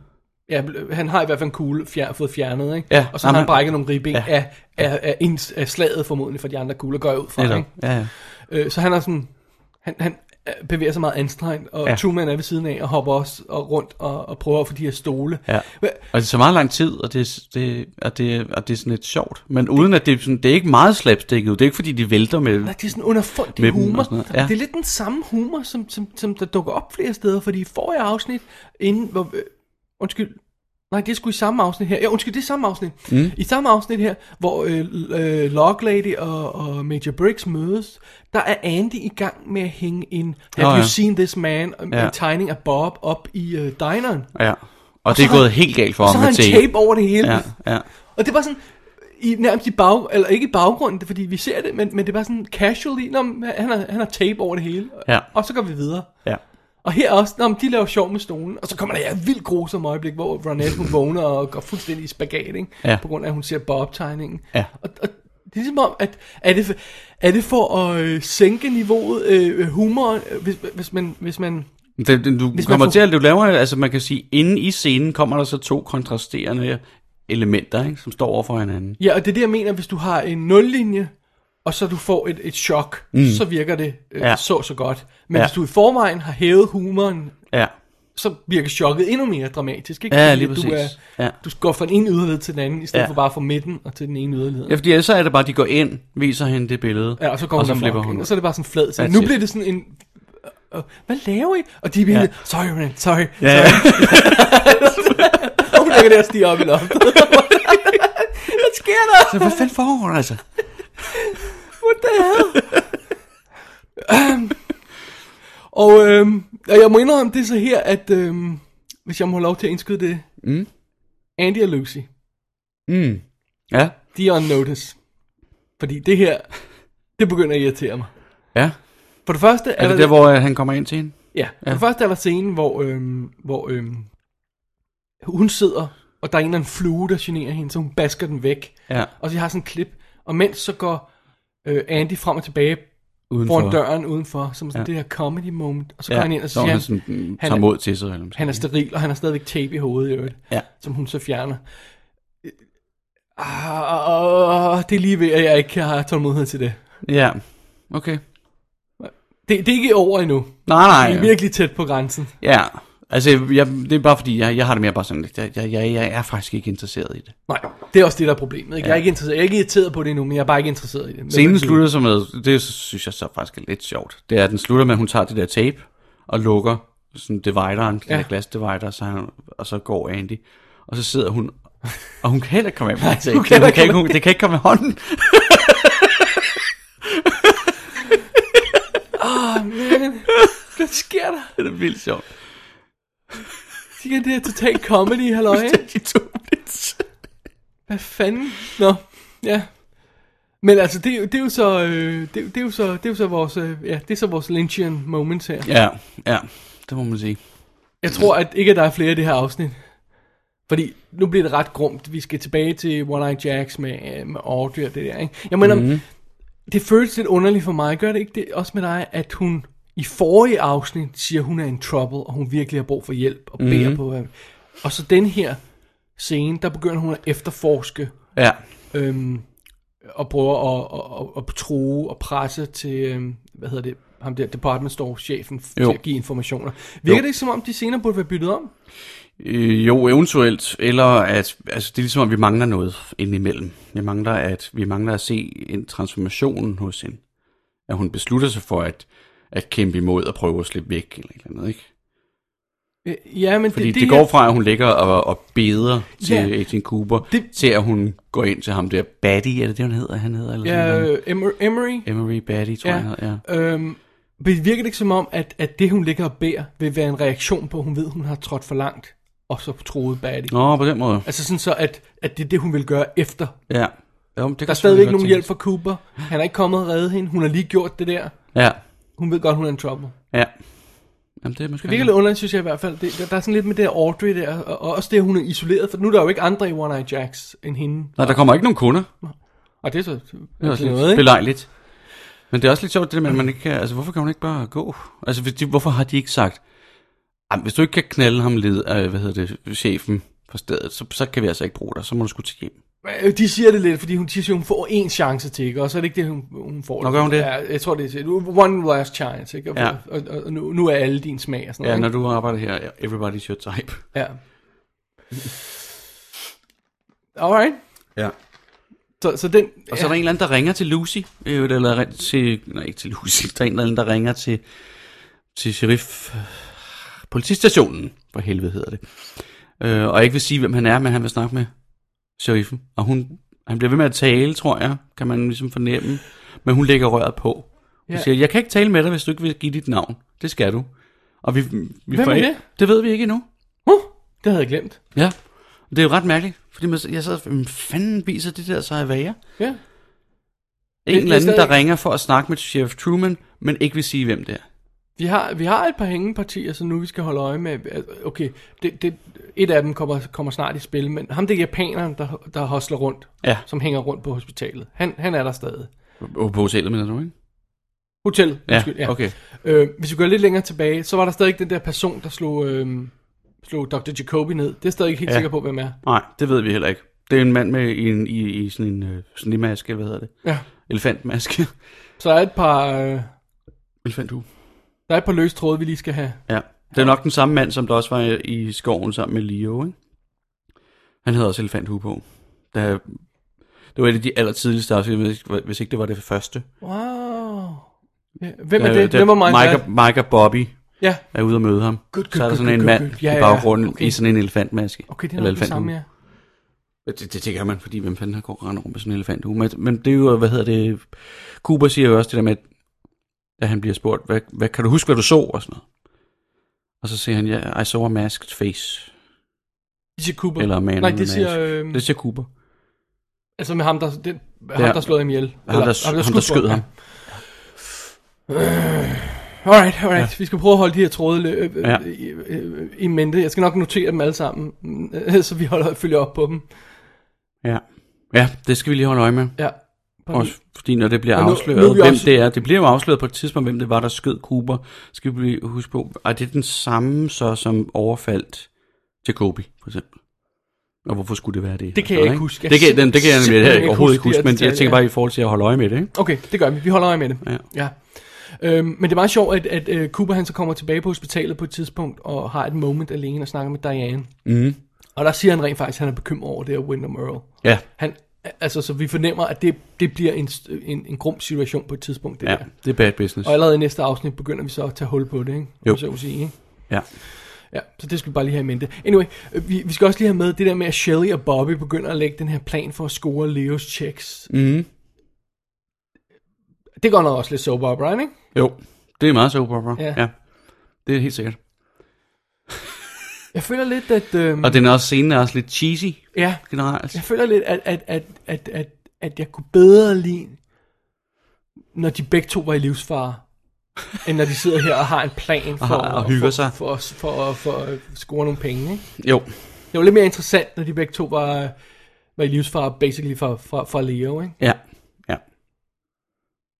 ja, han har i hvert fald en kugle fjer, fået fjernet, ikke?
Ja,
og så har
jamen,
han brækket nogle ribben
ja.
ja. af, af, af, ens, af slaget formodentlig fra de andre kugler, går jeg ud fra.
Netop.
Ikke?
Ja, ja.
Øh, så han er sådan... Han, han øh, bevæger sig meget anstrengt, og
Ja.
ja. Truman er ved siden af og hopper også og rundt og, og prøver at få de her stole.
Ja. Og det er så meget lang tid, og det, er- det, og det, og det er sådan lidt sjovt. Men uden at det, er sådan, det er ikke meget slapstikket. Det er ikke fordi, de vælter med...
Nej, det er sådan underfundig med
Med dem og
humor.
sådan noget, ja.
Ja. Det er lidt den samme humor, som, som, som der dukker op flere steder, fordi i forrige afsnit, inden, hvor, øh, undskyld, nej, det er sgu i samme afsnit her. Ja, undskyld, det er samme afsnit. Mm. I samme afsnit her, hvor øh, l- øh, Log Lady og, og Major Briggs mødes, der er Andy i gang med at hænge en Have
Nå,
oh,
ja.
You Seen This Man, ja.
Ja.
en tegning af Bob op i øh, dineren.
Ja. Og, og det er
så har
gået
han-
helt galt for
Og så
ham
har han
med tape.
tape over det hele.
Ja, ja.
Og det var sådan, i, nærmest i bag, eller ikke i baggrunden, det er fordi vi ser det, men, men det var sådan casually, når han har, han har tape over det hele,
Ja.
og så går vi videre.
ja.
Og her også, når de laver sjov med stolen, og så kommer der et vildt grusomt øjeblik, hvor Ronette hun vågner og går fuldstændig i spagat, ikke?
Ja.
på grund af, at hun ser Bob-tegningen.
Ja.
Og, og det er ligesom om, at er det, for- er det for at øh, sænke niveauet, øh, humoren, øh, hvis, hvis, man, hvis man...
Det, det, du
Hvis man
kommer
får-
til at du laver, altså man kan sige, inden i scenen kommer der så to kontrasterende elementer, ikke, som står over for hinanden.
Ja, og det er det, jeg mener, hvis du har en nullinje, og så du får et, et chok, mm. så virker det øh,
Ja.
ja. så så godt. Men
Ja.
ja. hvis du i forvejen har hævet humoren,
Ja,
så virker chokket endnu mere dramatisk, ikke?
ja
Fordi
lige
at
præcis.
Du, er,
ja.
du går fra den ene yderhed til den anden, i stedet
Ja.
ja. for bare fra midten og til den ene yderhed.
ja, fordi ellers så er det bare, at de går ind, viser hende det billede,
Ja, og så kommer
og så
hun amok,
flipper
ikke?
hun. ud.
Og så er det bare sådan flad. Så
That's
nu
it.
bliver det sådan en... øh, øh, Hvad laver I? Og de er ja. sorry, man, sorry.
Ja, ja.
Og hun ligger der og stiger op i loftet. Hvad sker der?
Så hvad fanden foregår der altså?
What the hell? Øhm, og, øhm, og jeg må indrømme det er så her, at øhm, hvis jeg må have lov til at indskyde det, mm. Andy og Lucy,
Mm. Ja,
de er on notice. Fordi det her, det begynder at irritere mig.
ja.
For det første
Er det der, hvor øh, han kommer ind til hende?
Ja, ja. først er der scenen, hvor, øhm, hvor øhm, hun sidder, og der er en eller anden flue, der generer hende, så hun basker den væk.
Ja.
Og så har sådan en klip, og mens så går øh, Andy frem og tilbage
Udenfor.
foran døren udenfor, som sådan
Ja.
ja. det her comedy moment, og så går
Ja,
han ind og
så
siger,
han
han,
sådan, mm,
han
tager
er-
mod til sig. Eller
han er steril, og han har stadigvæk tape i hovedet i øvrigt,
Ja.
som hun så fjerner. Øh, Ah, det er lige ved, at jeg ikke har tålmodighed til det.
Ja, okay.
det. Det er ikke over endnu.
Nej, nej.
Vi er virkelig tæt på grænsen.
Ja, altså jeg, det er bare fordi, jeg, jeg har det mere bare sådan, jeg, jeg, jeg, jeg er faktisk ikke interesseret i det.
Nej, det er også det, der er problemet. Ikke? Ja. Jeg, er ikke interesseret, jeg er ikke irriteret på det endnu, men jeg er bare ikke interesseret i det. Men-
Scenen slutter så med, det synes jeg så faktisk er lidt sjovt, det er, at den slutter med, at hun tager det der tape og lukker sådan divideren, den ja.
Ja.
der glasdivider, så han, og så går Andy, og så sidder hun, og hun kan heller ikke komme af med det tape.
hun kan
Det- hun
ikke
kan ikke,
komme
hun, det kan ikke komme med hånden.
Åh, oh, man. Hvad sker der?
Det er vildt sjovt.
Det er det her total comedy, halløj. ikke?
De to bits.
Hvad fanden? Nå, ja. Men altså, det, er jo- det er jo så, øh, det, er jo- det er jo så, det er jo så vores, øh, ja, det er så vores Lynchian moment her.
Ja, ja, det må man sige.
Jeg tror at ikke, at der er flere i det her afsnit. Fordi nu bliver det ret grumt. Vi skal tilbage til One Eye Jacks med, øh, med Audrey og det der. Ikke? Jeg mener, mm-hmm. det føles lidt underligt for mig. Gør det ikke det også med dig, at hun i forrige afsnit siger, at hun er in trouble, og hun virkelig har brug for hjælp og beder mm-hmm. på. øh, Og så den her scene, der begynder hun at efterforske
Ja,
øhm, og prøver at, at, at, at true og presse til, øhm, hvad hedder det, ham der department store chefen til
Jo.
at give informationer. Virker
Jo.
det ikke som om, de senere burde være byttet om?
øh, jo eventuelt, eller at, altså det er ligesom, at vi mangler noget indimellem. Vi mangler at, vi mangler at se en transformation hos hende. At hun beslutter sig for at, at kæmpe imod og prøve at slippe væk, eller et eller andet, ikke?
Øh, Ja, men
Fordi
det,
det,
det,
det går fra, at hun ligger og, og beder til
Ja.
Agent Cooper,
Det-
det, til at hun går ind til ham der, Batty, er det det, hun hedder? Han hedder, eller
Ja,
sådan noget?
øh, Emer- Emery.
Emery Batty, tror
Ja.
ja. jeg, han hedder, ja.
Øhm, men virker det ikke som om, at, at det, hun ligger og beder, vil være en reaktion på, at hun ved, hun har trådt for langt, og så troede Batty?
Nå, på den måde.
Altså sådan så, at, at det er det, hun vil gøre efter.
Ja. Jo, men det
Der er stadigvæk nogen hjælp fra Cooper. Han er ikke kommet og redde hende. Hun har lige gjort det der.
Ja,
Hun ved godt, hun er in trouble.
ja. Jamen, det er måske...
Det virker lidt underligt, synes jeg i hvert fald. Det, der, der er sådan lidt med det der Audrey der, og, og også det, at hun er isoleret, for nu er der jo ikke andre i One Eye Jacks end hende.
Nej, der kommer ikke nogen kunder.
Og det er så
Det er også
noget,
lidt
ikke?
belejligt. Men det er også lidt sjovt, det der med, at man ikke kan... Altså, hvorfor kan hun ikke bare gå? Altså, hvis de, hvorfor har de ikke sagt... "Jamen, hvis du ikke kan knalde ham led, øh, hvad hedder det, chefen på stedet, så, så kan vi altså ikke bruge dig. Så må du skulle til hjem.
Øh, De siger det lidt, fordi hun siger, at hun får en chance til, ikke? og så er det ikke det, hun, hun får.
Nå, gør hun det?
Ja, jeg tror, det er one last chance, ikke? Og,
Ja.
og, og, og nu, nu er alle din smag og sådan
Ja,
noget.
når du arbejder her, everybody's your type.
ikke? ja. Alright.
Ja.
Så, så den...
Og så er der en eller anden, der ringer til Lucy. Øh, eller ring- til, nej, ikke til Lucy. Der er en eller anden, der ringer til, til sheriff... Politistationen, for helvede hedder det. Øh, og ikke vil sige, hvem han er, men han vil snakke med sheriffen. Og hun, han bliver ved med at tale, tror jeg, kan man ligesom fornemme. Men hun lægger røret på. Hun
Ja.
ja. siger, jeg kan ikke tale med dig, hvis du ikke vil give dit navn. Det skal du. Og vi, vi
Hvem
får
er
ikke-
det?
Det ved vi ikke endnu.
Huh, det havde jeg glemt.
Ja. Det er jo ret mærkeligt, fordi man, jeg sad, hvem fanden viser det der sig at være?
Ja.
En
Det-
eller
det er
anden, der
stadig-
ringer for at snakke med Sheriff Truman, men ikke vil sige, hvem det er.
Vi har, vi har et par hængepartier, så nu vi skal holde øje med... altså, Okay, det, det, et af dem kommer, kommer snart i spil, men ham det er japaneren, der, der hostler rundt,
Ja.
som hænger rundt på hospitalet. Han, han er der stadig.
På hotellet, mener du, ikke?
Hotel,
Ja,
undskyld,
okay.
Øh, hvis vi går lidt længere tilbage, så var der stadig den der person, der slog, øh, slog Dr. Jacobi ned. Det er jeg stadig ikke helt ja.
Ja.
sikker på, hvem er.
Nej, det ved vi heller ikke. Det er en mand med i, en, i, i sådan en øh, snemaske, eller hvad hedder det?
Ja.
Elefantmaske.
Så der er et par, øh,
Elefanthue.
der er et par løse tråde, vi lige skal have.
Ja. Det er nok den samme mand, som der også var i, i skoven sammen med Leo, ikke? Han havde også elefanthue på. Der, det var et af de aller tidligste afsnit, hvis ikke- hvis ikke det var det første.
Wow. Ja, hvem er
Der-
det?
der-
Hvem er Mike?
Mike, og, Mike og Bobby
Ja,
er ude og møde ham.
Good, good,
så er der
good,
sådan en
good,
mand
good, good. Ja,
i
ja,
baggrunden
okay.
i sådan en elefantmaske.
okay, det er
Eller
nok det samme,
elefanthue.
ja.
Det, det, det gør man, fordi hvem fanden har gået rundt med sådan en elefanthue. Men, men det er jo, hvad hedder det, Cooper siger jo også det der med, at- at han bliver spurgt, hvad, hvad kan du huske, hvad du så, og sådan noget. Og så siger han, ja, I saw a masked face.
De siger Cooper.
Eller man
Nej,
in a
det siger,
mask.
øh,
Det siger Cooper.
altså med ham, der, den, ham, der slår ham ihjel.
Ham, der, ham, der, ham, der skød ham.
Øh, Alright, alright. Ja. Vi skal prøve at holde de her tråde øh, øh,
Ja.
øh, øh, i mente. Jeg skal nok notere dem alle sammen, øh, så vi holder følger op på dem.
Ja. ja, det skal vi lige holde øje med.
Ja.
Også fordi når det bliver
Og nu- nu er
afsløret,
vi
hvem
også-
det er. Det bliver jo afsløret på et tidspunkt, hvem det var, der skød Cooper. Skal vi lige huske på, er det den samme så, som overfaldt Jacobi, for eksempel? Og hvorfor skulle det være det? Altså,
Det kan jeg ikke huske. Jeg
Det kan,
kan
den, det kan jeg
simpelthen
nemlig
ikke
heller overhovedet ikke
huske de
huske, men
her
jeg tænker
detaljer.
bare i forhold til at holde øje med det, ikke?
Okay, det gør vi. Vi holder øje med det.
Ja.
ja. Øhm, men det er meget sjovt, at, at øh, Cooper han så kommer tilbage på hospitalet på et tidspunkt, og har et moment alene og snakker med Diane. Mm.
Mhm.
Og der siger han rent faktisk, at han er bekymret over det her Wyndham Earl.
Ja,
Han, altså, så vi fornemmer, at det, det bliver en, st- en, en grum situation på et tidspunkt, det
ja,
der.
det er bad business.
Og allerede i næste afsnit begynder vi så at tage hul på det, ikke?
Jo.
Om Så, at sige, ikke?
Ja.
Ja, så det skal vi bare lige have i mente. Anyway, øh, vi, vi skal også lige have med det der med, at Shelly og Bobby begynder at lægge den her plan for at score Leos checks.
Mm.
Det går nok også lidt soap opera, ikke?
Jo, det er meget soap opera.
Ja.
Ja. Det er helt sikkert.
Jeg føler lidt, at... Øhm,
Og den er også scenen er også lidt cheesy
ja,
generelt.
jeg føler lidt, at, at, at, at, at, at jeg kunne bedre lide, når de begge to var i livsfare, end når de sidder her og har en plan for,
har- og hygger
for,
sig.
For, for, for, for at score nogle penge. Ikke?
Jo,
Det var lidt mere interessant, når de begge to var, var i livsfare, basically fra, fra, fra Leo. Ikke?
ja, ja.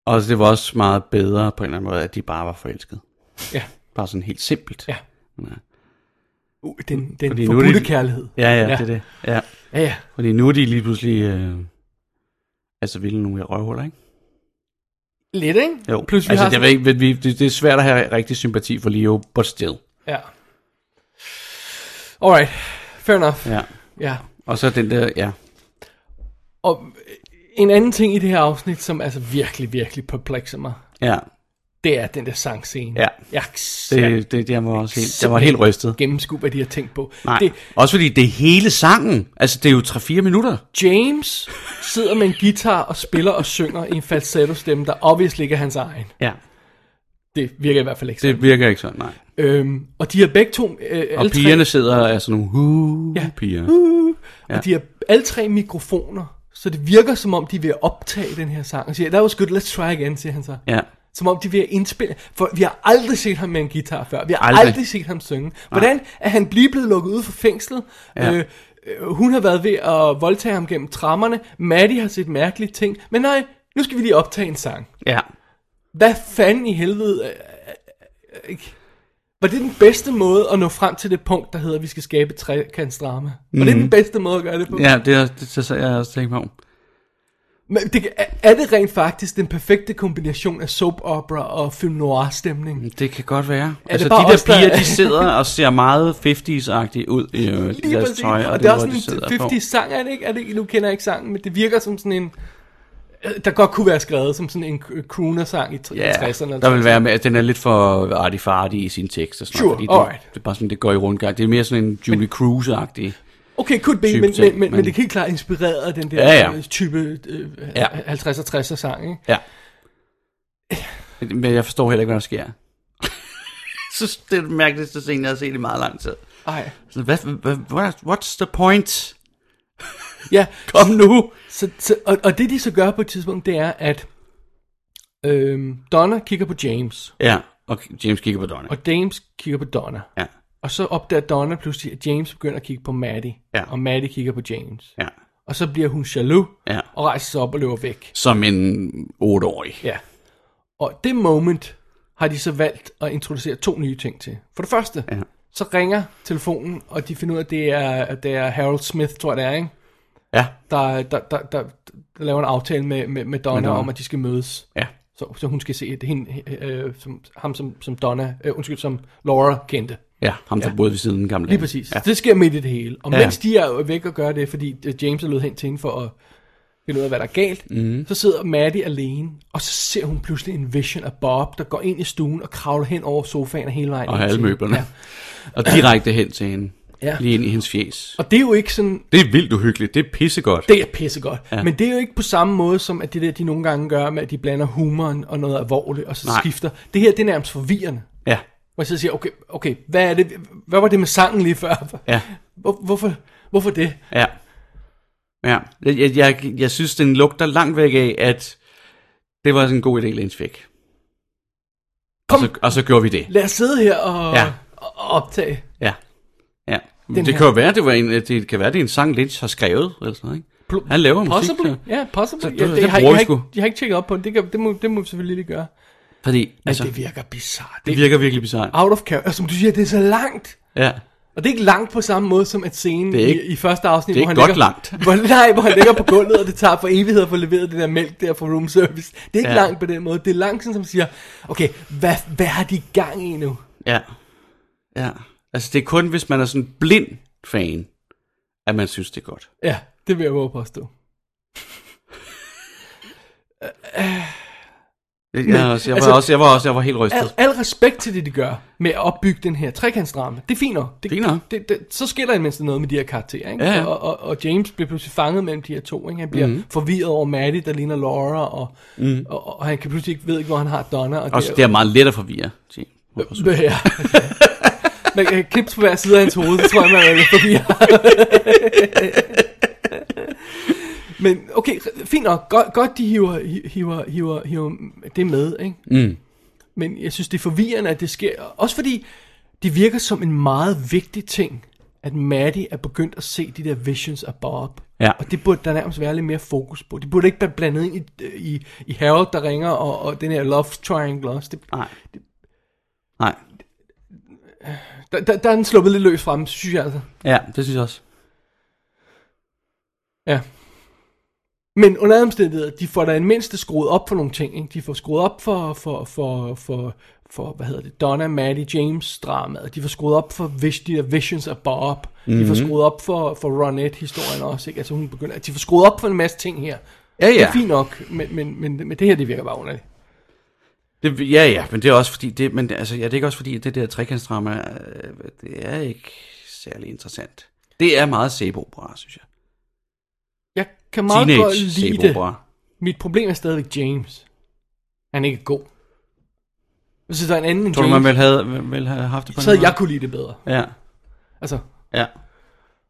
Og det var også meget bedre på en eller anden måde, at de bare var forelskede.
Ja.
Bare sådan helt simpelt.
Ja.
Ja,
Uh, den den
Fordi nu er
forbudte
det-
kærlighed.
ja, ja,
Ja.
det er det. Ja.
Ja, ja.
Fordi nu er de lige pludselig... Øh, altså vilde nogle røvhuller, ikke?
Lidt, ikke?
Jo.
Plus, vi har
altså, jeg
sådan-
ved ikke, men vi, det, det, er svært at have rigtig sympati for Leo, but still.
Ja. Alright, fair enough.
Ja.
Ja.
Og så den der, ja.
Og en anden ting i det her afsnit, som altså virkelig, virkelig perplekser mig,
Ja,
det er den der sangscene.
Ja.
Jeg
det, det, det jeg var også helt, jeg var helt rystet.
gennemskue, hvad de har tænkt på.
Nej,
Det,
det, også fordi det er hele sangen. Altså, det er jo 3-4 minutter.
James sidder med en guitar og spiller og synger i en falsetto stemme, der obviously ikke er hans egen.
Ja.
Det virker i hvert fald ikke sådan.
Det virker ikke sådan, nej.
Øhm, og de er begge to... Øh,
Og
alle tre-
pigerne sidder og er sådan nogle hu
Ja.
ja. piger.
Ja. Og de har alle tre mikrofoner, så det virker som om, de vil optage den her sang. Og siger, that was good, let's try again, siger han så.
Ja.
Som om de vil indspille. For vi har aldrig set ham med en guitar før. Vi har aldrig,
Aldrig.
aldrig set ham synge. Hvordan er han lige blevet lukket ud fra fængslet?
Ja.
Øh, øh, hun har været ved at voldtage ham gennem trammerne. Maddie har set mærkelige ting. Men nej, nu skal vi lige optage en sang.
Ja.
Hvad fanden i helvede... øh, øh, øh, Var det den bedste måde at nå frem til det punkt, der hedder, at vi skal skabe et trekantsdrama? Var det den bedste måde at gøre det på?
Mhm. Ja, det er det, det, så jeg også tænkt mig om.
Men det, kan- er- er det rent faktisk den perfekte kombination af soap opera og film noir stemning?
Det kan godt være.
det
altså, de
bare
der
os, der-
piger, de sidder og ser meget 50's-agtige ud i øh, de deres tøj, og,
og det er
det, hvor
også
de
sådan
sidder
en 50 sang, er det ikke? Er det, ikke- nu kender jeg ikke sangen, men det virker som sådan en, øh, der godt kunne være skrevet som sådan en k- crooner-sang i altså. tr-
Ja,
60'erne.
der vil være med, at den er lidt for artifarti i sin tekst og sådan
Sure,
noget,
alright.
det, det, er bare sådan, det går i rundgang. Det er mere sådan en Julie Cruise-agtig.
Okay, could be,
type
men,
ting,
men, men, men,
men-
det kan helt klart inspireret af den der
Ja, ja.
øh, type øh,
Ja.
50'er 60'er sang, ikke?
Ja. Men jeg forstår heller ikke, hvad der sker. så det er den mærkeligste scene, jeg har set i meget lang tid.
Ej.
Så hvad, hvad, what, what's the point?
Ja,
Kom nu!
Så, så, og, og det de så gør på et tidspunkt, det er, at øhm, Donna kigger på James,
Ja, og James kigger på Donna.
og James kigger på Donna.
Ja,
Og så opdager Donna pludselig, at James begynder at kigge på Maddie,
Ja.
og Maddie kigger på James.
ja,
Og så bliver hun jaloux,
ja.
og rejser sig op og løber væk.
Som en otteårig.
Ja. Og det moment har de så valgt at introducere to nye ting til. For det første,
Ja.
så ringer telefonen, og de finder ud af, at det er, at det er Harold Smith, tror jeg det er, ikke?
Ja,
Der, der, der, der, der laver en aftale med, med, med, Donna, med
Med
Donna
Donna.
om, at de skal mødes.
ja,
Så, så hun skal se det, hende, øh, som, ham, som, som Donna, øh, undskyld, som Laura kendte.
ja. Ham, der
Ja.
boede ved siden af den gamle
Lige
dame.
præcis. Ja.
Ja.
Det sker midt i det hele. Og
Ja.
mens de er væk og gør det, fordi øh, James er løbet hen til hende for at finde ud af, hvad der er galt,
Mhm.
mm. så sidder Maddie alene, og så ser hun pludselig en vision af Bob, der går ind i stuen og kravler hen over sofaen og hele vejen.
Og
ind
har alle
til hende.
møblerne.
Ja.
Ja. Og direkte hen til hende.
Ja.
Ja. Lige ind i hendes fjes.
Og det er jo ikke sådan,
Det er vildt uhyggeligt. Det er pissegodt.
det er pissegodt. Ja.
Ja.
Men det er jo ikke på samme måde, som at det der, de nogle gange gør med, at de blander humoren og noget alvorligt, og så Nej.
Nej.
skifter. Det her, det er nærmest forvirrende.
Ja,
Hvor jeg så siger, okay, okay hvad, er det, hvad var det med sangen lige før?
ja.
Hvor, hvorfor, hvorfor det?
Ja. Ja. Jeg, jeg, jeg, jeg synes, den lugter langt væk af, at det var sådan en god idé, Lens fik.
Kom.
Og så, og så gjorde vi det.
Lad os sidde her og, ja.
Ja.
og og optage.
Ja. ja.
Den
Det
her.
kan jo være, det, var en, det kan være, det er en sang, Lynch har skrevet, eller sådan noget, ikke? Han laver musik.
Possibly,
så-
ja, possibly.
Så
ja,
det- det
har, jeg,
bruger
har
vi
ikke,
sgu.
jeg har ikke tjekket op på det, det, kan, det, må, det må vi selvfølgelig lige gøre.
Fordi,
Men
altså,
altså, det Ah.
det,
virker bizarrt. Det,
det
virker
virker virkelig bizarrt.
out of character. Altså, Som du siger, det er så langt.
Ja.
Og det er ikke langt på samme måde som at scenen
Det er ikke-
i, i første afsnit,
det er
hvor han
ikke godt
ligger,
langt.
Hvor, nej, hvor han ligger på gulvet, og det tager for evighed at få leveret det der mælk der fra room service. Det er ikke ja.
Ja.
langt på den måde. Det er langt, sådan, som siger, okay, hvad, hvad har de gang i nu?
Ja. Ja. Altså, det er kun, hvis man er sådan en blind fan, at man synes, det er godt.
Ja, det vil jeg våge at påstå.
Jeg, jeg, jeg,
altså-
var, også, jeg, var, også, jeg var helt
Al,
rystet.
al respekt til det, de gør med at opbygge den her trekantsdrama. Det er fint nok. Det,
Fint nok.
Det, det, så sker der imens noget med de her karakterer. Ikke?
Ja, Mhm. ja.
Og, og, og James bliver pludselig fanget mellem de her to. Ikke? Han bliver mm-hmm. forvirret over Maddie, der ligner Laura, og,
Mhm.
mm. og, og, og han kan pludselig ikke ved ikke, hvor han har Donna. Og
Også, det er meget let at forvirre. siger jeg.
det, ja. Man kan knips på hver side af hans hoved, så tror jeg, man er lidt forvirret. Men okay, fint nok. Godt, godt de hiver, hiver, hiver, hiver det med, ikke?
Mm.
Men jeg synes, det er forvirrende, at det sker. Også fordi det virker som en meget vigtig ting, at Maddie er begyndt at se de der visions af Bob.
Ja.
Og det burde der nærmest være lidt mere fokus på. Det burde ikke være blandet ind i, i, i Harold, der ringer, og, og den her love triangle også. Det,
Nej. Nej.
der, der, der er den sluppet lidt løs frem, synes jeg altså.
Ja, det synes jeg også.
Ja. Men under alle omstændigheder, de får da en mindste skruet op for nogle ting. Ikke? De får skruet op for, for, for, for, for hvad hedder det, Donna, Maddie, James dramaet. De får skruet op for vis, de der Visions af Bob. Mm-hmm. De
Mhm.
får skruet op for, for Ronette-historien også. Ikke? Altså hun begynder, de får skruet op for en masse ting her.
Ja,
Det
ja.
er fint nok, men, men, men, men det her, det virker bare underligt.
Det, ja, ja, men det er også fordi, det, men altså, ja, det er ikke også fordi, at det der trekantsdrama, øh, det er ikke særlig interessant. Det er meget sæbeopera, synes jeg.
Jeg kan meget Teenage godt
Teenage
lide det.
sæbeopera.
Mit problem er stadigvæk James. Han er ikke god. Hvis der er en anden end
Tror du, man
James,
ville have, ville have haft det på
så havde
den måde?
jeg kunne lide det bedre.
Ja,
Altså,
ja.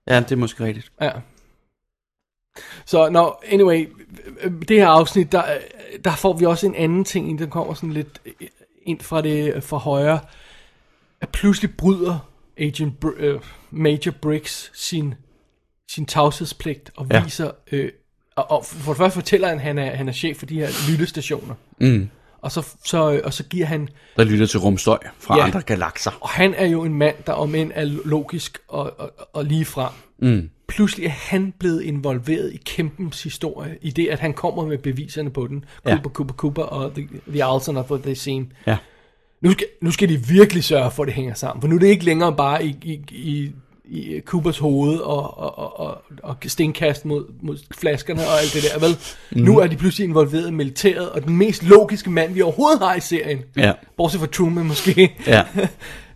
Ja, det er måske rigtigt.
Ja. Så, no, anyway, øh, det her afsnit, der, øh, der får vi også en anden ting, ind. den kommer sådan lidt øh, ind fra det øh, fra højre, at pludselig bryder Agent Br- øh, Major Briggs sin, sin tavshedspligt og
Ja.
viser, øh, og, og for det første fortæller han, at han er, han er chef for de her lyttestationer,
Mm.
og så, så, øh, og så giver han
Der lytter til rumstøj fra
Ja.
andre galakser.
og han er jo en mand, der om end er logisk og, og, og ligefrem.
Mm.
Pludselig er han blevet involveret i kæmpens historie, i det, at han kommer med beviserne på den.
Ja.
Cooper, Cooper, Cooper og The, the Alton of the Scene.
Ja.
Nu skal, nu skal de virkelig sørge for, at det hænger sammen, for nu er det ikke længere bare i, i, i, i Coopers hoved og, og, og, og, og stenkast mod, mod flaskerne og alt det der, vel? Mm. Nu er de pludselig involveret i militæret, og den mest logiske mand, vi overhovedet har i serien,
Ja.
bortset fra Truman måske,
Ja.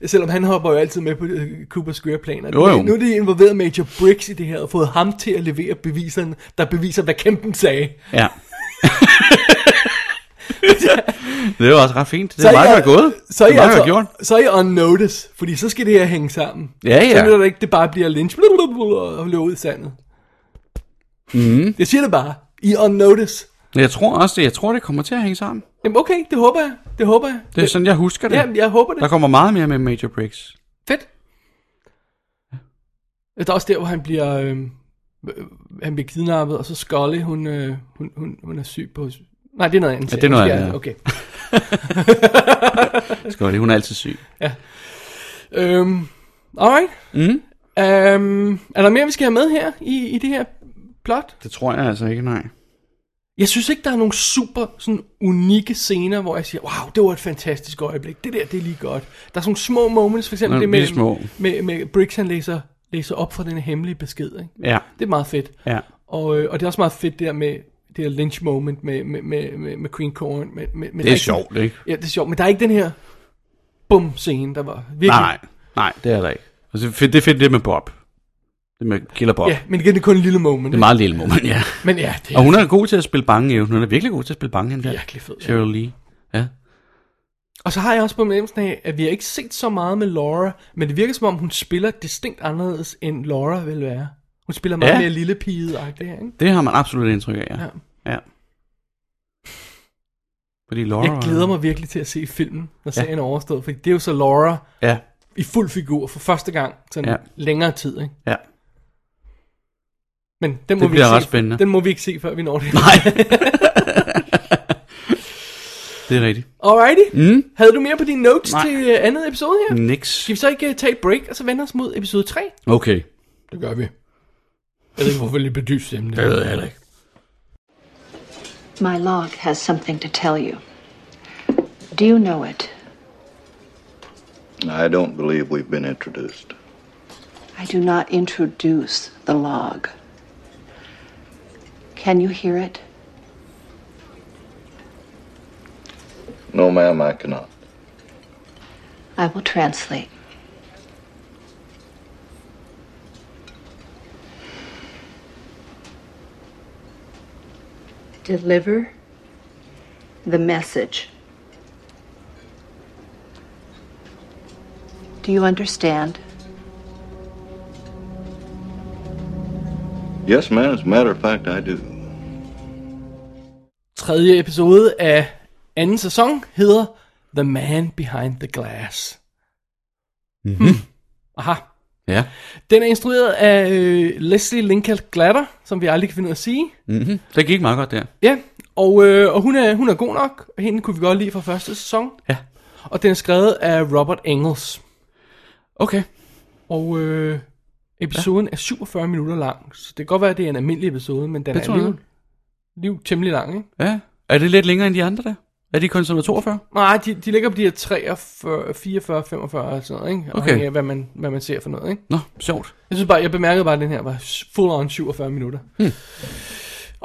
Selvom han hopper jo altid med på øh, Coopers skøre planer.
Jo, jo.
Nu er de involveret Major Briggs i det her, og fået ham til at levere beviserne, der beviser, hvad kæmpen sagde.
Ja. det er jo også ret fint. Det
Så
er
I
meget
er-
godt gået.
Så
det
er,
er meget
I
godt gjort.
altså, så er I on notice, fordi så skal det her hænge sammen.
Ja, ja.
Så nytter det ikke, det bare bliver lynch blablabla, og løber ud i sandet. Mm. Jeg siger det bare. I er on notice.
Men Jeg tror også, det, jeg tror, det kommer til at hænge sammen.
Jamen okay, det håber jeg. Det håber jeg.
Det er sådan, jeg husker det.
Ja, jeg håber det.
Der kommer meget mere med Major Briggs.
Fedt. Der er også der, hvor han bliver, øh, øh, han bliver kidnappet, og så Scully, hun, øh, hun, hun, hun er syg på... Nej, det er noget andet.
Ja, det er noget andet, ja.
Okay.
Skål, hun er altid syg.
Øhm, alright.
Mm.
Øhm, er der mere, vi skal have med her i, i det her plot?
Det tror jeg altså ikke, nej.
Jeg synes ikke, der er nogle super sådan, unikke scener, hvor jeg siger, wow, det var et fantastisk øjeblik. Det der, det er lige godt. Der er sådan nogle små moments, for eksempel
Nogle
det med,
bitte små.
med, med Briggs, han læser, læser op fra den hemmelige besked. Ikke?
Ja,
Det er meget fedt.
ja.
Og, øh, og det er også meget fedt det der med det her lynch moment med, med, med, med, med Queen Corn. Med, med, med
Det er sjovt, ikke?
Ja, det er sjovt, men der er ikke den her bum scene, der var virkelig...
Nej, nej, nej, det er der ikke. Altså, fedt- det er fedt det med Bob. Det med Killer Bob.
Ja, men igen, det er kun en lille moment.
Det er meget lille moment, ja.
ikke? Men ja, det er
Og hun er god til at spille bange, jo. Hun er virkelig god til at spille bange, hende der.
virkelig fedt. Ja.
Cheryl Lee. Ja.
Og så har jeg også på fornemmelsen af, at vi har ikke set så meget med Laura, men det virker som om, hun spiller distinkt anderledes, end Laura vil være. Hun spiller meget
Ja.
mere lille pige ikke?
Det har man absolut indtryk af, ja.
Ja.
ja. ja. Fordi Laura...
Jeg glæder mig virkelig til at se filmen, når serien er overstået, for det er jo så Laura
Ja,
i fuld figur for første gang, sådan ja.
Ja.
længere tid, ikke?
ja.
Men den må,
Det
vi
bliver
ikke
ret
se,
spændende.
den må vi ikke se, før vi når det.
Nej. det er rigtigt.
Alrighty.
Mm.
Havde du mere på dine notes Nej.
Nej.
til øh, andet episode her?
Nix.
Skal vi så ikke øh, tage et break, og så vende os mod episode 3?
Okay.
Det gør vi. Jeg ved ikke, hvorfor lige bedyb stemmen.
Det ved jeg heller ikke.
My log has something to tell you. Do you know it?
I don't believe we've been introduced.
I do not introduce the log. Can you hear it?
No, ma'am, I cannot.
I will translate. Deliver the message Do you understand?
Yes, man, as a matter of fact, I do.
Tredje episode af anden sæson hedder The Man Behind the Glass.
Mm-hmm. Hmm.
Aha.
Ja.
Den er instrueret af øh, Leslie Lincoln Glatter, som vi aldrig kan finde ud af at sige.
Mm-hmm. Det gik meget godt der.
Ja, og, øh, og hun, er, hun er god nok, og hende kunne vi godt lide fra første sæson.
Ja.
Og den er skrevet af Robert Engels.
Okay.
Og øh, episoden ja. er 47 minutter lang, så det kan godt være, at det er en almindelig episode, men den
Det
er
tror jeg
alligevel, alligevel temmelig lang, ikke?
Ja. Er det lidt længere end de andre der? Er de kun som 42?
Nej, de, de ligger på de her 43, 44, 45 og sådan noget, ikke?
Okay.
Afhængig af, hvad man, hvad man ser for noget, ikke?
Nå, sjovt.
Jeg synes bare, jeg bemærkede bare, at den her var full on 47 minutter. Hmm.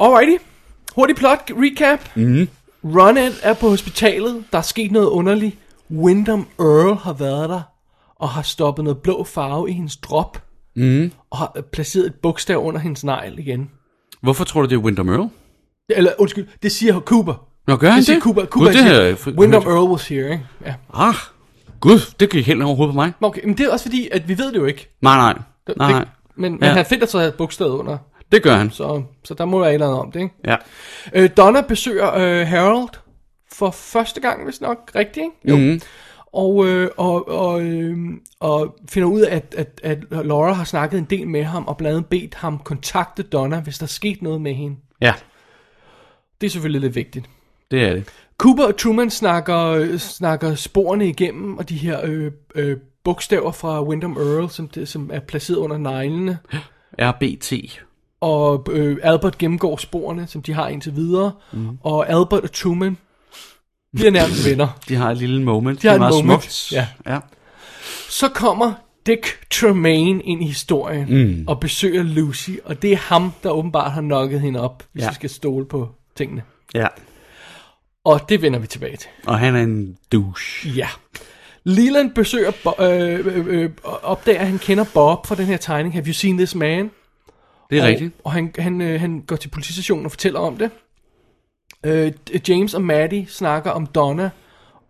Alrighty. Hurtig plot recap.
Mm-hmm.
Ronald er på hospitalet. Der er sket noget underligt. Wyndham Earl har været der og har stoppet noget blå farve i hendes drop
Mm-hmm.
og har øh, placeret et bogstav under hendes negl igen.
Hvorfor tror du, det er Windham Earl?
Eller undskyld, det siger Cooper.
Nå, gør han
Det siger
det?
Cooper.
Gud,
Cooper
det har jeg
siger,
fri-
Wyndham
hørt.
Earl was here, ikke? Ja.
Ah, gud, det gik helt hen over hovedet på mig.
Nå, Okay, men det er også fordi, at vi ved det jo ikke.
Nej, nej,
Det-
nej,
Det,
nej.
men, men
Ja.
han finder så bogstavet under,
Det gør han.
så, så der må være et eller andet om det, ikke?
Ja.
Øh, Donna besøger øh, Harold for første gang, hvis nok rigtigt, ikke?
Mm-hmm.
og, øh, og, og, øh, og finder ud af, at, at, at Laura har snakket en del med ham, og blandt andet bedt ham kontakte Donna, hvis der skete noget med hende.
Ja,
Det er selvfølgelig lidt vigtigt.
det er det.
Cooper og Truman snakker, øh, snakker sporene igennem, og de her øh, øh, bogstaver fra Wyndham Earl, som, det, som er placeret under neglene.
RBT.
Og øh, Albert gennemgår sporene, som de har indtil videre. Mm. Og Albert og Truman bliver nærmest venner.
De har et lille moment.
De har
Det er
et
meget
moment.
Smukt.
Ja.
ja.
Så kommer Dick Tremaine ind i historien mm. og besøger Lucy, og det er ham, der åbenbart har nokket hende op, hvis
Ja.
ja. vi skal stole på tingene.
Ja.
Og det vender vi tilbage til.
Og han er en douche.
Ja. Leland besøger, Bo- øh, øh, øh, og opdager, at han kender Bob fra den her tegning, Have You Seen This Man?
Det er
og,
rigtigt.
Og han, han, øh, han går til politistationen og fortæller om det. Øh, James og Maddie snakker om Donna,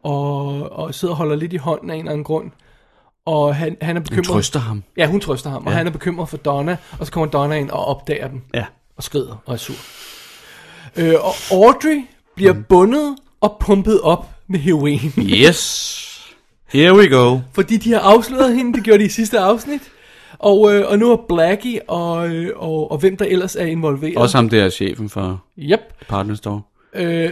og, og sidder og holder lidt i hånden af en eller anden grund. Og han, han er
Han
bekymret.
trøster ham.
Ja, hun trøster ham, og
Ja.
ja. han er bekymret for Donna, og så kommer Donna ind og opdager dem,
Ja.
og skrider og er sur. Øh, og Audrey bliver mm. bundet og pumpet op med heroin,
Yes. Here we go.
fordi de har afsløret hende, det gjorde de i sidste afsnit. Og, øh, og nu er Blackie og, øh, og, og hvem der ellers er involveret.
Også ham der er chefen for
Yep.
Partner Store.
Øh,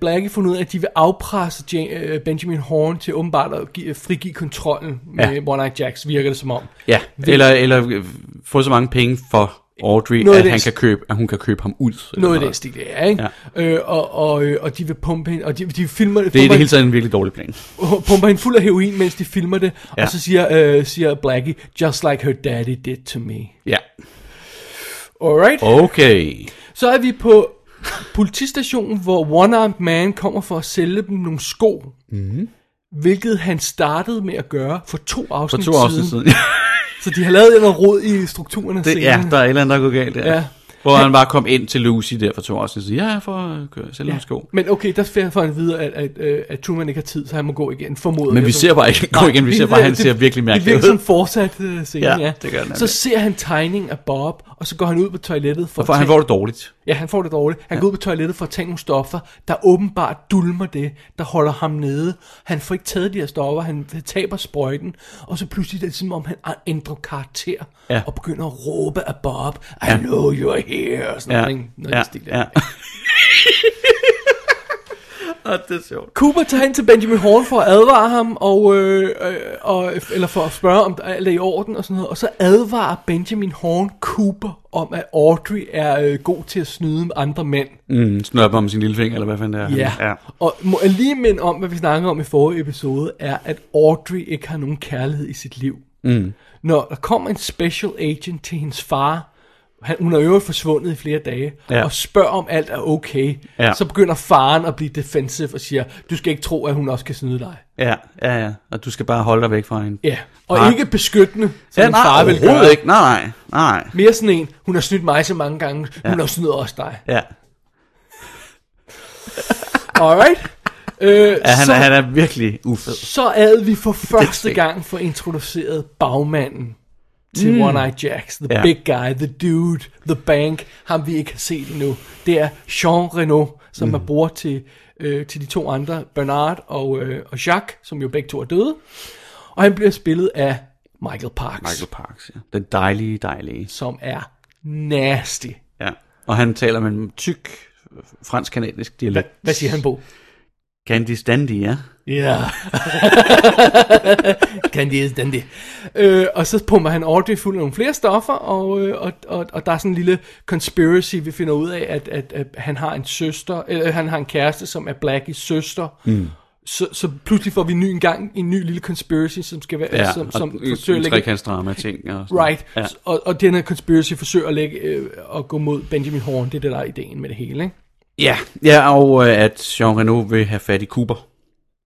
Blackie fundet ud af, at de vil afpresse Ja- øh, Benjamin Horn til åbenbart at give, frigive kontrollen med ja. One Night Jacks, virker det som om.
Ja, eller, eller øh, få så mange penge for Audrey,
Noget i
at,
den
han kan
stil.
købe, at hun kan købe ham ud. eller
Noget i den stil, ja, ikke? Ja. Øh, og, og, øh, og de vil pumpe hende, og de, de filmer
Det er i
pumper
det hele taget en virkelig dårlig plan.
pumper hende fuld af heroin, mens de filmer det, ja.
Ja.
og så siger, øh, siger Blackie, just like her daddy did to me.
Ja.
Alright, oh.
Okay.
så er vi på politistationen, hvor One Armed Man kommer for at sælge dem nogle sko, mm-hmm. hvilket han startede med at gøre for to
Mhm. For
afsnit,
to afsnit siden.
Så de har lavet noget rod i strukturen af
det,
scenen.
ja, der er et eller andet, der er gået galt der.
Ja.
Hvor han bare kom ind til Lucy der for to år siden og sagde, ja, øh, for at køre, sælge ja. nogle sko.
Men okay, der får han videre, at, at, at, at Truman ikke har tid, så han må gå igen, formoder
Men
jeg
vi
så.
ser bare ikke gå igen, vi ser bare, at han ser virkelig
ud. Det
mærkelig
virker som
ud.
fortsat uh, scene,
Ja,
ja.
det gør det nemlig.
så ser han tegning af Bob, og så går han ud på toilettet for,
For
at
han
tage...
får det dårligt.
Ja, han får det dårligt. Han ja. går ud på toilettet for at tage nogle stoffer, der åbenbart dulmer det, der holder ham nede. Han får ikke taget de her stoffer, han taber sprøjten, og så pludselig er det som om, han ændrer karakter,
Ja.
og begynder at råbe af Bob, I ja. know you're here, og sådan
Ja,
noget, ikke? noget. i
ja,
den stil der.
ja.
Ah,
Og det er sjovt.
Cooper tager hen til Benjamin Horn for at advare ham, og, øh, øh, og, eller for at spørge, om der er alt i orden og sådan noget. Og så advarer Benjamin Horn Cooper om, at Audrey er øh, god til at snyde med andre mænd.
Mm, snørper om sin lille finger, eller hvad fanden det er. ja.
Og må jeg lige minde om, hvad vi snakkede om i forrige episode, er, at Audrey ikke har nogen kærlighed i sit liv. Mm. Når der kommer en special agent til hendes far, han, hun er i øvrigt forsvundet i flere dage,
Ja.
ja. og spørger om alt er okay,
Ja.
så begynder faren at blive defensive og siger, du skal ikke tro, at hun også kan snyde dig.
Ja, ja, ja. Og du skal bare holde dig væk fra hende.
Ja, og
Nej.
nej. ikke beskyttende, som
Ja,
ja,
nej,
en far vil
overhovedet
gøre.
ikke. Nej, nej, nej.
Mere sådan en, hun har snydt mig så mange gange, ja. hun har snydt også dig.
Ja.
Alright? Øh,
ja, han, så, han er virkelig ufed.
Så havde vi for første gang for introduceret bagmanden til mm. One Eye Jacks. The
Ja.
big guy, the dude, the bank, ham vi ikke har set endnu. Det er Jean Reno, som mm. er bror til, øh, til de to andre, Bernard og, øh, og Jacques, som jo begge to er døde. Og han bliver spillet af Michael Parks,
Michael Parks, ja. Den dejlige, dejlige.
som er nasty.
Ja. Og han taler med en tyk øh, fransk-kanadisk dialekt.
Hvad siger han, Bo?
Candice Dandy, ja.
Ja. Candice Dandy. Øh, og så pumper han Audrey fuld af nogle flere stoffer, og, øh, og, og, og der er sådan en lille conspiracy, vi finder ud af, at, at, at han har en søster, eller han har en kæreste, som er Blackies søster.
Mm.
Så, så pludselig får vi en ny en gang en ny lille conspiracy, som skal være,
ja
som,
og
som
en-
forsøger
en
at lægge
trekantsdrama-ting. og sådan.
Right. Ja.
Ja.
Og, og den her conspiracy forsøger at lægge øh, at gå mod Benjamin Horn. Det er det, der er ideen med det hele, ikke?
Ja, ja og øh, at Jean Reno vil have fat i Cooper.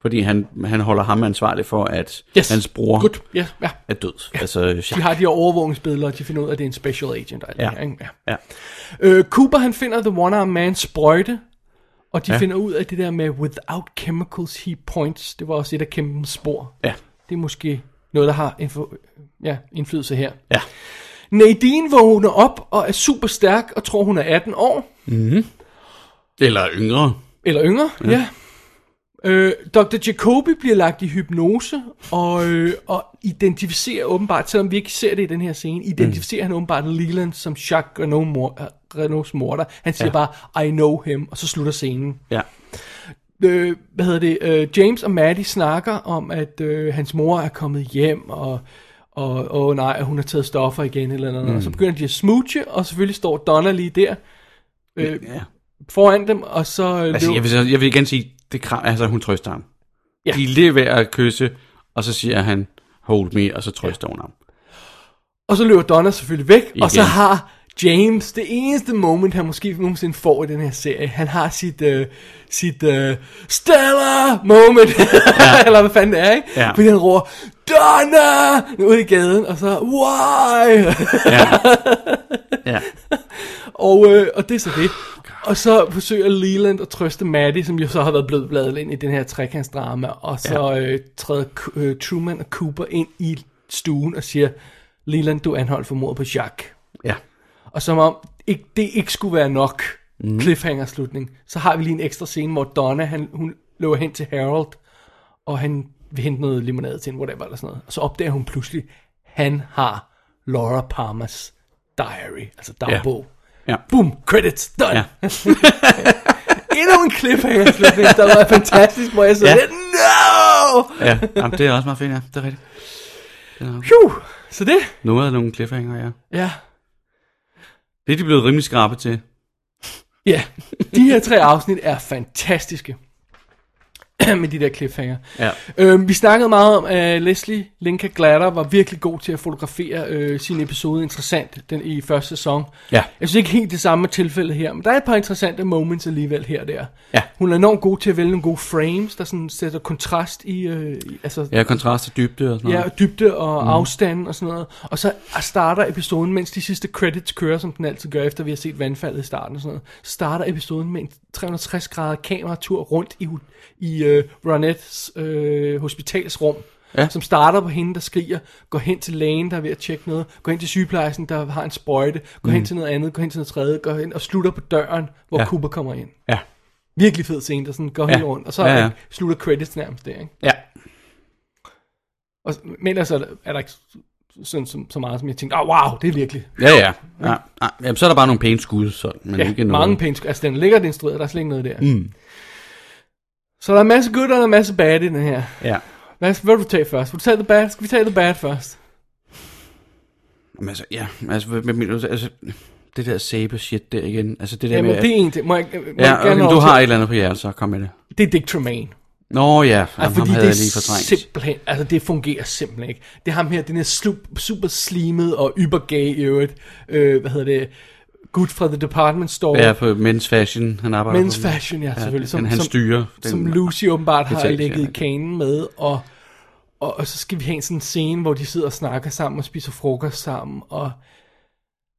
Fordi han, han holder ham ansvarlig for, at
Yes.
hans bror
Good. Ja, ja.
er død. Ja. Altså, ja.
De har de her overvågningsbilleder, og de finder ud af, at det er en special agent. Og alt
Ja.
det her, ikke? ja.
Ja.
Øh, Cooper han finder The One Arm Man sprøjte, og de ja.
Ja.
finder ud af det der med without chemicals he points. Det var også et af kæmpens spor.
Ja.
Det er måske noget, der har info- ja, indflydelse her.
Ja.
Nadine vågner op og er super stærk og tror, hun er 18 år,
Mm-hmm. Eller yngre.
eller yngre. Ja. ja. Øh, Dr. Jacobi bliver lagt i hypnose og, øh, og identificerer åbenbart, selvom vi ikke ser det i den her scene, identificerer mm. han åbenbart Leland som Jacques Renault mor- øh, Renaults morder. Han siger
Ja.
ja. bare, I know him, og så slutter scenen.
Ja.
øh, hvad hedder det, øh, James og Maddie snakker om, at øh, hans mor er kommet hjem, og og åh oh, nej, hun har taget stoffer igen, eller noget, mm. og så begynder de at smooche, og selvfølgelig står Donna lige der øh,
Ja.
foran dem, og så øh,
Altså, jeg vil, så- jeg vil igen sige, det kram, altså, hun trøster ham.
Ja.
Ja. De er lige ved at kysse, og så siger han, hold me, og så trøster ja. hun ham.
Og så løber Donna selvfølgelig væk, igen. og så
Igen.
har James det eneste moment, han måske nogensinde får i den her serie. Han har sit, øh, sit øh, Stella moment, ja. eller hvad fanden det er, ikke?
Ja.
Fordi han råber, Donna! Ude i gaden, og så, why?
Ja. ja.
Og, øh, og det er så det. Og så forsøger Leland at trøste Maddie, som jo så har været blød bladet ind i den her trekantsdrama. Og så ja. øh, træder K- øh, Truman og Cooper ind i stuen og siger, Leland, du er anholdt for mord på Jacques.
Ja.
Og som om ikke, det ikke skulle være nok mm. cliffhanger-slutning, så har vi lige en ekstra scene, hvor Donna, han, hun løber hen til Harold, og han vil hente noget limonade til hende, whatever, eller sådan noget. Og så opdager hun pludselig, han har Laura Palmers diary, altså dagbog.
Ja.
Boom, credits, done.
Ja.
Endnu en cliffhanger-slutning, der var fantastisk, hvor jeg så
Ja.
ja. no!
ja. Jamen, det er også meget fint, ja. Det er rigtigt. Det er-
Phew, så det,
Nu er der nogle cliffhanger, ja.
ja.
Det er de blevet rimelig skrappe til.
Ja, de her tre afsnit er fantastiske. med de der cliffhanger.
Ja.
Øhm, vi snakkede meget om, at Leslie Linka Glatter var virkelig god til at fotografere øh, sin episode interessant den i første sæson.
Ja.
Jeg synes ikke helt det samme er tilfældet her, men der er et par interessante moments alligevel her og der.
Ja.
Hun er enormt god til at vælge nogle gode frames, der sådan sætter kontrast i, øh, i altså,
Ja, kontrast og dybde og sådan
Ja,
noget.
og dybde og mm. afstanden og sådan noget. Og så starter episoden, mens de sidste credits kører, som den altid gør, efter vi har set vandfaldet i starten og sådan noget. Så starter episoden med en 360 grader kameratur rundt i, hu- i øh, Ronettes øh, hospitalsrum. Ja.
Ja.
Som starter på hende, der skriger, går hen til lægen, der er ved at tjekke noget, går hen til sygeplejersken, der har en sprøjte, går mm. hen til noget andet, går hen til noget tredje, går hen og slutter på døren, hvor ja.
Ja.
Cooper kommer ind.
Ja.
Virkelig fed scene, der sådan går ja.
Ja.
helt rundt, og så
Ja,
ja, ja.
ja.
slutter credits nærmest der, ikke?
Ja.
Og, men ellers er der, er der ikke sådan så, så meget, som jeg tænkte, oh, wow, det er virkelig.
Ja, ja. ja. ja. Jamen, så er der bare nogle pæne skud, sådan, men
ja,
ikke noget.
mange pænt. sk- Altså, den ligger den instrueret, der er slet ikke noget der. Mm. Så der er en masse good, og der er en masse bad i den her.
Ja.
Hvad, hvad vil du tage først? Vil du tage the bad? Skal vi tage the bad først?
Jamen, altså, ja. Altså, hvad, hvad mener du? Altså, det der sæbe shit der igen. Altså, det der
Jamen,
med...
det er en ting. Må jeg, må jeg
ja, okay,
have
men
lov
du
til-
har et eller andet på hjertet, så kom med det.
Det er Dick Tremaine.
Nå ja, Jamen,
Ej,
ham
fordi
havde
det
jeg lige fortrængt.
simpelthen, altså det fungerer simpelthen ikke. Det er ham her, den er slup, super slimet og ybergay i øvrigt. Øh, hvad hedder det? Gut fra The Department Store.
Ja, på Men's Fashion, han arbejder
Men's
på.
Fashion, ja, selvfølgelig.
Som, han, han styrer.
Den, som Lucy åbenbart har
detalje,
lægget
ja.
i kanen med, og, og, og så skal vi have en sådan scene, hvor de sidder og snakker sammen og spiser frokost sammen, og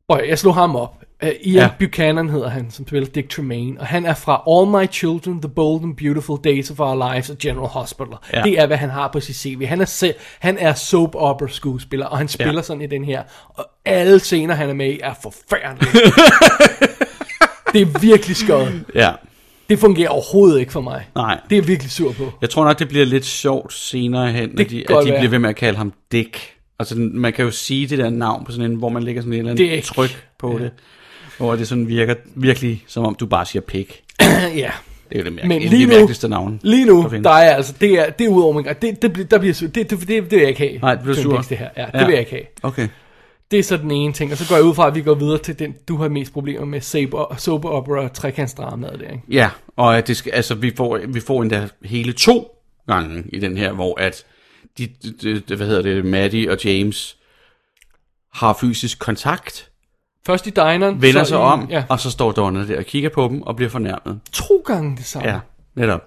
Og jeg slog ham op. Uh, Ian ja. Buchanan hedder han, som spiller Dick Tremaine, og han er fra All My Children, The Bold and Beautiful Days of Our Lives og General Hospital. Ja. Det er, hvad han har på sit CV. Han er, se- han er soap opera skuespiller, og han spiller ja. sådan i den her. Og alle scener, han er med i, er forfærdelige. det er virkelig skørt.
Ja.
Det fungerer overhovedet ikke for mig.
Nej.
Det er jeg virkelig sur på.
Jeg tror nok, det bliver lidt sjovt senere hen, når
Det
de,
kan
at
godt
de
være.
bliver ved med at kalde ham Dick. Altså, man kan jo sige det der navn på sådan en, hvor man lægger sådan en eller anden
Dick.
tryk på
Ja.
det. Hvor det sådan virker virkelig, som om du bare siger pik.
ja.
Det er jo det, mærke,
Men
et af
lige
de
nu,
mærkeligste navn.
lige nu,
der findes.
der er altså, det er, det er ud over min grænse. Det, det, bliver- der bliver, sur- det, det, det, det vil jeg ikke have.
Nej, det bliver
Twin
sur.
Peaks, Det her. Ja, det vil jeg ikke have.
Okay.
Det er så den ene ting, og så går jeg ud fra, at vi går videre til den, du har mest problemer med, soap, soap opera og trekantsdramaet der, ikke?
Ja, og at det skal, altså, vi, får, vi får endda hele to gange i den her, hvor at de, de, de, hvad hedder det, Maddie og James har fysisk kontakt,
Først i dineren,
vender
så
sig
i,
om,
Ja,
ja. og så står Donna der og kigger på dem og bliver fornærmet.
to gange det samme.
Ja, netop.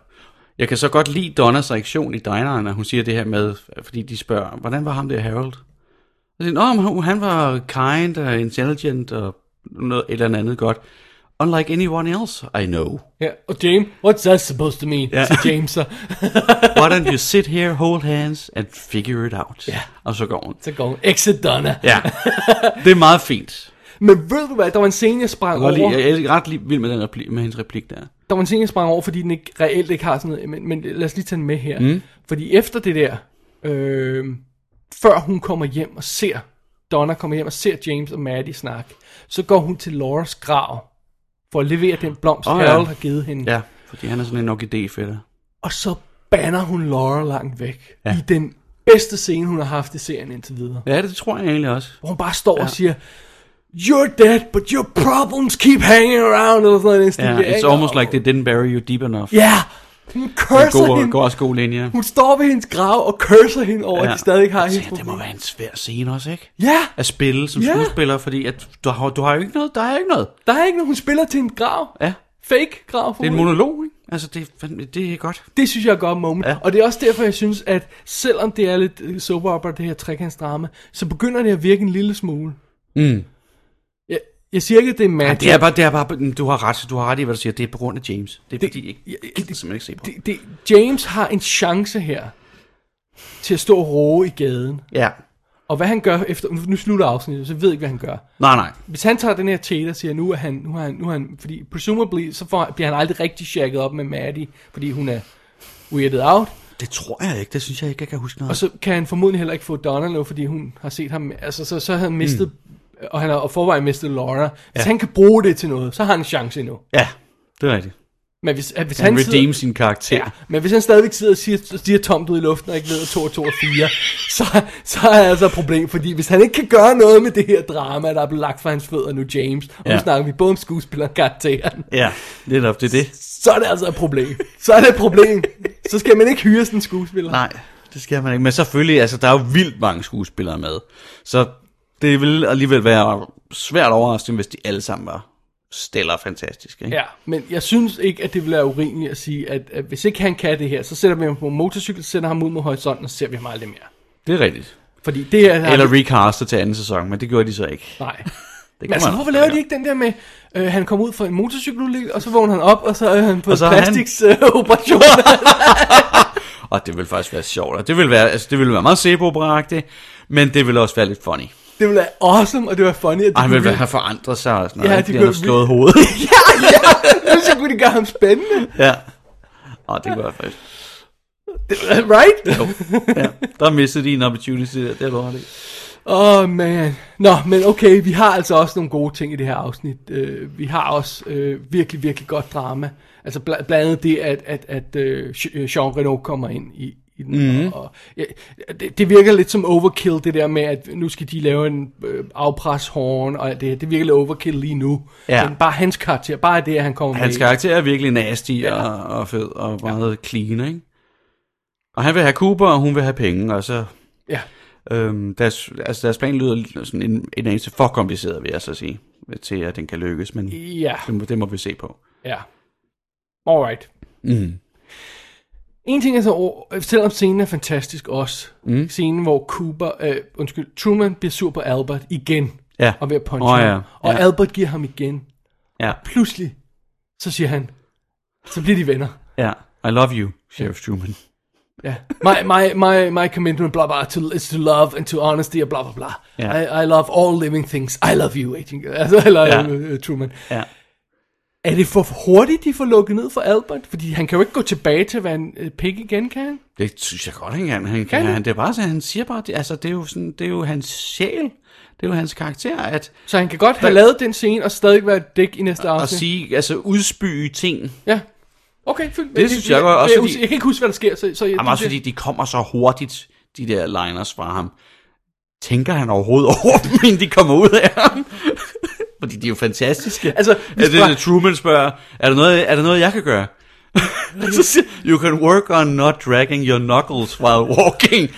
Jeg kan så godt lide Donnas reaktion i dineren, når hun siger det her med, fordi de spørger, hvordan var ham der Harold? Og siger, Nå, men han- han var kind og intelligent og noget, et eller andet godt. Unlike anyone else I know.
ja. Og James, what's that supposed to mean?
Ja.
Ja. Til James, så,
Why don't you sit here, hold hands and figure it out?
Ja.
Og så går hun.
så går hun, exit Donna.
Ja, det er meget fint.
Men ved du hvad, der var en scene, jeg sprang
Jeg er,
over.
lige, jeg er ret lige vild med, den replik, med hendes replik der.
Der var en ting, jeg sprang over, fordi den ikke, reelt ikke har sådan noget, men, men lad os lige tage den med her. Mm. Fordi efter det der, øh, før hun kommer hjem og ser, Donna kommer hjem og ser James og Maddie snakke, så går hun til Lauras grav for at levere den blomst,
Åh,
oh,
ja.
Harold har givet hende.
Ja, fordi han er sådan en orkidéfætter.
Og så banner hun Laura langt væk
Ja.
ja. i den bedste scene, hun har haft i serien indtil videre.
Ja, det tror jeg egentlig også.
Hvor hun bare står ja. og siger, You're dead, but your problems keep hanging around. Eller sådan noget, i den stil
Ja,
der, ikke?
it's almost like they didn't bury you deep enough.
Ja, hun
Det
curser
går,
hende.
går også god linje.
Hun står ved hendes grav og curser hende over, ja. at de stadig har
Jeg
hendes
tænker, Det må
problem.
være en svær scene også, ikke?
Ja,
At spille som
Ja.
skuespiller, fordi at du, har, du har jo ikke noget, der er ikke noget.
der er ikke nogen, hun spiller til en grav.
Ja,
Fake grav.
det er en monolog, ikke? Altså, det, er fandme- det er godt.
Det synes jeg er et godt moment.
Ja.
Ja. Og det er også derfor, jeg synes, at selvom det er lidt øh, soap opera, det her trekantsdrama, så begynder det at virke en lille smule.
Mm.
Jeg, jeg siger ikke, at det er
Ja,
magic.
det er bare, det er bare, du har ret, du har ret i, hvad du siger. Det er på grund af James. Det er det, fordi, ikke,
ja,
jeg gider simpelthen ikke se på. Det,
det, det, James har en chance her til at stå og roe i gaden.
ja.
Og hvad han gør efter... nu- Nu slutter afsnittet, så jeg ved ikke, hvad han gør.
Nej, nej.
hvis han tager den her tæt og siger, nu er han, nu er han, nu er han fordi presumably, så får, bliver han aldrig rigtig shakket op med Maddie, fordi hun er weirded out,
Det tror jeg ikke. Det synes jeg ikke, jeg kan huske noget.
og så kan han formodentlig heller ikke få Donna nu, fordi hun har set ham, altså så, så har han mistet, mm. og han har og forvejen mistet Laura. Hvis
Ja.
ja. han kan bruge det til noget, så har han en chance endnu.
ja, det er rigtigt.
Men hvis, at hvis
Han,
han,
han redeem
sidder,
sin karakter.
ja, men hvis han stadigvæk sidder og siger, siger tomt ud i luften, og ikke ved, at 2 og 2 er 4, så, så er altså et problem, fordi hvis han ikke kan gøre noget med det her drama, der er blevet lagt for hans fødder nu, James, og ja.
Ja.
nu snakker vi både om skuespilleren og karakteren,
ja netop, det er det.
så er det altså et problem. Så er det et problem. Så skal man ikke hyre sådan en skuespiller.
Nej, det skal man ikke. Men selvfølgelig, altså, der er jo vildt mange skuespillere med. Så det vil alligevel være svært overraskende, hvis de alle sammen var stiller fantastisk. Ikke?
Ja, men jeg synes ikke, at det ville være urimeligt at sige, at, at hvis ikke han kan det her, så sætter vi ham på en motorcykel, sætter ham ud mod horisonten, og så ser vi ham aldrig mere.
Det er rigtigt.
Fordi det her...
Eller recaster til anden sæson, men det gjorde de så ikke.
Nej.
Det
Men altså,
man-
hvorfor laver de ikke den der med, øh, han kom ud for en motorcykelulykke, og så vågner han op, og så er han på øh,
Og så er han-
plastiksoperation.
Og det vil faktisk være sjovt, og det vil være, altså, det vil være meget sebo men det vil også være lidt funny.
det ville være awesome, og det var funny. at de
Og han
kunne
vil være,
virkelig-
have forandret sig og sådan
Ja,
noget.
de
Ja, de
blev
bliver
vildt-
slået hovedet.
ja, ja. Jeg synes, jeg kunne det gøre ham spændende.
ja. Og det kunne jeg faktisk.
Right?
Jo. Ja. Der mistede de en opportunity der, det har du ret i.
Åh, oh, man. Nå, men okay, vi har altså også nogle gode ting i det her afsnit. Uh, vi har også uh, virkelig, virkelig godt drama. Altså bla- blandt andet det, at, at, at uh, Jean Reno kommer ind i, i den.
Mhm.
Mm-hmm. Og, og, ja, det, det virker lidt som overkill, det der med, at nu skal de lave en øh, afpreshorn og alt det her. Det virker lidt overkill lige nu.
Ja.
Men bare hans karakter, bare det, at han kommer
Hans
med.
karakter er virkelig nasty ja. og, og fed og meget ja. clean, ikke? Og han vil have Cooper, og hun vil have penge, og så...
Ja.
Øhm, deres, altså deres plan lyder sådan en, en anelse for kompliceret, vil jeg så sige, til at den kan lykkes, men
Ja,
det, må, det må vi se på.
ja. Alright.
Mm.
En ting er så, over- selvom scenen er fantastisk også, mm. scenen hvor Cooper, øh, undskyld, Truman bliver sur på Albert igen.
Ja.
Og ved at punche oh, ja. ham. Og ja. Albert giver ham igen.
Ja.
Pludselig, så siger han, så bliver de venner.
Ja. I love you, Sheriff Truman.
Yeah. My my my my commitment, blah blah, to is to love and to honesty, blah blah blah.
Yeah.
I, I love all living things. I love you, agent. Altså, I love yeah. uh, Truman.
Yeah.
Er det for hurtigt, de får lukket ned for Albert? Fordi han kan jo ikke gå tilbage til at være en uh, pig igen, kan han?
Det synes jeg godt, han kan. Han, kan han? han det er bare så, han siger bare, det, altså, det er jo sådan, det er jo hans sjæl. Det er jo hans karakter, at...
Så han kan godt have lavet den scene og stadig være et dæk i næste afsnit.
Og sige, altså udspyge ting.
Ja. Okay, fint.
Det synes jeg godt. Også
jeg,
fordi,
jeg kan ikke huske, hvad der sker. Så, så jeg,
jamen også fordi, de kommer så hurtigt, de der liners fra ham. Tænker han overhovedet over dem, inden de kommer ud af ham? fordi de er jo fantastiske.
Altså,
er det, det, Truman spørger, er der noget, er der noget jeg kan gøre? så siger, you can work on not dragging your knuckles while walking.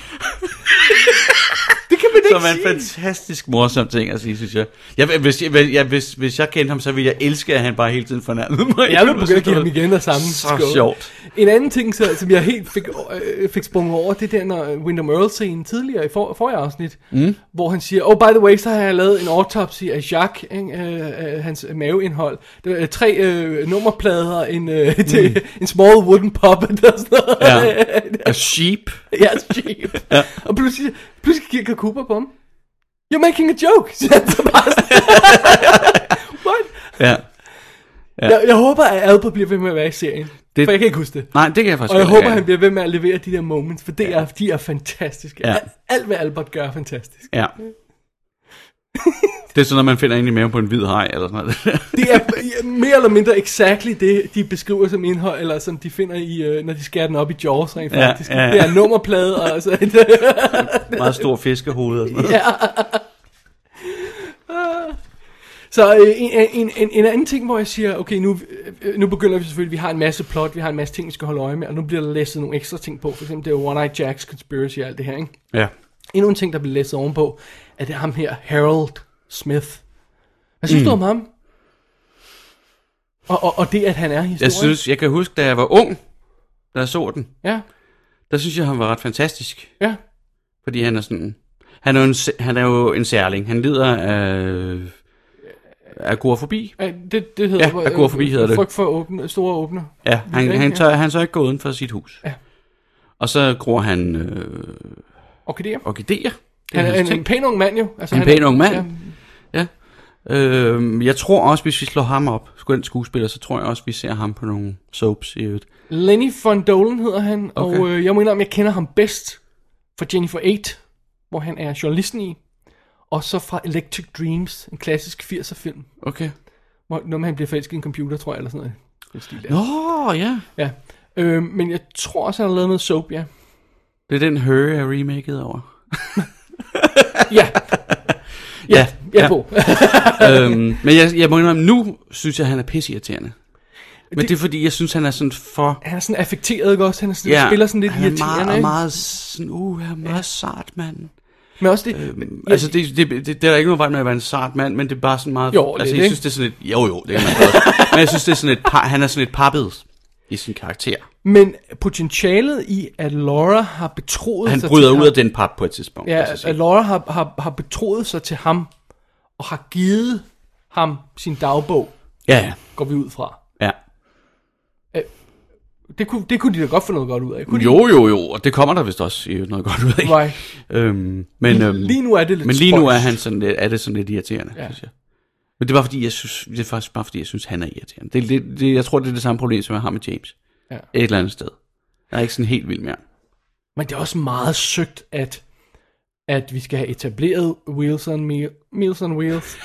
det kan man ikke
Som er en fantastisk morsom ting at sige, synes jeg. jeg hvis, jeg, jeg, hvis, hvis jeg kendte ham, så ville jeg elske, at han bare hele tiden fornærmede mig.
Jeg vil begynde at give ham igen og samme
Så skål. sjovt.
En anden ting, så, som jeg helt fik, øh, fik sprunget over, det er den når Windham Earl-scenen tidligere i for, forrige afsnit,
mm.
hvor han siger, oh by the way, så har jeg lavet en autopsy af Jacques, ikke, øh, øh, hans maveindhold. Det var, øh, tre øh, nummerplader, en, øh, mm. til, en small wooden puppet og sådan noget.
Ja. A sheep.
Ja, sheep.
ja.
Og pludselig, pludselig kigger Cooper på ham. You're making a joke, siger han så bare. What?
Ja.
Ja. Jeg, jeg håber, at Albert bliver ved med at være i serien. Det, for jeg kan ikke huske det.
Nej, det kan jeg faktisk
Og jeg
ikke.
håber, han bliver ved med at levere de der moments, for det ja. er, de er fantastiske.
Ja.
Alt, alt, hvad Albert gør, er fantastisk.
Ja. det er sådan, når man finder ind i maven på en hvid hej, eller sådan noget.
det er mere eller mindre exactly det, de beskriver som indhold, eller som de finder i, øh, når de skærer den op i Jaws rent
Ja,
faktisk.
ja, ja.
Det er nummerplade og sådan
Meget stor fiskehoved og sådan noget.
Ja. Så øh, en, en, en, en anden ting, hvor jeg siger, okay, nu, øh, nu begynder vi selvfølgelig, vi har en masse plot, vi har en masse ting, vi skal holde øje med, og nu bliver der læsset nogle ekstra ting på, for eksempel det er One Eye Jacks conspiracy og alt det her, ikke?
Ja.
Endnu en ting, der bliver læsset ovenpå, er det ham her, Harold Smith. Hvad synes mm. du om ham? Og, og, og det, at han er historien?
Jeg synes, jeg kan huske, da jeg var ung, da jeg så den,
Ja,
der synes jeg, han var ret fantastisk.
ja.
Fordi han er sådan... Han er jo en, sæ- han er jo en særling. Han lider af... af agorafobi.
Ja, Det, det hedder...
Ja, agorafobi hedder det.
Frygt for åbne, store åbner.
Ja, han,
Ja,
han,
ja.
tør, han tør ikke gå uden for sit hus.
Ja.
Og så gror han øh,
Orkideer.
orkideer. Det
Han er
hans
en,
ting.
en pæn ung mand jo. Altså,
En
han er-
pæn ung mand.
Ja,
Ja. Øh, jeg tror også, hvis vi slår ham op, skøn skuespiller, så tror jeg også, vi ser ham på nogle soaps i øvrigt.
Lenny von Dolan hedder han, okay. og
Okay.
øh, jeg mener, om jeg kender ham bedst fra Jennifer 8, hvor han er journalisten i, og så fra Electric Dreams, en klassisk 80'er film,
Okay.
hvor når han bliver forelsket i en computer, tror jeg, eller sådan noget. Den stil der.
Nå, ja.
Ja. Øh, men jeg tror også, han har lavet noget soap, ja.
Det er den Her, jeg remakede over.
Ja,
Ja,
jeg er på.
øhm, men jeg, jeg må indrømme, nu synes jeg, han er pisseirriterende. Men det,
Det-
det er fordi, jeg synes, han er sådan for...
han er sådan affekteret, ikke også? Han er sådan, ja, spiller sådan lidt
han er
irriterende,
meget,
ikke?
meget sådan, uh, han er meget sart, mand.
Men også det,
Øhm, altså, det, det, det, det, er der ikke noget vej med at være en sart mand, men det er bare sådan meget...
Jo,
altså,
lidt,
jeg
ikke?
synes, det er sådan lidt... Jo, jo, det kan man godt. men jeg synes, det er sådan lidt... Par, han er sådan lidt pappet i sin karakter.
men potentialet i, at Laura har betroet
Han
sig
bryder
til
ud
ham-
af den pap på et tidspunkt.
Ja,
altså,
at, at Laura har, har, har betroet sig til ham, og har givet ham sin dagbog,
ja, ja.
går vi ud fra.
ja.
Det kunne, det kunne de da godt få noget godt ud af. Kunne
Jo, jo, jo, og det kommer der vist også i øvrigt noget godt ud af.
De? Right.
Øhm, men, øhm,
Lige nu er det lidt
men lige nu er,
spøjst.
han sådan lidt, er det sådan lidt irriterende,
Ja.
ja. synes jeg. Men det er, bare fordi, jeg synes, det er faktisk bare fordi, jeg synes, han er irriterende. Det, det, det, jeg tror, det er det samme problem, som jeg har med James.
Ja.
Et eller andet sted. Jeg er ikke sådan helt vild med ham.
Men det er også meget søgt, at, at vi skal have etableret Wilson, Mil- Wilson Wheels,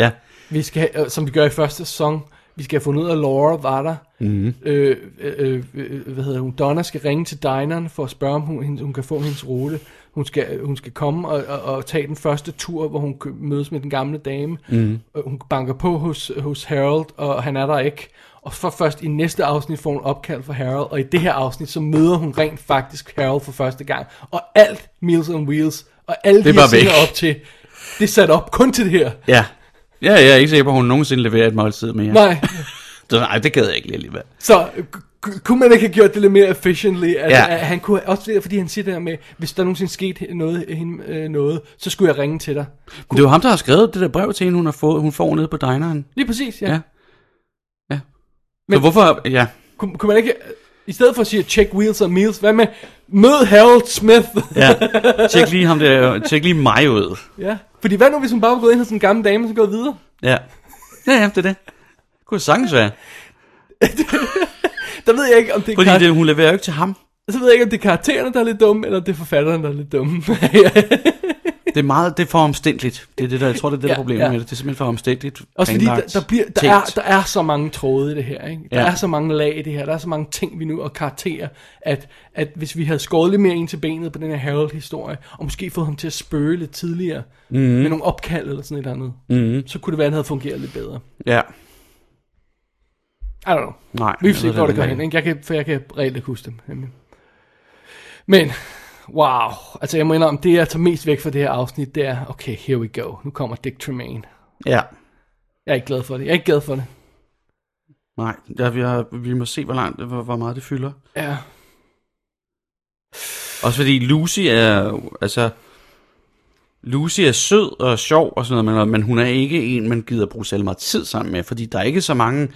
Ja.
vi skal have, øh, som vi gør i første sæson. Vi skal have fundet ud af, at Laura var der.
Mm-hmm.
øh, øh, øh, hvad hedder hun, Donna skal ringe til dineren for at spørge, om hun, hende- hun kan få hendes rute. Hun skal, øh, hun skal komme og, og, og tage den første tur, hvor hun kø- mødes med den gamle dame.
Mhm.
Øh, Hun banker på hos, hos Harold, og han er der ikke. Og for først i næste afsnit får hun opkald fra Harold, og i det her afsnit, så møder hun rent faktisk Harold for første gang. Og alt Meals on Wheels, og alle
er
de her
bare væk.
scener op til, det er sat op kun til det her.
Ja. Ja, jeg er ikke sikker på, at hun nogensinde leverer et måltid mere.
Nej,
Så, nej, det gad jeg ikke lige alligevel.
så øh, kunne man ikke have gjort det lidt mere efficiently? At, ja. at han kunne, også det, fordi han siger det der med, hvis der nogensinde skete noget, hende, øh, noget så skulle jeg ringe til dig. Kunne...
Men det var ham, der har skrevet det der brev til hende, hun, har fået, hun får nede på dineren.
Lige præcis, ja.
ja. ja. Men, så hvorfor, ja.
Kunne, kunne man ikke, i stedet for at sige, check wheels og meals, hvad med, mød Harold Smith.
ja, tjek lige ham der, tjek lige mig ud.
Ja, fordi hvad nu, hvis hun bare var gået ind hos en gammel dame, og så gået videre?
Ja, ja, ja det er det. Det kunne sagtens være.
der ved jeg ikke, om det er
Fordi kar- det, hun leverer jo ikke til ham.
Så ved jeg ikke, om det er karaktererne, der er lidt dumme, eller om det er forfatteren, der er lidt dumme.
det er meget, det er for omstændeligt. Det er det, der, jeg tror, det er det, der ja, problemet ja. med det. Det er simpelthen for omstændeligt.
Også fordi der, der, bliver, der, er, der er så mange tråde i det her. Ikke? Der ja. er så mange lag i det her. Der er så mange ting, vi nu og karakterer, at, at hvis vi havde skåret lidt mere ind til benet på den her Harold-historie, og måske fået ham til at spøge lidt tidligere, mm-hmm. med nogle opkald eller sådan et eller andet, mm-hmm. så kunne det være, at han havde fungeret lidt bedre.
Ja.
I don't know.
Nej,
vi får se, hvor det går hen. Ikke? Jeg kan, for jeg kan reelt huske dem. Nemlig. Men, wow. Altså, jeg må indrømme, det jeg tager mest væk fra det her afsnit, det er, okay, here we go. Nu kommer Dick Tremaine.
Ja.
Jeg er ikke glad for det. Jeg er ikke glad for det.
Nej, ja, vi, har, vi må se, hvor, langt, hvor, hvor meget det fylder.
Ja.
Også fordi Lucy er, altså, Lucy er sød og sjov og sådan noget, men, men hun er ikke en, man gider bruge særlig meget tid sammen med, fordi der er ikke så mange,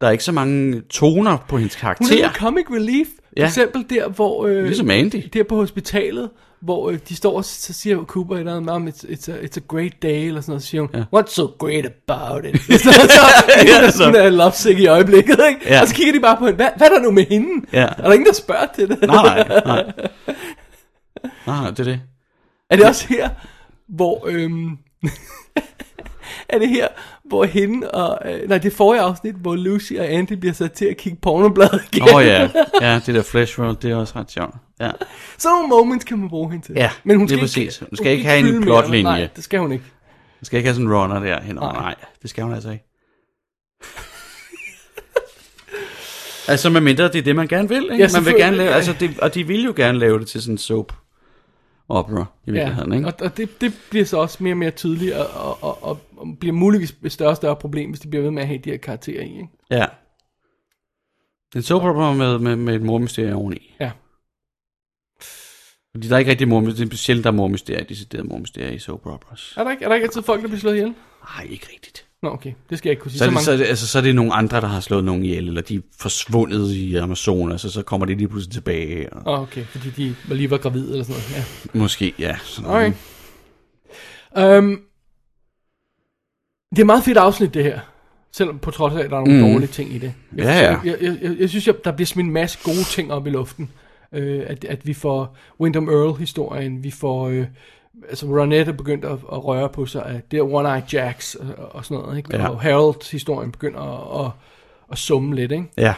der er ikke så mange toner på hendes karakter.
Hun er comic relief. For ja. eksempel der, hvor... Øh,
ligesom Andy.
Der på hospitalet, hvor øh, de står og så siger Cooper et eller andet om, it's, it's, a, it's a great day, eller sådan noget, så siger hun, ja. what's so great about it? så, så, ja, så. Hun er lovesick i øjeblikket, ikke? Ja. Og så kigger de bare på hende, Hva, hvad er der nu med hende?
Ja.
Er der ingen, der spørger til det?
nej, nej. Nej, det er det.
Er det også her, hvor... Øhm, er det her, hvor hende og... Øh, nej, det er forrige afsnit, hvor Lucy og Andy bliver sat til at kigge pornobladet igen.
Åh oh, ja, ja, det der flash world, det er også ret sjovt. Ja.
Sådan nogle moments kan man bruge hende til.
Ja,
Men hun skal
det er præcis. Hun skal hun ikke have en plotlinje.
Nej, det skal hun ikke.
Hun skal ikke have sådan en runner der henover. Nej. nej, det skal hun altså ikke. altså, med mindre det er det, man gerne vil. Ikke? Ja, man vil gerne lave, ja. altså, det, og de vil jo gerne lave det til sådan en soap opera i virkeligheden. Ja, ikke?
Og, og det, det bliver så også mere og mere tydeligt, og, og, og, og bliver muligvis et større og større problem, hvis de bliver ved med at have de her karakterer i. Ikke?
Ja. En soap opera med, med, med et mormysterie oveni.
Ja.
Fordi der er ikke rigtig mormysterie, det er sjældent, der er mormysterie, decideret mormysterie i soap operas.
Er der ikke, er der ikke altid folk, der bliver slået ihjel?
Nej, ikke rigtigt.
Nå, okay. Det skal jeg ikke kunne sige.
Så, er det, så, mange... så, er det, altså, så er det nogle andre, der har slået nogen ihjel, eller de er forsvundet i Amazonas, og så kommer de lige pludselig tilbage. Og...
Oh, okay, fordi de var lige var gravide eller sådan noget.
Ja. Måske, ja.
Sådan okay. Noget. Um, det er meget fedt afsnit, det her. Selvom på trods af, at der er nogle mm. dårlige ting i det. Jeg,
ja, ja.
Jeg, jeg, jeg, jeg synes, jeg, der bliver smidt en masse gode ting op i luften. Øh, at, at vi får Wyndham Earl-historien, vi får... Øh, altså Ronette er begyndt at, at røre på sig af det der One Eye Jacks og, og sådan noget, ikke? Ja. Og Harold historien begynder at, at, at summe lidt, ikke?
Ja.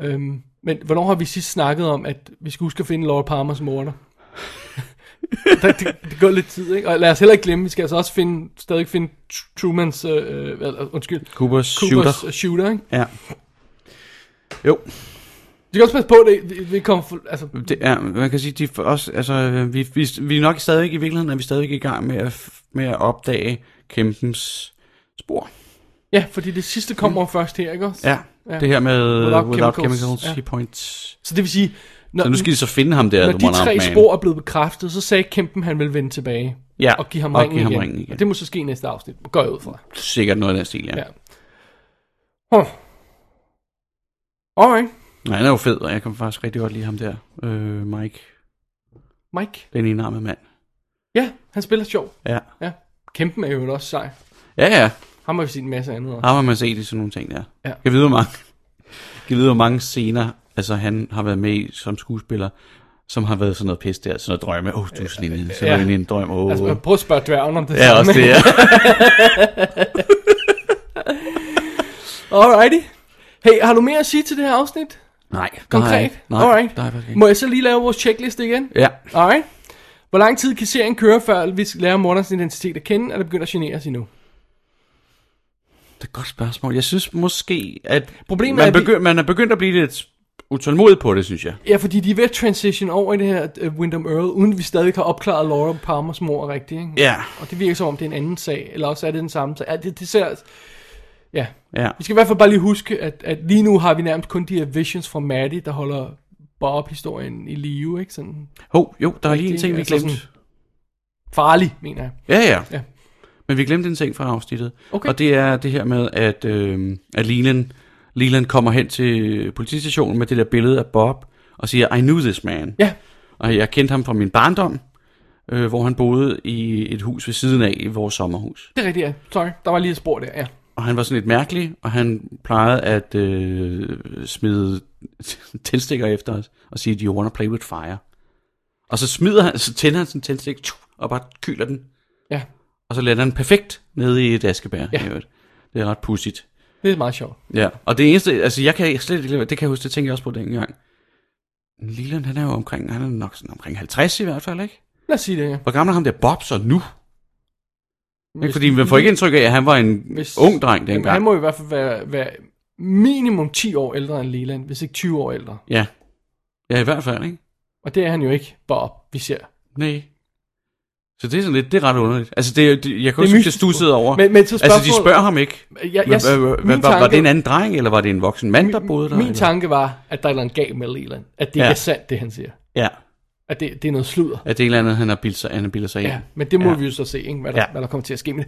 Øhm, men hvornår har vi sidst snakket om, at vi skulle huske at finde Laura Palmers morter? det, det, det går lidt tid, ikke? Og lad os heller ikke glemme, vi skal altså også finde, stadig finde Trumans, øh, undskyld,
Coopers,
Coopers øh,
shooter.
shooter, ikke?
Ja. Jo.
Du kan også passe på, det vi kommer for, altså...
Det er, man kan sige, de for os, altså, vi, vi, vi er nok stadig i virkeligheden, er vi stadig i gang med at, med at opdage kæmpens spor.
Ja, fordi det sidste kommer mm. først her, ikke også?
Ja, ja, det her med Without, without Chemicals, chemicals ja. points.
Så det vil sige...
Når, så nu skal de så finde ham der,
Når de tre man. spor er blevet bekræftet, så sagde kæmpen, han vil vende tilbage.
Ja,
og give ham, og ringen, give igen. ham igen. ringen igen. Og det må så ske i næste afsnit, går jeg ud fra.
Sikkert noget af den stil, ja. ja.
Huh. Alright.
Nej, han er jo fed, og jeg kan faktisk rigtig godt lide ham der. Øh, Mike.
Mike?
Den enarmede mand.
Ja, han spiller sjov.
Ja.
ja. Kæmpen er jo også sej.
Ja, ja.
Ham har vi set en masse andet.
Ham har man set i sådan nogle ting der.
Ja.
Jeg ved, hvor mange, jeg ved, hvor mange scener, altså han har været med i som skuespiller, som har været sådan noget pis der, sådan noget drømme. Åh, oh, du er sådan en, sådan ja. en drøm. Oh.
Altså, prøv at spørge dværgen om det
Ja, også det, ja.
Alrighty. Hey, har du mere at sige til det her afsnit?
Nej,
Konkret?
Nej, nej,
Alright.
Nej, ikke.
Må jeg så lige lave vores checklist igen?
Ja.
Alright. Hvor lang tid kan serien køre, før vi lærer morderens identitet at kende, eller begynder at genere os endnu?
Det er et godt spørgsmål. Jeg synes måske, at
Problemet
man,
er,
begy- vi... man er begyndt at blive lidt utålmodig på det, synes jeg.
Ja, fordi de er ved at transition over i det her uh, Wyndham Earl, uden vi stadig har opklaret Laura Palmers mor rigtigt. Ikke?
Ja.
Og det virker som om, det er en anden sag, eller også er det den samme sag. Ja, det, det ser Ja. ja. Vi skal i hvert fald bare lige huske, at, at lige nu har vi nærmest kun de her visions fra Maddie, der holder Bob-historien i live, ikke? Sådan,
Ho, oh, jo, der er lige en
altså
ting, vi glemte. Sådan,
farlig, mener jeg.
Ja, ja. ja. Men vi glemte en ting fra afsnittet. Okay. Og det er det her med, at, øh, at Leland, Leland kommer hen til politistationen med det der billede af Bob, og siger, I knew this man.
Ja.
Og jeg kendte ham fra min barndom, øh, hvor han boede i et hus ved siden af i vores sommerhus.
Det er rigtigt, ja. Sorry, der var lige et spor der, ja.
Og han var sådan lidt mærkelig, og han plejede at øh, smide tændstikker efter os, og sige, do you wanna play with fire? Og så smider han, så tænder han sin tændstik, og bare kyler den.
Ja.
Og så lander han perfekt nede i et askebær.
Ja.
Det er ret pudsigt.
Det er meget sjovt.
Ja, og det eneste, altså jeg kan slet ikke, det kan jeg huske, det tænker jeg også på dengang. Leland, han er jo omkring, han er nok sådan omkring 50 i hvert fald, ikke?
Lad os sige det, ja.
Hvor gammel er ham der Bob så nu? Hvis, ikke, fordi man får ikke indtryk af, at han var en hvis, ung dreng dengang.
Han må i hvert fald være, være minimum 10 år ældre end Leland, hvis ikke 20 år ældre.
Ja. Ja, i hvert fald, ikke?
Og det er han jo ikke, Bob, vi ser.
Nej. Så det er sådan lidt, det er ret underligt. Altså, det, det jeg kunne det ikke stussede over.
Men, men så
altså, de spørger ham ikke.
Ja, jeg,
var, var det en anden dreng, eller var det en voksen mand, der boede der?
Min eller? tanke var, at der er en galt med Leland. At det ja. er sandt, det han siger.
Ja.
At det, det er noget sludder.
At det er et eller andet, han har bildet sig, han har bildet sig
ja, ind. Ja, men det må ja. vi jo så se, ikke, hvad, der, ja. hvad der kommer til at ske. Men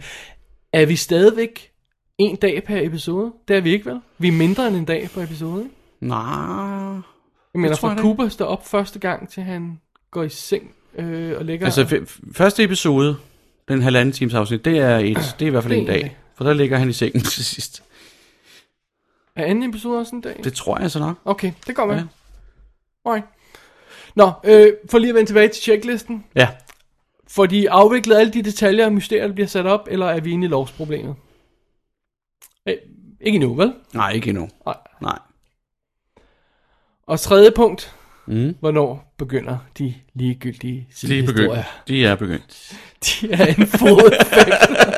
er vi stadigvæk en dag per episode? Det er vi ikke, vel? Vi er mindre end en dag per episode, ikke?
Nej.
Jeg mener, fra Cooper står op første gang, til han går i seng øh, og ligger...
Altså, f- første episode, den halvanden times afsnit, det er, et, det er i hvert fald en dag, dag. For der ligger han i sengen til sidst.
Er anden episode også en dag?
Det tror jeg så nok.
Okay, det går med. Ja. Alright. Nå, øh, for lige at vende tilbage til checklisten.
Ja.
Får de afviklet alle de detaljer og mysterier, der bliver sat op, eller er vi inde i lovsproblemet? Øh, ikke endnu, vel?
Nej, ikke endnu.
Nej.
Nej.
Og tredje punkt,
Mm.
Hvornår begynder de ligegyldige
sidehistorier? De, de er begyndt.
De er en fod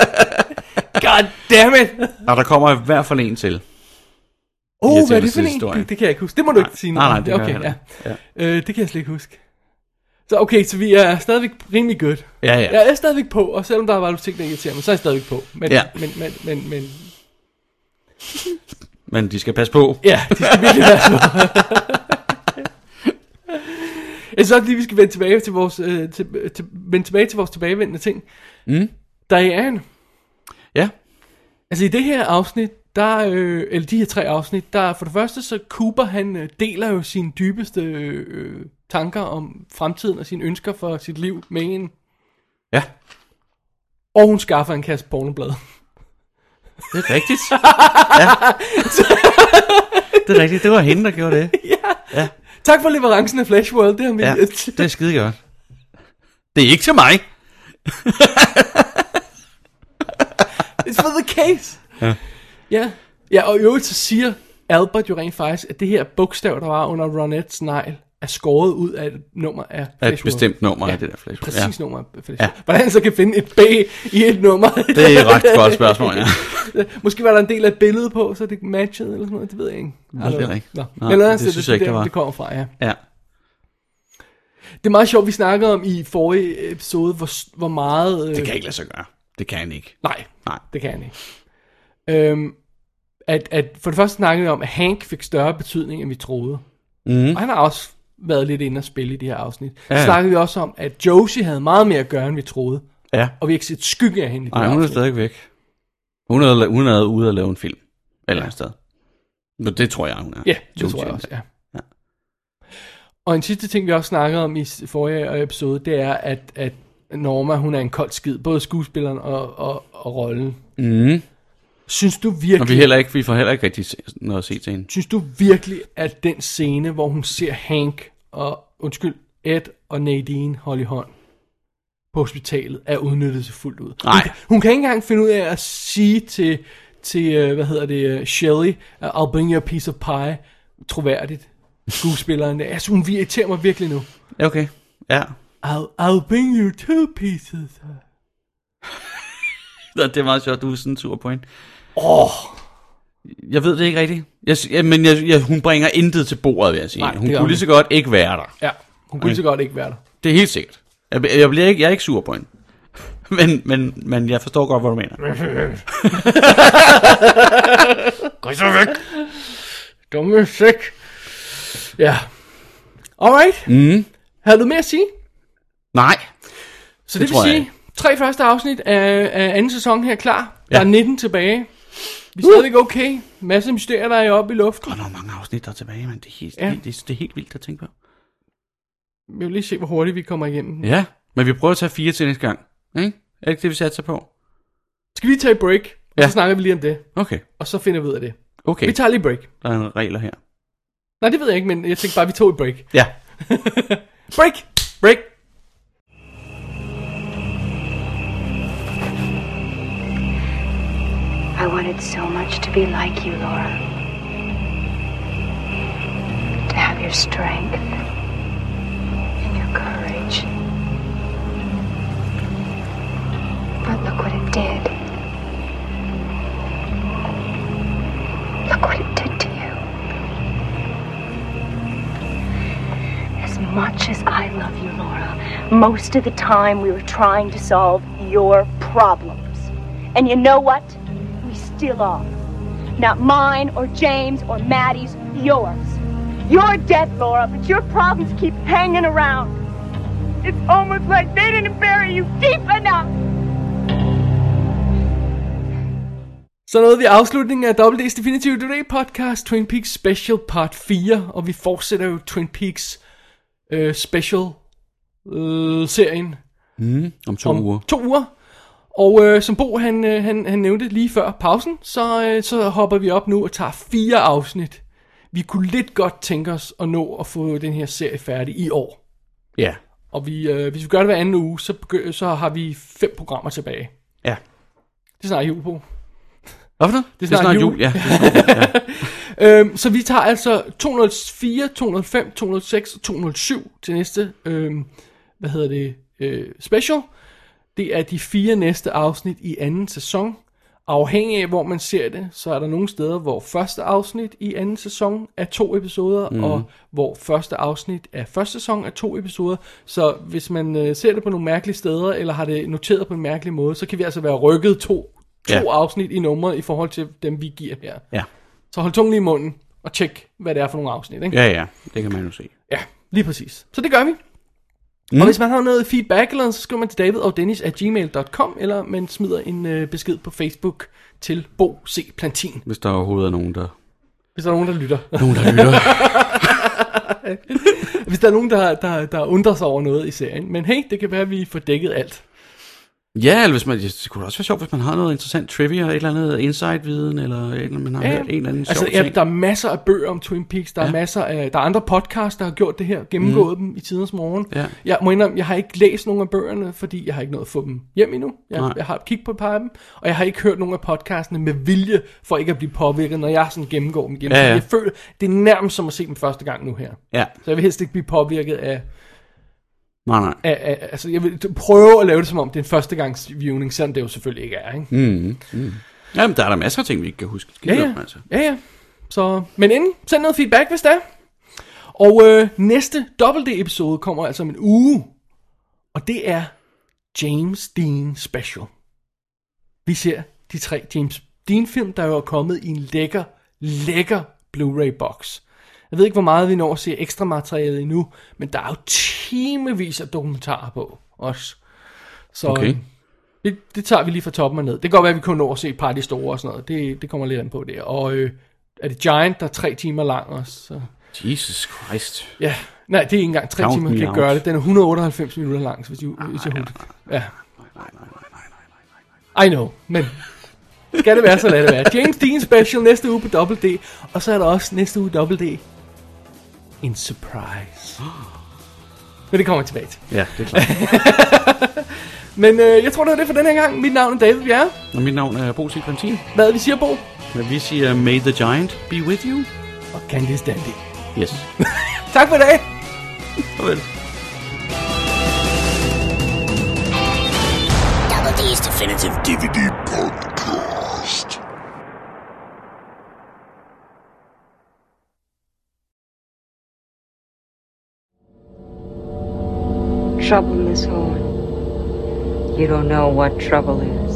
God damn it!
Og der kommer i hvert fald en til.
Åh, oh, hvad er det for en? Det, det kan jeg ikke huske. Det må du
nej,
ikke sige
noget. Nej, nej, det
okay,
jeg
ja. ja. Øh, det kan jeg slet ikke huske. Så okay, så vi er stadigvæk rimelig godt.
Ja, ja.
Jeg er stadigvæk på, og selvom der har været ting, der irriterer mig, så er jeg stadigvæk på. Men,
ja.
men, men, men, men...
men de skal passe på.
Ja, de skal virkelig passe på. Jeg synes også lige, vi skal vende tilbage til vores, øh, til, til, vende tilbage til vores tilbagevendende ting.
Mm.
Diane.
Ja.
Altså i det her afsnit, der, øh, eller de her tre afsnit, der for det første, så Cooper, han øh, deler jo sine dybeste øh, tanker om fremtiden og sine ønsker for sit liv med en.
Ja.
Og hun skaffer en kasse pornoblad.
Det er rigtigt. ja. Det er rigtigt, det var hende, der gjorde det.
ja. ja. Tak for leverancen af Flash World, det har min...
Ja, det er skide godt. Det er ikke til mig.
It's for the case.
Ja.
Ja, ja og i øvrigt så siger Albert jo rent faktisk, at det her bogstav, der var under Ronettes negl, er skåret ud af et nummer af Flash
Af et bestemt nummer ja, af det der Flash
Præcis ja. nummer af Flash ja. Hvordan så kan finde et B i et nummer?
Det er et ret godt spørgsmål, ja.
Måske var der en del af et billede på, så det matchede eller sådan noget, det ved jeg ikke.
Nej, det er ikke.
Nå.
Nå,
eller,
det, det synes jeg ikke,
der,
der var.
Det kommer fra, ja.
Ja.
Det er meget sjovt, vi snakkede om i forrige episode, hvor, hvor meget... Øh...
Det kan ikke lade sig gøre. Det kan han ikke.
Nej,
Nej.
det kan han ikke. Øhm, at, at for det første snakkede vi om, at Hank fik større betydning, end vi troede.
Mm.
Og han har også været lidt inde og spille i de her afsnit. Ja, ja. Så snakkede vi også om, at Josie havde meget mere at gøre, end vi troede.
Ja.
Og vi har ikke set skygge af hende i de
Nej,
her
hun er
afsnit.
stadig væk. Hun er, hun er ude og lave en film. Eller et sted. Men det tror jeg, hun er.
Ja, det tror jeg også, ja.
Ja.
Og en sidste ting, vi også snakkede om i s- forrige episode, det er, at, at Norma, hun er en kold skid. Både skuespilleren og, og, og rollen.
Mm.
Synes du
Og
virkelig,
vi, heller ikke, vi får heller ikke rigtig se- noget at se til hende.
synes du virkelig, at den scene, hvor hun ser Hank og, undskyld, Ed og Nadine holde i hånd på hospitalet, er udnyttet til fuldt ud? Hun,
Nej.
kan- hun kan ikke engang finde ud af at sige til, til øh, hvad hedder det, øh, Shelley, at I'll bring you a piece of pie, troværdigt, skuespilleren. der. Altså, hun irriterer mig virkelig nu.
Ja, Okay. Ja.
I'll, I'll bring you two pieces.
Nå, Det er meget sjovt, du er sådan en sur point.
Åh, oh,
Jeg ved det ikke rigtigt. Jeg, s- ja, men jeg, jeg, hun bringer intet til bordet, vil jeg sige.
Nej,
Nej,
det
hun
gør
kunne
hun
lige så godt ikke være der.
ja. Hun kunne lige så godt ikke være der.
Det er helt sikkert. Jeg, jeg, bliver ikke, jeg er ikke sur på hende. men, men, men jeg forstår godt, hvad du mener.
Gå så væk. Dumme sæk. Ja. Alright.
Mm.
Havde du mere at sige?
Nej.
Så det, det vil sige, jeg. tre første afsnit af, af anden sæson her klar. Ja. Der er 19 tilbage. Vi er uh. stadigvæk okay. Masser af mysterier, der er oppe i luften.
Og der er mange afsnit, der er tilbage, men det er, helt, ja. det, det, det er helt vildt at tænke på.
Vi vil lige se, hvor hurtigt vi kommer igennem.
Ja, men vi prøver at tage fire til næste gang. Ikke? Er det ikke det, vi satser på?
Skal vi tage et break? Og
Ja.
ja. så snakker vi lige om det.
Okay,
Og så finder vi ud af det.
okay.
Vi tager lige et break.
Der er nogle regler her.
Nej, det ved jeg ikke, men jeg tænkte bare, at vi tog et break.
Ja.
Break!
Break!
I wanted so much to be like you, Laura. To have your strength and your courage. But look what it did. Look what it did to you. As much as I love you, Laura, most of the time we were trying to solve your problems. And you know what? We still are. Not mine or James or Maddie's, yours. You're dead, Laura, but your problems keep hanging around. It's almost like they didn't bury you deep enough.
Så nåede vi afslutningen af WD's Definitive Today podcast, Twin Peaks Special Part 4, og vi fortsætter jo Twin Peaks øh, Special-serien øh, serien
Mm, om to
om
uger.
to uger. Og øh, som Bo han, øh, han, han nævnte lige før pausen, så, øh, så hopper vi op nu og tager fire afsnit. Vi kunne lidt godt tænke os at nå at få den her serie færdig i år.
Ja.
Og vi, øh, hvis vi gør det hver anden uge, så, begy- så har vi fem programmer tilbage.
Ja.
Det snakker jul på.
Hvad for noget? Det er snart jul. Ja, det er snart
Øhm, så vi tager altså 204, 205, 206 og 207 til næste, øhm, hvad hedder det, øh, special. Det er de fire næste afsnit i anden sæson. Afhængig af, hvor man ser det, så er der nogle steder, hvor første afsnit i anden sæson er to episoder, mm. og hvor første afsnit af første sæson er to episoder. Så hvis man øh, ser det på nogle mærkelige steder, eller har det noteret på en mærkelig måde, så kan vi altså være rykket to, to
Ja.
afsnit i numre i forhold til dem, vi giver her.
Ja.
Så hold tungen lige i munden og tjek, hvad det er for nogle afsnit, ikke?
Ja, ja. Det kan man jo se.
ja lige præcis. Så det gør vi. Mm. Og hvis man har noget feedback eller noget, så skriver man til David og Dennis at gmail.com, eller man smider en øh, besked på Facebook til Bo C. Plantin,
Hvis der overhovedet er nogen, der...
hvis der er nogen, der lytter.
Nogen, der lytter.
hvis der er nogen, der, der, der undrer sig over noget i serien. Men hey, det kan være, at vi får dækket alt.
Ja, eller hvis man, det kunne også være sjovt, hvis man har noget interessant trivia, et eller andet insight-viden, eller et eller andet, man har
Ja,
hørt en eller anden
altså,
sjov
ja,
ting.
der er masser af bøger om Twin Peaks, der ja. er masser af, der er andre podcasts, der har gjort det her, gennemgået mm. dem i tidens morgen.
Ja.
Jeg må indrømme, jeg har ikke læst nogen af bøgerne, fordi jeg har ikke nået at få dem hjem endnu. Jeg,
Nej.
jeg har kigget på et par af dem, og jeg har ikke hørt nogen af podcastene med vilje, for ikke at blive påvirket, når jeg sådan gennemgår dem igen.
Ja,
Fordi
ja.
Jeg føler, det er nærmest som at se dem første gang nu her.
Ja,
Så jeg vil helst ikke blive påvirket af,
nej, nej.
af, af altså jeg vil prøve at lave det som om det er en førstegangs viewning, selvom det jo selvfølgelig ikke er, ikke?
Mm, mm. Jamen, der er der masser af ting, vi ikke kan huske. Skidt
ja,
op,
ja.
altså.
ja, ja. Så, men inden, send noget feedback, hvis der. er. Og øh, næste dobbelt episode kommer altså om en uge. Og det er James Dean Special. Vi ser de tre James Dean-film, der jo er kommet i en lækker, lækker Blu-ray-boks. Jeg ved ikke, hvor meget vi når at se ekstra materiale endnu, men der er jo timevis af dokumentarer på også. Så
Okay.
det, det tager vi lige fra toppen og ned. Det kan godt være, at vi kun når at se et par af de store og sådan noget. Det, det kommer lidt an på det. Og øh, er det Giant, der er tre timer lang også? Så.
Jesus Christ.
Ja, nej, det er ikke engang tre
Count
timer,
me
kan
out.
gøre det. Den er 198 minutter lang, så hvis, du, hvis jeg husker. Ja. I know, men skal det være, så lad det være. James Dean Special næste uge på Double D, og så er der også næste uge Double D en surprise. Men det kommer jeg tilbage til.
Ja, det er klart.
Men øh, jeg tror, det var det for den her gang. Mit navn er David Bjerre.
Og mit navn er Bo C. Plantin.
Hvad er det, vi siger, Bo?
Men vi siger, may the giant be with you.
Og Candice Dandy.
Yes.
Tak for i dag.
Farvel.
Double D's
Definitive DVD Podcast.
Trouble, Miss Horn.
You don't know what trouble is.